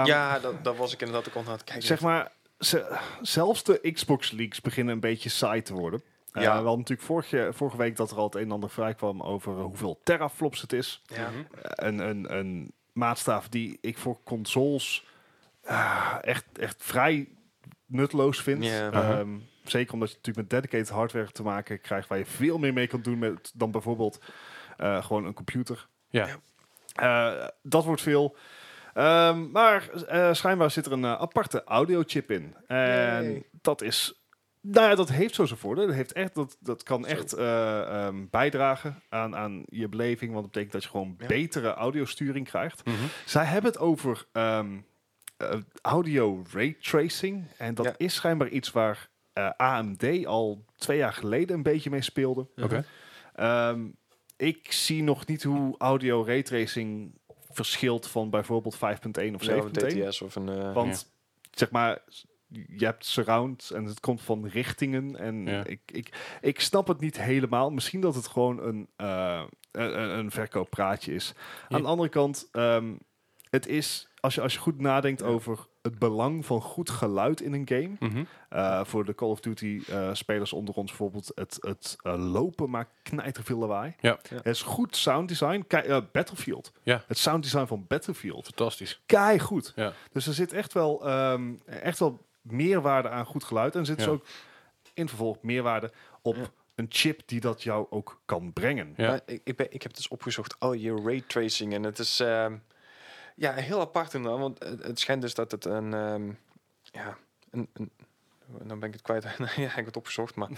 eh, ja, dat, dat was ik inderdaad ook al aan het kijken. zeg maar, ze- zelfs de Xbox leaks beginnen een beetje saai te worden. Eh, Ja. we hadden natuurlijk vorige, vorige week dat er al het een en ander vrij kwam over eh, hoeveel teraflops het is. ja. Mhm. Eh, een, een, een maatstaf die ik voor consoles ah, echt, echt vrij nutteloos vind. Ja. Uh-huh. Ehm, zeker omdat je natuurlijk met dedicated hardware te maken krijgt waar je veel meer mee kan doen met, dan bijvoorbeeld eh, gewoon een computer. Ja. Eh, dat wordt veel. Ehm, maar eh, schijnbaar zit er een eh, aparte audiochip in. En Yay. dat is. Nou ja, dat heeft zo zijn voordeel. Dat, heeft echt, dat, dat kan Zo. echt eh, ehm, bijdragen aan, aan je beleving. Want dat betekent dat je gewoon Ja. betere audiosturing krijgt. Mhm. Zij hebben het over ehm, eh, audio raytracing. En dat Ja. is schijnbaar iets waar eh, AMD al twee jaar geleden een beetje mee speelde. Oké. Ehm, ik zie nog niet hoe audio raytracing verschilt van bijvoorbeeld 5.1 of Ja, of nou een 7.1. DTS of een... eh, want zeg maar, je hebt surround en het komt van richtingen. En Ja. ik, ik, ik snap het niet helemaal. Misschien dat het gewoon een, eh, een, een- een verkooppraatje is. Ja. Aan de andere kant, ehm, Het is, als je, als je goed nadenkt over het belang van goed geluid in een game. Mhm. eh, voor de Call of Duty eh, spelers onder ons bijvoorbeeld. Het, het eh, lopen maakt knijter veel lawaai. Ja. Ja. Het is goed sound design. Kei- eh, Battlefield. Ja. Het sound design van Battlefield. Fantastisch. Kei goed. Ja. Dus er zit echt wel, ehm, echt wel meerwaarde aan goed geluid. En er zit dus Ja. ook in vervolg meerwaarde op Ja. een chip die dat jou ook kan brengen. Ja. Maar ik, ik, ben, ik heb dus opgezocht al je raytracing. En het is ehm, ja, heel apart inderdaad. Want het, het schijnt dus dat het een... ehm, ja, een, een, nou ben ik het kwijt. ja, ik heb het opgezocht, maar...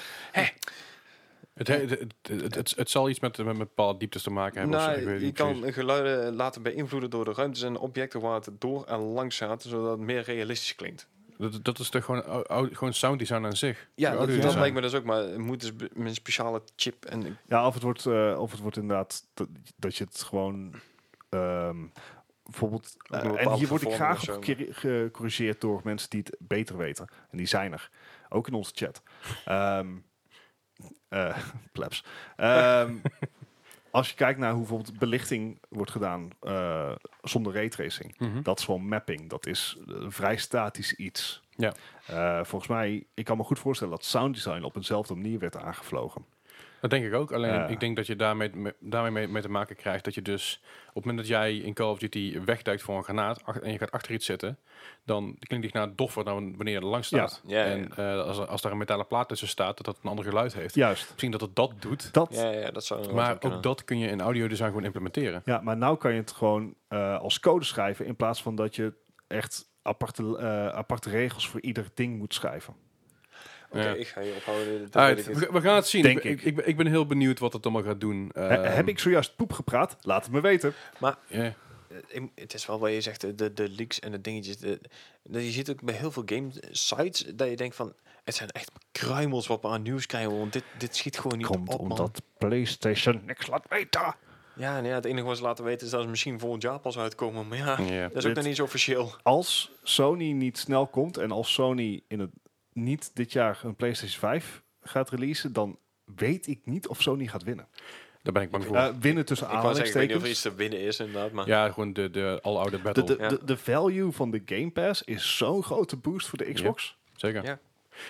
Het, he- het, het, het, het- het zal iets met, met bepaalde dieptes te maken hebben. of zo, ik weet Nou, het je niet kan precies. geluiden laten beïnvloeden door de ruimtes en objecten waar het door en langs gaat, zodat het meer realistisch klinkt. Dat, dat is toch gewoon, au- au- gewoon sound design aan zich. Ja, Audio dat, dat ja. design. lijkt me dus ook, maar het moet dus be- met een speciale chip en ik- Ja, of het wordt, eh, of het wordt inderdaad dat, dat je het gewoon. ehm, bijvoorbeeld. Op een eh, en bepaalde hier word ik vervorming graag of op zo. gecor- gecorrigeerd door mensen die het beter weten. En die zijn er. Ook in onze chat. Ehm eh, plebs. Ehm, als je kijkt naar hoe bijvoorbeeld belichting wordt gedaan eh, zonder raytracing. Mhm. Dat is gewoon mapping. Dat is eh, vrij statisch iets. Ja. Eh, volgens mij, ik kan me goed voorstellen dat sounddesign op eenzelfde manier werd aangevlogen. Dat denk ik ook. Alleen Ja. ik denk dat je daarmee, me- daarmee mee, mee te maken krijgt dat je dus op het moment dat jij in Call of Duty wegduikt voor een granaat ach- en je gaat achter iets zitten, dan klinkt die granaat doffer dan wanneer je er langs staat. Ja. Ja, ja, en eh, als, er- als daar een metalen plaat tussen staat, dat dat een ander geluid heeft. Juist. Misschien dat het dat doet, Dat ja, ja, dat zou inderdaad maar wel ook kunnen. dat kun je in audio design gewoon implementeren. Ja, maar nou kan je het gewoon eh, als code schrijven in plaats van dat je echt aparte, eh, aparte regels voor ieder ding moet schrijven. Oké, Ja. ik ga je ophouden. Dat Uit, weet ik niet. we, we gaan het zien. Denk ik, ben- ik. ik. ben- ik ben heel benieuwd wat het allemaal gaat doen. He- Ehm, heb ik zojuist poep gepraat? Laat het me weten. ja. Eh, ik- Het is wel wat je zegt, eh, de, de leaks en de dingetjes. De, de- je ziet ook bij heel veel game sites dat je denkt van, het zijn echt kruimels wat we aan nieuws krijgen, want dit, dit schiet gewoon niet Komt op, man. omdat PlayStation niks laat weten. Ja, nee, ja, het enige wat ze laten weten is dat ze misschien volgend jaar pas uitkomen, maar ja, Ja. dat is Dit- ook nog niet zo officieel. Als Sony niet snel komt en als Sony in het, niet dit jaar een PlayStation 5 gaat releasen, dan weet ik niet of Sony gaat winnen. Daar ben ik bang voor. Eh, winnen tussen Ik wou zeggen, ik weet niet of er iets aanhalingstekens. te winnen is inderdaad, maar... ja, gewoon de, de all-oude De, battle. de, Ja. de, de value van de Game Pass is zo'n grote boost voor de Xbox. Zeker. Ja.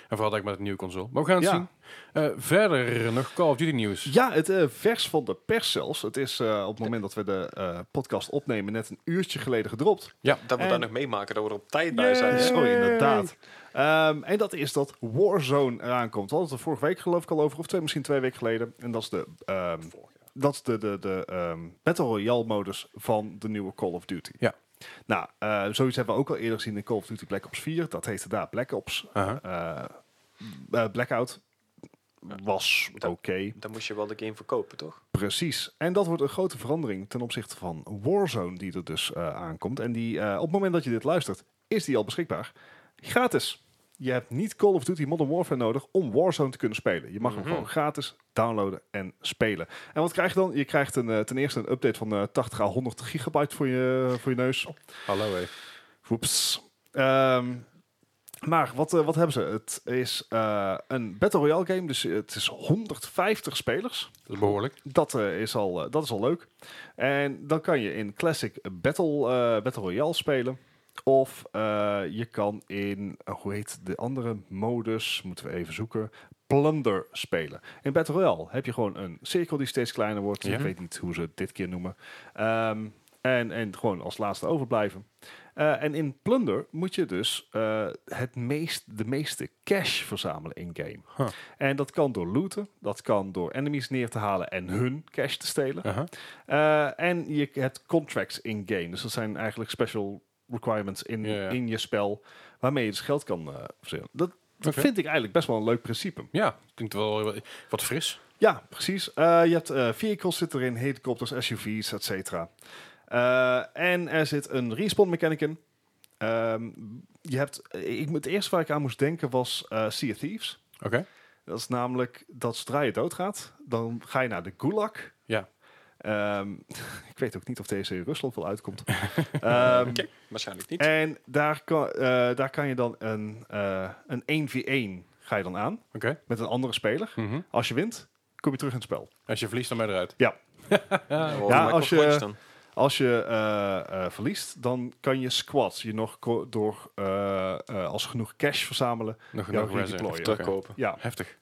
En vooral ik met het nieuwe console. Maar we gaan het Ja. zien. Eh, verder nog Call of Duty nieuws. Ja, het eh, vers van de pers zelfs. Het is eh, op het moment dat we de eh, podcast opnemen net een uurtje geleden gedropt. Dat we En- daar nog meemaken, dat we er op tijd bij zijn. Yay. Zo inderdaad. Ehm, en dat is dat Warzone eraan komt. We hadden het er vorige week geloof ik al over, of twee, misschien twee weken geleden. En dat is de, ehm, dat is de, de, de ehm, Battle Royale modus van de nieuwe Call of Duty. Ja. Nou, eh, zoiets hebben we ook al eerder gezien in Call of Duty Black Ops 4. Dat heette daar Black Ops. Aha. Eh, eh, Blackout was oké. Dat- Dan moest je wel de game verkopen, toch? Precies. En dat wordt een grote verandering ten opzichte van Warzone, die er dus eh, aankomt. En die, eh, op het moment dat je dit luistert, is die al beschikbaar. Gratis. Je hebt niet Call of Duty Modern Warfare nodig om Warzone te kunnen spelen. Je mag Mhm. hem gewoon gratis downloaden en spelen. En wat krijg je dan? Je krijgt een, eh, ten eerste een update van eh, 80 à 100 gigabyte voor je, voor je neus. Hallo hé. Woeps. Ehm, maar wat, eh, wat hebben ze? Het is eh, een Battle Royale game, dus het is 150 spelers. Dat is behoorlijk. Dat, eh, is al, eh, dat is al leuk. En dan kan je in Classic Battle, eh, Battle Royale spelen. Of eh, je kan in, eh, hoe heet de andere modus, moeten we even zoeken, Plunder spelen. In Battle Royale heb je gewoon een cirkel die steeds kleiner wordt. Ja. Ik weet niet hoe ze het dit keer noemen. Ehm, en, en gewoon als laatste overblijven. Eh, en in Plunder moet je dus eh, het meest, de meeste cash verzamelen in-game. Huh. En dat kan door looten, dat kan door enemies neer te halen en hun cash te stelen. Aha. Eh, en je hebt contracts in-game, dus dat zijn eigenlijk special requirements in, Ja, ja. in je spel, waarmee je dus geld kan eh, verzamelen. Dat Oké. vind ik eigenlijk best wel een leuk principe. Ja, klinkt wel wel- wat fris. Ja, precies. Eh, je hebt eh, vehicles zit erin, helikopters, SUV's, et cetera. Eh, en er zit een respawn mechanic in. Ehm, je hebt, eh, ik, het eerste waar ik aan moest denken was eh Sea of Thieves. Oké. Dat is namelijk dat zodra je doodgaat, dan ga je naar de gulag. Ja. Ehm, ik weet ook niet of deze in Rusland wel uitkomt. Ehm, Oké, waarschijnlijk niet. en daar kan, eh, daar kan je dan een, eh, een 1v1 ga je dan aan Oké. met een andere speler. Mhm. Als je wint, kom je terug in het spel. Als je verliest, dan ben je eruit. Ja, ja, als je- Dan. Als je eh, eh, verliest, dan kan je squats je nog ko- door eh, eh, als genoeg cash verzamelen. Nog Ja, nog redeployen. resin. Of Oké. terugkopen. Ja. Heftig.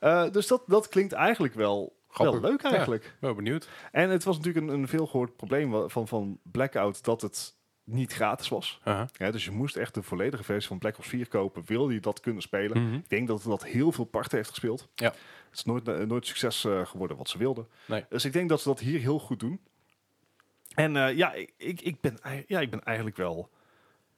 Eh, dus dat, dat klinkt eigenlijk wel, wel Grappig. leuk Ja. eigenlijk. Wel benieuwd. En het was natuurlijk een, een veelgehoord probleem wa- van, van Blackout dat het niet gratis was. Aha. Ja, dus je moest echt de volledige versie van Black Ops 4 kopen, wil je dat kunnen spelen. Mhm. Ik denk dat het dat heel veel parten heeft gespeeld. Ja. Het is nooit, eh, nooit succes eh, geworden wat ze wilden. Nee. Dus ik denk dat ze dat hier heel goed doen. En eh, ja, ik, ik, ik ben, ei- ja, ik ben eigenlijk wel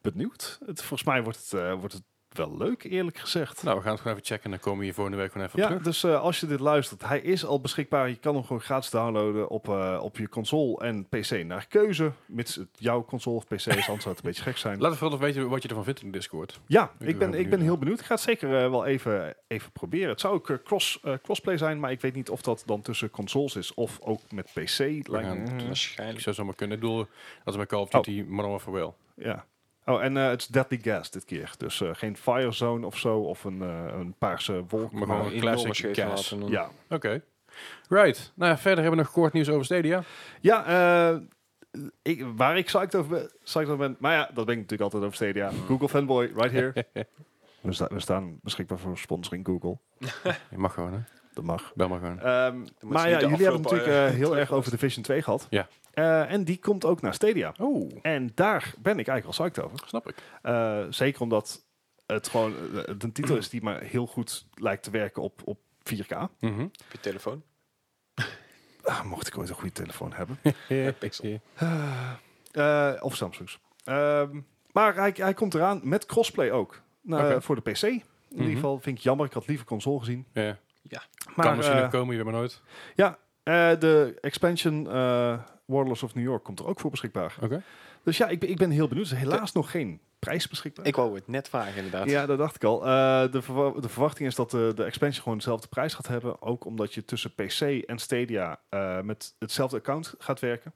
benieuwd. Het, volgens mij wordt het, eh, wordt het wel leuk, eerlijk gezegd. Nou, we gaan het gewoon even checken en dan komen we hier volgende week gewoon even Ja, op terug. dus eh, als je dit luistert, hij is al beschikbaar. Je kan hem gewoon gratis downloaden op, eh, op je console en PC naar keuze. Mits het jouw console of PC is, anders zou het een beetje gek zijn. Laat ons wel even weten wat je ervan vindt in de Discord. Ja, ben ik ben, heel ik ben benieuwd. heel benieuwd. Ik ga het zeker eh, wel even, even proberen. Het zou ook eh, cross, eh, crossplay zijn, maar ik weet niet of dat dan tussen consoles is of ook met PC. Lijkt me- gaan- Mm, Ik Waarschijnlijk. zou zomaar kunnen. Ik bedoel, dat is bij Call of Duty Modern Warfare wel. ja. Oh, en eh, het is Deadly Gas dit keer. Dus eh, geen Firezone of zo, of een, eh, een paarse wolk. Maar maar- gewoon een classic scheef gas. laten. ja, Oké. Right. Nou ja, verder hebben we nog kort nieuws over Stadia. Ja, eh, ik, waar ik psyched over, ben, psyched over ben. Maar ja, dat ben ik natuurlijk altijd over Stadia. Hmm. Google fanboy, right here. we, sta- we staan beschikbaar voor sponsoring Google. Je mag gewoon, hè? Dat mag. Bel maar gewoon. Ehm, maar niet de ja, jullie hebben afgelopen, natuurlijk eh, eh, heel erg over Division 2 gehad. Ja. Eh, en die komt ook naar Stadia. Oh, En daar ben ik eigenlijk wel psyched over. snap ik. Eh, zeker omdat het gewoon eh, het een titel is die maar heel goed lijkt te werken op, op 4K. Mhm. Op je telefoon. Ah, mocht ik ooit een goede telefoon hebben. Pixel. Eh, of Samsung's. Ehm, maar hij, hij komt eraan met crossplay ook. Nou, Oké. eh, voor de PC. In ieder Mhm. geval vind ik jammer. Ik had liever console gezien. Ja. Maar kan misschien eh, nog komen, je weet maar nooit. eh, de expansion eh Warlords of New York komt er ook voor beschikbaar. Oké. Dus ja, ik, ben- ik ben heel benieuwd. Er is helaas nog geen prijs beschikbaar. Ik wou het net vragen, inderdaad. ja, dat dacht ik al. Eh, de, verwa- de verwachting is dat eh, de, de expansion gewoon dezelfde prijs gaat hebben. Ook omdat je tussen PC en Stadia eh, met hetzelfde account gaat werken.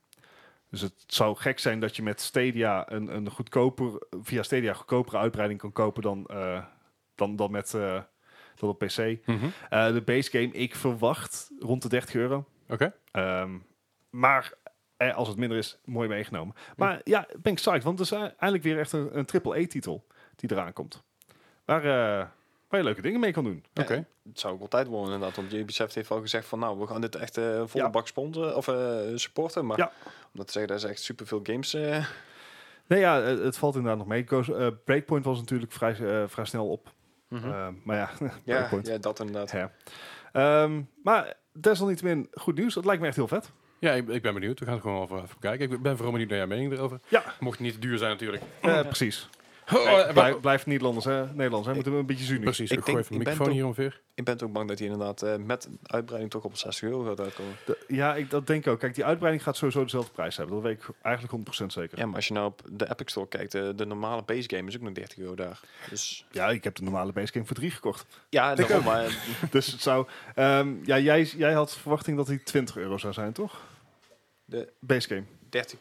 Dus het zou gek zijn dat je met Stadia een, een goedkoper, via Stadia goedkopere uitbreiding kan kopen dan, eh, dan, dan met eh, dan op PC. Mhm. Eh, de base game, ik verwacht rond de 30 euro. Oké. Ehm, maar eh, als het minder is, mooi meegenomen. Maar ja, ben ik psyched, want het is eh, eindelijk weer echt een, een triple-E-titel die eraan komt. Waar, eh, waar je leuke dingen mee kan doen. Oké. Dat zou ik altijd willen, inderdaad. Want Ubisoft heeft al gezegd van... Nou, we gaan dit echt eh volle Ja. bak sponsoren. Of eh, supporten. Maar Ja. om dat te zeggen, daar is echt superveel games... eh, Nee, ja, het, het valt inderdaad nog mee. Goes- eh, Breakpoint was natuurlijk vrij, eh, vrij snel op. Eh, maar ja, ja, Breakpoint. ja, dat inderdaad. Hè. Ehm, maar desalniettemin, goed nieuws. Het lijkt me echt heel vet. Ja, ik, ik ben benieuwd. We gaan het gewoon even, even kijken. Ik ben vooral benieuwd naar jouw mening erover. Ja. Mocht het niet te duur zijn natuurlijk. Eh, Precies. Oh, eh, Blijf, blijf Nederlanders, hè? Nederlanders, hè? Moeten we een beetje zuinig. Precies, Ik ik, gooi denk- even de ik ben microfoon toch- hier ongeveer. Ik ben ook bang dat hij inderdaad eh, met uitbreiding toch op 60 euro gaat uitkomen. De- ja, ik, dat denk ik ook. Kijk, die uitbreiding gaat sowieso dezelfde prijs hebben. Dat weet ik eigenlijk 100% zeker. Ja, maar als je nou op de Epic Store kijkt, eh, de normale base game is ook nog 30 euro daar. Dus Ja, ik heb de normale base game voor 3 gekocht. ja, Ik daarom, ook. maar eh, dus het zou... ehm, ja, jij, jij had verwachting dat die 20 euro zou zijn, toch? De- base game. 30.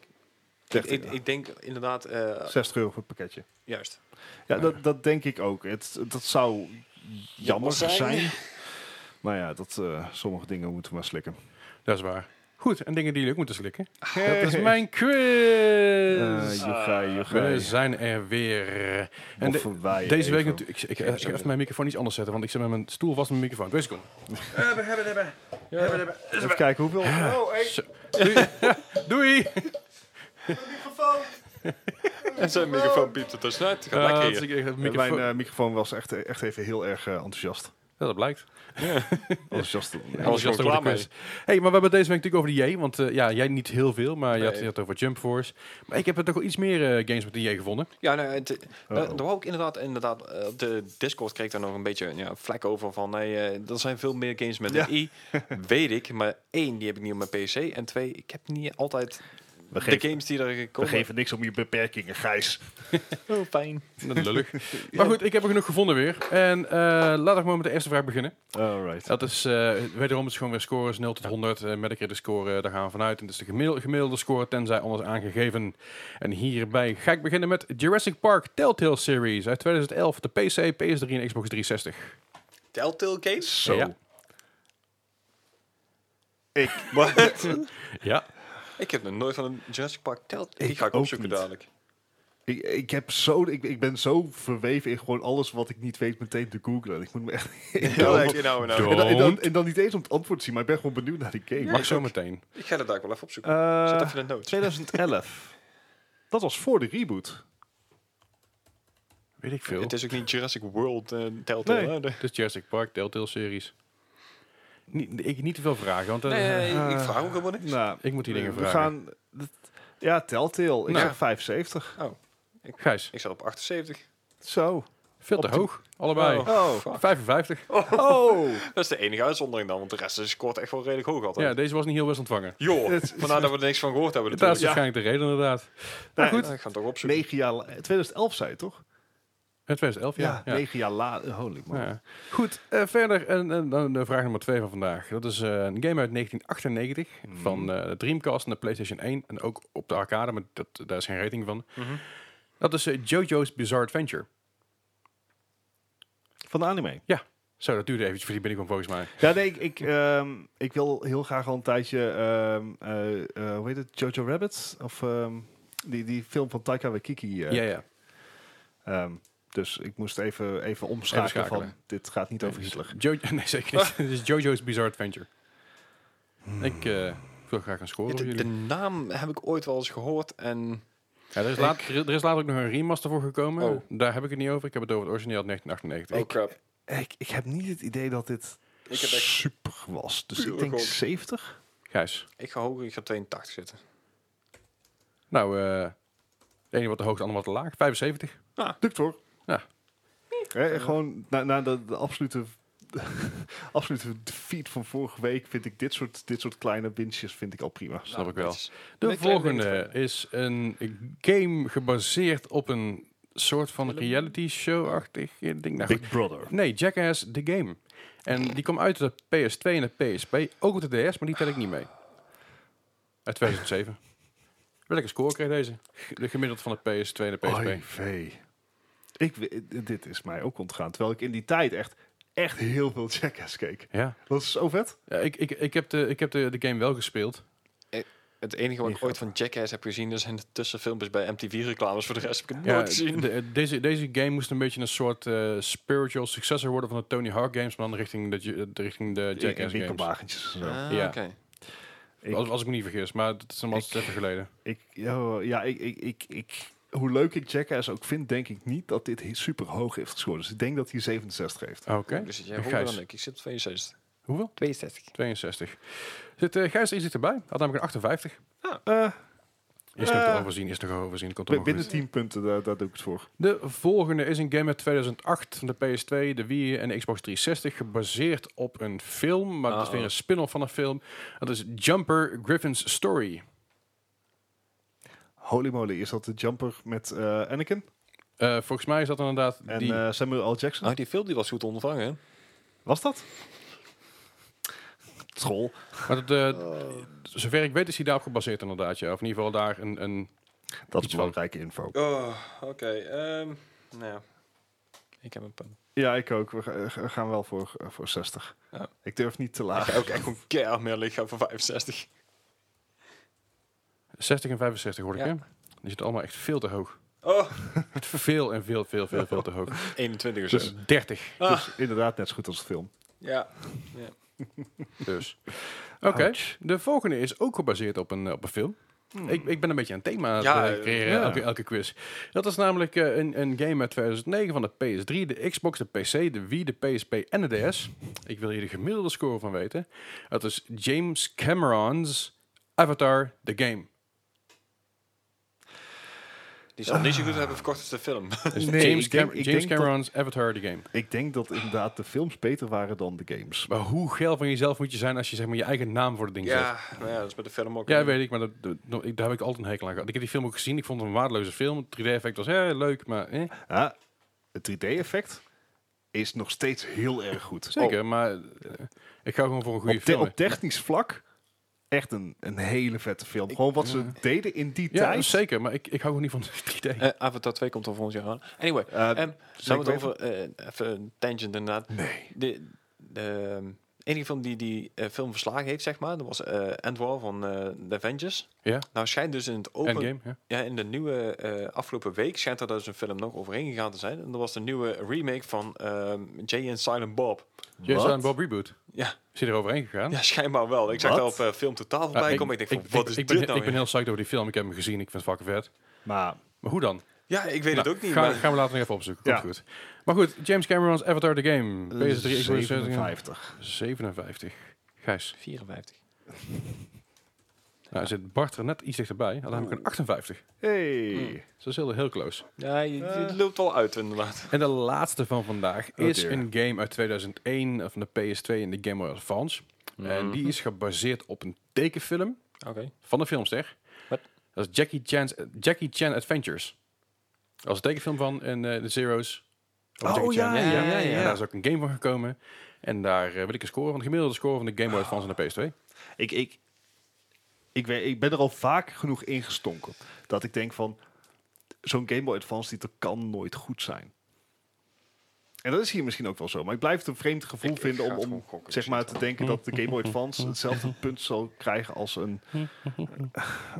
30 Ik, euro. ik denk inderdaad, eh, 60 euro voor het pakketje. juist. Ja, dat, dat denk ik ook. Het, dat zou jammer zijn. zijn. Maar ja, dat, eh, sommige dingen moeten we maar slikken. Dat is waar. Goed, en dingen die jullie ook moeten slikken. Hey. Ah, Dat is mijn quiz. Eh Dus- Ah. jochai, jochai. We zijn er weer. Dus- En de- Moffen wij deze week even. natuurlijk... Ik, ik, ik, ga even mijn microfoon iets anders zetten, want ik zit met mijn stoel vast met mijn microfoon. Twee seconden. Even kijken hoeveel... Oh, hey, Zo. Doei. Doei. microfoon! En zijn microfoon piept het tussenuit. Gaat Eh, lekker dat hier. is- ik- ik- microfoon- Mijn eh, microfoon was echt, echt even heel erg eh, enthousiast. Ja, dat blijkt. Enthousiast. Ja. was Enthousiast gewoon over de klaar quiz. Hey, maar we hebben deze week natuurlijk over de J, want eh, ja, jij niet heel veel, maar je, had, Nee. je had het over Jump Force. Maar ik heb er toch wel iets meer eh, games met de J gevonden. Ja, nou, het, Oh. daar daar wou ik inderdaad, inderdaad eh, op de Discord kreeg daar nog een beetje ja, vlek over van, nee, eh, er zijn veel meer games met Ja. een i. Weet ik, maar één, die heb ik niet op mijn PC. En twee, ik heb niet altijd We de games die er We komen. geven niks om je beperkingen, Gijs. Heel fijn. Dat is lullig. Maar goed, ik heb er genoeg gevonden weer. En eh laten we maar met de eerste vraag beginnen. Alright. Dat is, eh, wederom het is gewoon weer scores, 0 tot 100. eh met een keer de score, eh, daar gaan we vanuit. En het is de gemiddelde, gemiddelde score, tenzij anders aangegeven. En hierbij ga ik beginnen met Jurassic Park Telltale Series uit 2011. De PC, PS3 en Xbox 360. Telltale Games? Zo. Ja. Ik, Ja. Ik heb nog nooit van een Jurassic Park telt. Die Ik ga ik ook opzoeken niet. dadelijk. Ik, ik, heb zo, ik, ik ben zo verweven in gewoon alles wat ik niet weet meteen te googlen. Ik moet me echt... Ja, ik, nou, nou. Doe. en, dan, en, dan, Don't. en dan niet eens om het antwoord te zien, maar ik ben gewoon benieuwd naar die game. Mag zo meteen. ik ga dat daar wel even opzoeken. Zet Eh, even een noot. 2011. Dat was voor de reboot. Weet ik veel. Het Het is ook niet Jurassic World eh Telltale. Nee. hè, de- is Jurassic Park, Telltale series. Niet, ik niet te veel vragen, want eh, Nee, ik eh, vraag ook helemaal niks. Nou, ik moet die dingen we vragen. gaan... dat- Ja, Telltale. Ik Nou. zeg 75. Gijs, Ik zat op 78. Zo. veel te Op de- hoog. Allebei. Oh. fuck. 55. Oh. Dat is de enige uitzondering dan, want de rest is scoort echt wel redelijk hoog altijd. Ja, deze was niet heel best ontvangen. Joh, Het- vandaar dat we er niks van gehoord hebben Dat is natuurlijk. waarschijnlijk de reden inderdaad. Nou, Ja, ik ga het toch opzoeken. 9 jaar... la- 2011 zei je toch? Het 2011, ja. ja. 9 jaar later. Holy man. Ja. Goed, eh, verder en, en dan de vraag nummer 2 van vandaag. Dat is eh, een game uit 1998 Hmm. van eh, de Dreamcast en de PlayStation 1 en ook op de arcade, maar dat, daar is geen rating van. Mhm. Dat is eh, JoJo's Bizarre Adventure. Van de anime. Zo, dat duurde eventjes voor die binnenkwam volgens mij. Ja, nee, ik, ik, ehm, ik wil heel graag al een tijdje, ehm, eh, eh, hoe heet het, Jojo Rabbit? Of ehm, die, die film van Taika Waititi. eh, Ja, ja. ehm, dus ik moest even, even omschakelen Even van, schakelen. dit gaat niet over Hitler. Jo nee, zeker niet. Dit is JoJo's Bizarre Adventure. Ik eh, wil graag een score voor De, de jullie. naam heb ik ooit wel eens gehoord en... Ja, er, is laat, er, er is later ook nog een remaster voor gekomen. Oh. Daar heb ik het niet over. Ik heb het over het origineel uit 1998. Oh crap. Eh, Ik, ik heb niet het idee dat dit Ik, heb echt, super was. Dus puur ik denk gok. 70? Gijs. ik ga hoger, ik ga 82 zitten. Nou, eh de ene wat te hoog, de andere wat te laag. 75. Ah. Lukt hoor. Ja. Hè, gewoon na, na de, de absolute, absolute defeat van vorige week vind ik dit soort, dit soort kleine winstjes vind ik al prima. Snap ik wel. Dat is- De Een klein volgende beetje. is een game gebaseerd op een soort van reality show-achtig eh, ding. Nou, goed. Big Brother. nee, Jackass The Game. En die kwam uit op de PS2 en de PSP. Ook op de DS, maar die tel ik niet mee. Uit 2007. Welke score kreeg deze? G- De gemiddeld van de PS2 en de PSP. OIV. Ik, we- dit is mij ook ontgaan. Terwijl ik in die tijd echt, echt heel veel Jackass keek. Ja, Dat is zo vet. ja ik, ik, ik heb, de, ik heb de, de game wel gespeeld. Het enige wat ik Niet ooit van Jackass heb gezien, dat zijn de tussenfilmpjes bij MTV-reclames. Voor de rest heb ik het Ja, nooit gezien. de- deze, deze game moest een beetje een soort eh, spiritual successor worden van de Tony Hawk games, maar dan richting de, Ju- de, richting de In- In Jackass games. winkelwagentjes en zo. Ah, Ja. oké. Ik- Als, als ik me niet vergis, maar dat is allemaal Ik- even geleden. Ik, oh, ja, ik, ik, ik, ik, hoe leuk ik Jackass ook vind, denk ik niet dat dit he- super hoog heeft gescoord. Dus ik denk dat hij 67 heeft. Oké. Dus zit jij Gijs. hoger dan ik. Ik zit op 62. Hoeveel? 62. 62. Zit, eh Gijs is erbij. Had namelijk een 58. Eh, Is Eh. nog te overzien, is nog te overzien. Komt bi- allemaal binnen goed. 10 punten, daar, daar doe ik het voor. De volgende is een game uit 2008 van de PS2, de Wii en de Xbox 360. Gebaseerd op een film, maar dat is Uh-oh. weer een spin-off van een film. Dat is Jumper Griffin's Story. Holy moly, is dat de jumper met eh, Anakin Eh, volgens mij is dat inderdaad en die... eh, Samuel L. Jackson? Ah, die film die was goed ontvangen. hè? Was dat? Troll. Maar dat, eh, zover ik weet is hij daarop gebaseerd inderdaad, ja. Of in ieder geval daar een... een Dat Iets is van- belangrijke info. Oh, oké. ehm, nou ja. Ik heb een punt. Ja, ik ook. We ga- ga- gaan wel voor, eh, voor 60. Ja. Ik durf niet te laag. Ik ga ook echt gewoon keihard meer liggen voor 65. 60 en 65 hoor ik, Ja. hè? Die zitten allemaal echt veel te hoog. Oh, Veel en veel, veel, veel, veel te hoog. 21 of zo. Dus 30. Dus inderdaad net zo goed als de film. ja. Dus. Oké, Ouch. Hmm. de volgende is ook gebaseerd op een, op een film. Ik, ik ben een beetje een thema aan het Ja, eh, creëren, ja. elke, elke quiz. Dat is namelijk eh, een, een game uit 2009 van de PS3, de Xbox, de PC, de Wii, de PSP en de DS. Ik wil hier de gemiddelde score van weten. Dat is James Cameron's Avatar The Game. Die zal niet zo goed hebben verkocht als de film. Dus Nee, James, ik denk- Cam- ik James denk dat- Cameron's Avatar The Game. Ik denk dat inderdaad de films beter waren dan de games. Maar hoe geil van jezelf moet je zijn als je zeg maar, je eigen naam voor het ding zet? ja, nou ja, dat is met de film ook. Ja, weet ik, maar dat, dat- ik- daar heb ik altijd een hekel aan gehad. Ik heb die film ook gezien, ik vond het een waardeloze film. Het 3D-effect was eh, leuk, maar... Eh. Ja, het 3D-effect is nog steeds heel erg goed. Zeker, Oh. maar eh, ik ga gewoon voor een Op, goede op, te- film. op technisch vlak echt een, een hele vette film. Gewoon wat ze deden in die ja, tijd. zeker, maar ik, ik hou gewoon niet van 3D. Eh, Avatar 2 komt al volgend jaar aan. Anyway, Eh, ehm, zeker zullen we het weten. over... eh, even een tangent inderdaad. Nee. De, de, ehm, enige film die die eh, film verslagen heeft, zeg maar, dat was eh End War van eh, The Avengers. Ja. Nou schijnt dus in het open... Endgame, ja. Ja, in de nieuwe eh, afgelopen week schijnt er dus een film nog overheen gegaan te zijn. En dat was de nieuwe remake van ehm, Jay and Silent Bob. James en Bob Reboot. Ja, Is hij er overheen gegaan? ja schijnbaar wel. Ik zag Wat? dat op eh, Film Totaal voorbij Ja, komen. Ik denk van, wat is Ah, ik dit ben, nou? Ik ben weer? heel psyched over die film. Ik heb hem gezien. Ik vind het fucking vet. Maar Maar hoe dan? ja, ik weet het ook Nou, niet. Ga- maar- Gaan we later nog even opzoeken. Komt Ja. goed. Maar goed, James Cameron's Avatar The Game. PS3, Xbox 57. 57. Gijs. 54. Nou, zit Bart er net iets dichterbij. Had namelijk een 58. Hey. Dus dat is heel, heel close. Ja, je, je loopt wel uit inderdaad. En de laatste van vandaag is Oh, dear. een game uit 2001 van de PS2 en de Game Boy Advance. Mhm. En die is gebaseerd op een tekenfilm Oké. van de filmster. Wat? Dat is Jackie, Chan's, Jackie Chan Adventures. Dat was een tekenfilm van in eh, de Zero's. Over Oh, Jackie Chan. ja, ja, ja, ja. Daar is ook een game van gekomen. En daar eh wil ik een score van. De gemiddelde score van de Game Boy Advance en de PS2. Ik, ik, ik, weet, ik ben er al vaak genoeg ingestonken. Dat ik denk van, zo'n Game Boy Advance titel kan nooit goed zijn. En dat is hier misschien ook wel zo. Maar ik blijf het een vreemd gevoel Ik- ik vinden ga om, het om gewoon gokken. dus zeg maar, te denken dat de Game Boy Advance hetzelfde punt zal krijgen als een...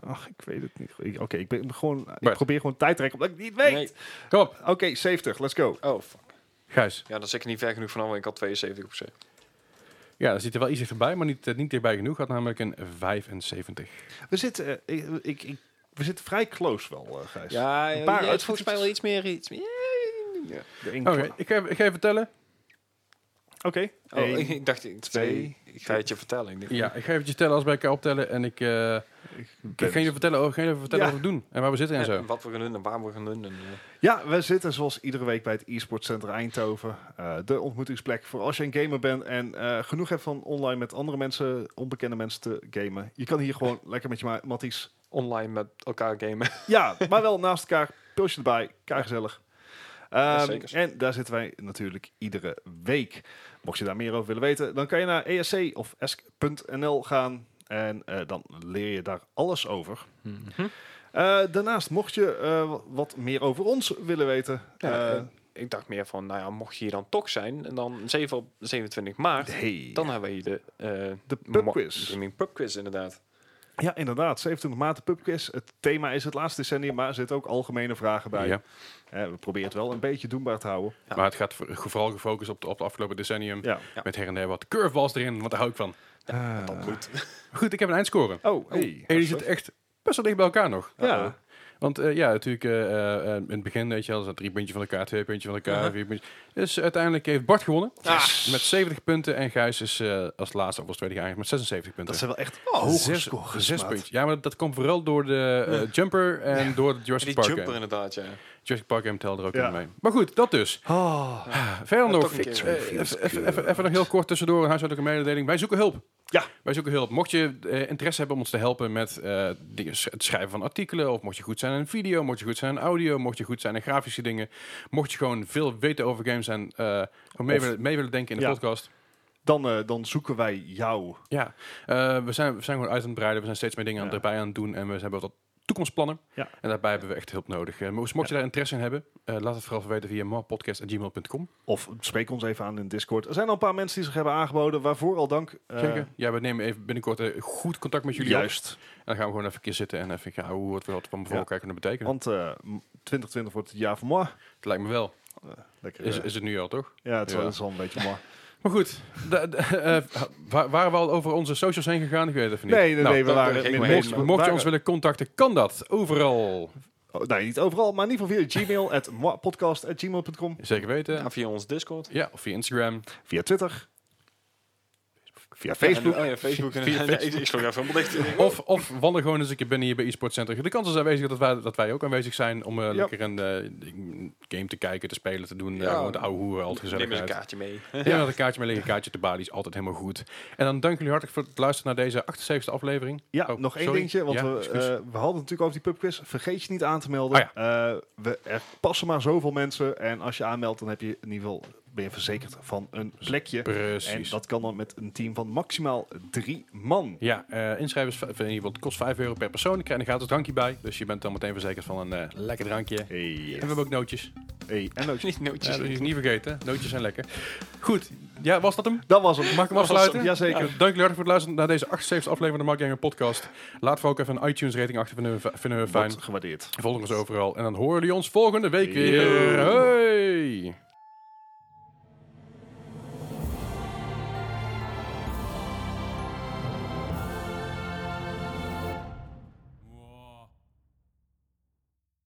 Ach, ik weet het niet. Ik- Oké, ik, ben gewoon, ik Bart. probeer gewoon tijd te rekken omdat ik het niet weet. Nee. Kom op, Oké, 70, let's go. Oh, fuck. Gijs. Ja, dan zit ik niet ver genoeg van af, want ik had 72 op zich. Ja, daar zit er wel iets dichterbij, maar niet, eh, niet dichtbij genoeg. Had namelijk een 75. We zitten, eh, ik, ik, ik- we zitten vrij close wel, eh Gijs. Ja, Een paar ja, het is volgens mij wel uitvoertjes. iets meer. Iets meer. Ja. De één- Oké, ik, ga, even- ik ga even tellen. Oké. Oh, Eén. ik, ik dacht, ik- twee. Ik ga het je vertellen. Ik denk, Ja, ik ga eventjes tellen als bij elkaar optellen. En ik, eh, ik ga jullie vertellen, ik ga jullie even vertellen Ja. wat we doen. En waar we zitten en eh, en zo. wat we gaan doen en waar we gaan doen. En, eh, Ja, we zitten zoals iedere week bij het e-sport center Eindhoven. Eh, de ontmoetingsplek voor als je een gamer bent en eh, genoeg hebt van online met andere mensen, onbekende mensen te gamen. Je kan hier gewoon lekker met je ma- matties. online met elkaar gamen. Ja, maar wel naast elkaar, pilsje erbij, kei gezellig. Ehm, zeker. en daar zitten wij natuurlijk iedere week. Mocht je daar meer over willen weten, dan kan je naar esc of E esc.nl gaan. En eh, dan leer je daar alles over. Hm. Eh, daarnaast, mocht je eh, wat meer over ons willen weten, Ja, eh, eh, ik dacht meer van, nou ja, mocht je hier dan toch zijn, en dan 7 op 27 maart, Hey. dan hebben we hier de, eh De mo- pubquiz. gaming pubquiz inderdaad. Ja, inderdaad. 27 maart de pubquiz. Het thema is het laatste decennium, maar er zitten ook algemene vragen bij. Ja. Eh, we proberen het wel een beetje doenbaar te houden. Ja. Maar het gaat voor- vooral gefocust op, de, op het afgelopen decennium. Ja. Eh, Met her en der wat curveballs erin, want daar hou ik van. Ah. Dat goed. Goed, ik heb een eindscore. Oh, hey. En die zit echt best wel dicht bij elkaar nog. Ja. Want eh, ja, natuurlijk, eh, eh, eh, in het begin, weet je wel, er zat drie puntjes van elkaar, twee puntjes van elkaar, Uh-huh. vier puntjes. Dus uiteindelijk heeft Bart gewonnen met 70 punten en Gijs is eh, als laatste of als tweede geëindigd met 76 punten. Dat zijn wel echt hoge zes, scores, zes maat. puntjes. Ja, maar dat komt vooral door de eh, jumper en door de Jurassic Die Park jumper game. inderdaad, ja. Jurassic Park game telde er ook Ja. in mee. Maar goed, dat dus. Oh, Verder Ja, nog, toch een eh, keer. even- even even- even nog heel kort tussendoor een huishoudelijke mededeling. Wij zoeken hulp. Ja. Wij zoeken hulp. Mocht je eh, interesse hebben om ons te helpen met eh, dingen, sch- het schrijven van artikelen, of mocht je goed zijn in video, mocht je goed zijn in audio, mocht je goed zijn in grafische dingen, mocht je gewoon veel weten over games en eh, gewoon mee, Of- willen, mee willen denken in de Ja. podcast. dan, eh, dan zoeken wij jou. Ja, eh, we, zijn, we zijn gewoon uit aan het breiden. We zijn steeds meer dingen aan, Ja. erbij aan het doen. En we hebben wat toekomstplannen. Ja. En daarbij hebben we echt hulp nodig. Eh, mocht mocht je daar interesse in hebben, eh, laat het vooral weten via mapodcast.gmail.com. Of spreek ons even aan in Discord. Er zijn al een paar mensen die zich hebben aangeboden. Waarvoor al dank. Eh, Zeker. ja, we nemen even binnenkort eh, goed contact met jullie op. Juist. En dan gaan we gewoon even een keer zitten en even gaan hoe wat we dat van voor Ja. elkaar kunnen betekenen. Want eh, m- 2020 wordt het jaar van moi. Het lijkt me wel. Lekker. Is, eh, is het nu al, toch? ja, het is wel- ja. het is wel een beetje moi. Maar goed, da- da- eh, wa- waren we al over onze socials heen gegaan? Ik weet het even niet. Nee, nee, Nou, nee. We dat- waren dat het ging midden- maar Mocht, we mocht je waren- ons willen contacten, kan dat overal. Oh, nee, niet overal, maar in ieder geval via gmail. At moipodcast@gmail.com. Zeker weten. Ja, via ons Discord. ja of via Instagram. Via Twitter. Via En, Facebook. eh, oh ja, Facebook. Via inderdaad. Ja, ik- Ik sloeg even helemaal dicht. Ik denk, oh, Of, of wandel gewoon eens een keer binnen hier bij eSport Center. De kans is aanwezig dat wij, dat wij ook aanwezig zijn om eh, lekker een eh, game te kijken, te spelen, te doen. Ja. Ja. Gewoon de ouwe hoeren, al het Neem eens een gezelligheid. kaartje mee. Ja, met een kaartje met een leeg kaartje te balie is altijd helemaal goed. En dan dank jullie hartelijk voor het luisteren naar deze 78e aflevering. Ja, Oh, nog één sorry. dingetje, want Ja, we, excuus. eh, we hadden natuurlijk over die pubquiz. Vergeet je niet aan te melden. Ah Eh, we, er passen maar zoveel mensen. En als je aanmeldt, dan heb je in ieder geval, ben je verzekerd van een plekje. En Precies. dat kan dan met een team van maximaal drie man. Ja, eh, inschrijven is v- of in ieder geval, het kost 5 euro per persoon. Ik krijg een gratis drankje bij. Dus je bent dan meteen verzekerd van een eh, lekker drankje. En we hebben ook nootjes. Hey, en nootjes. Niet nootjes, dat is niet vergeten. Nootjes zijn lekker. Goed, ja, was dat hem? Dat was hem. Mag ik hem afsluiten? Jazeker. Ja, dank jullie hartelijk voor het luisteren naar deze 78 aflevering van de Mark Gamer Podcast. Laat vooral ook even een iTunes rating achter, vinden we, vinden we fijn. Wordt gewaardeerd. Volg ons overal. En dan horen jullie ons volgende week weer. Yo. Hoi!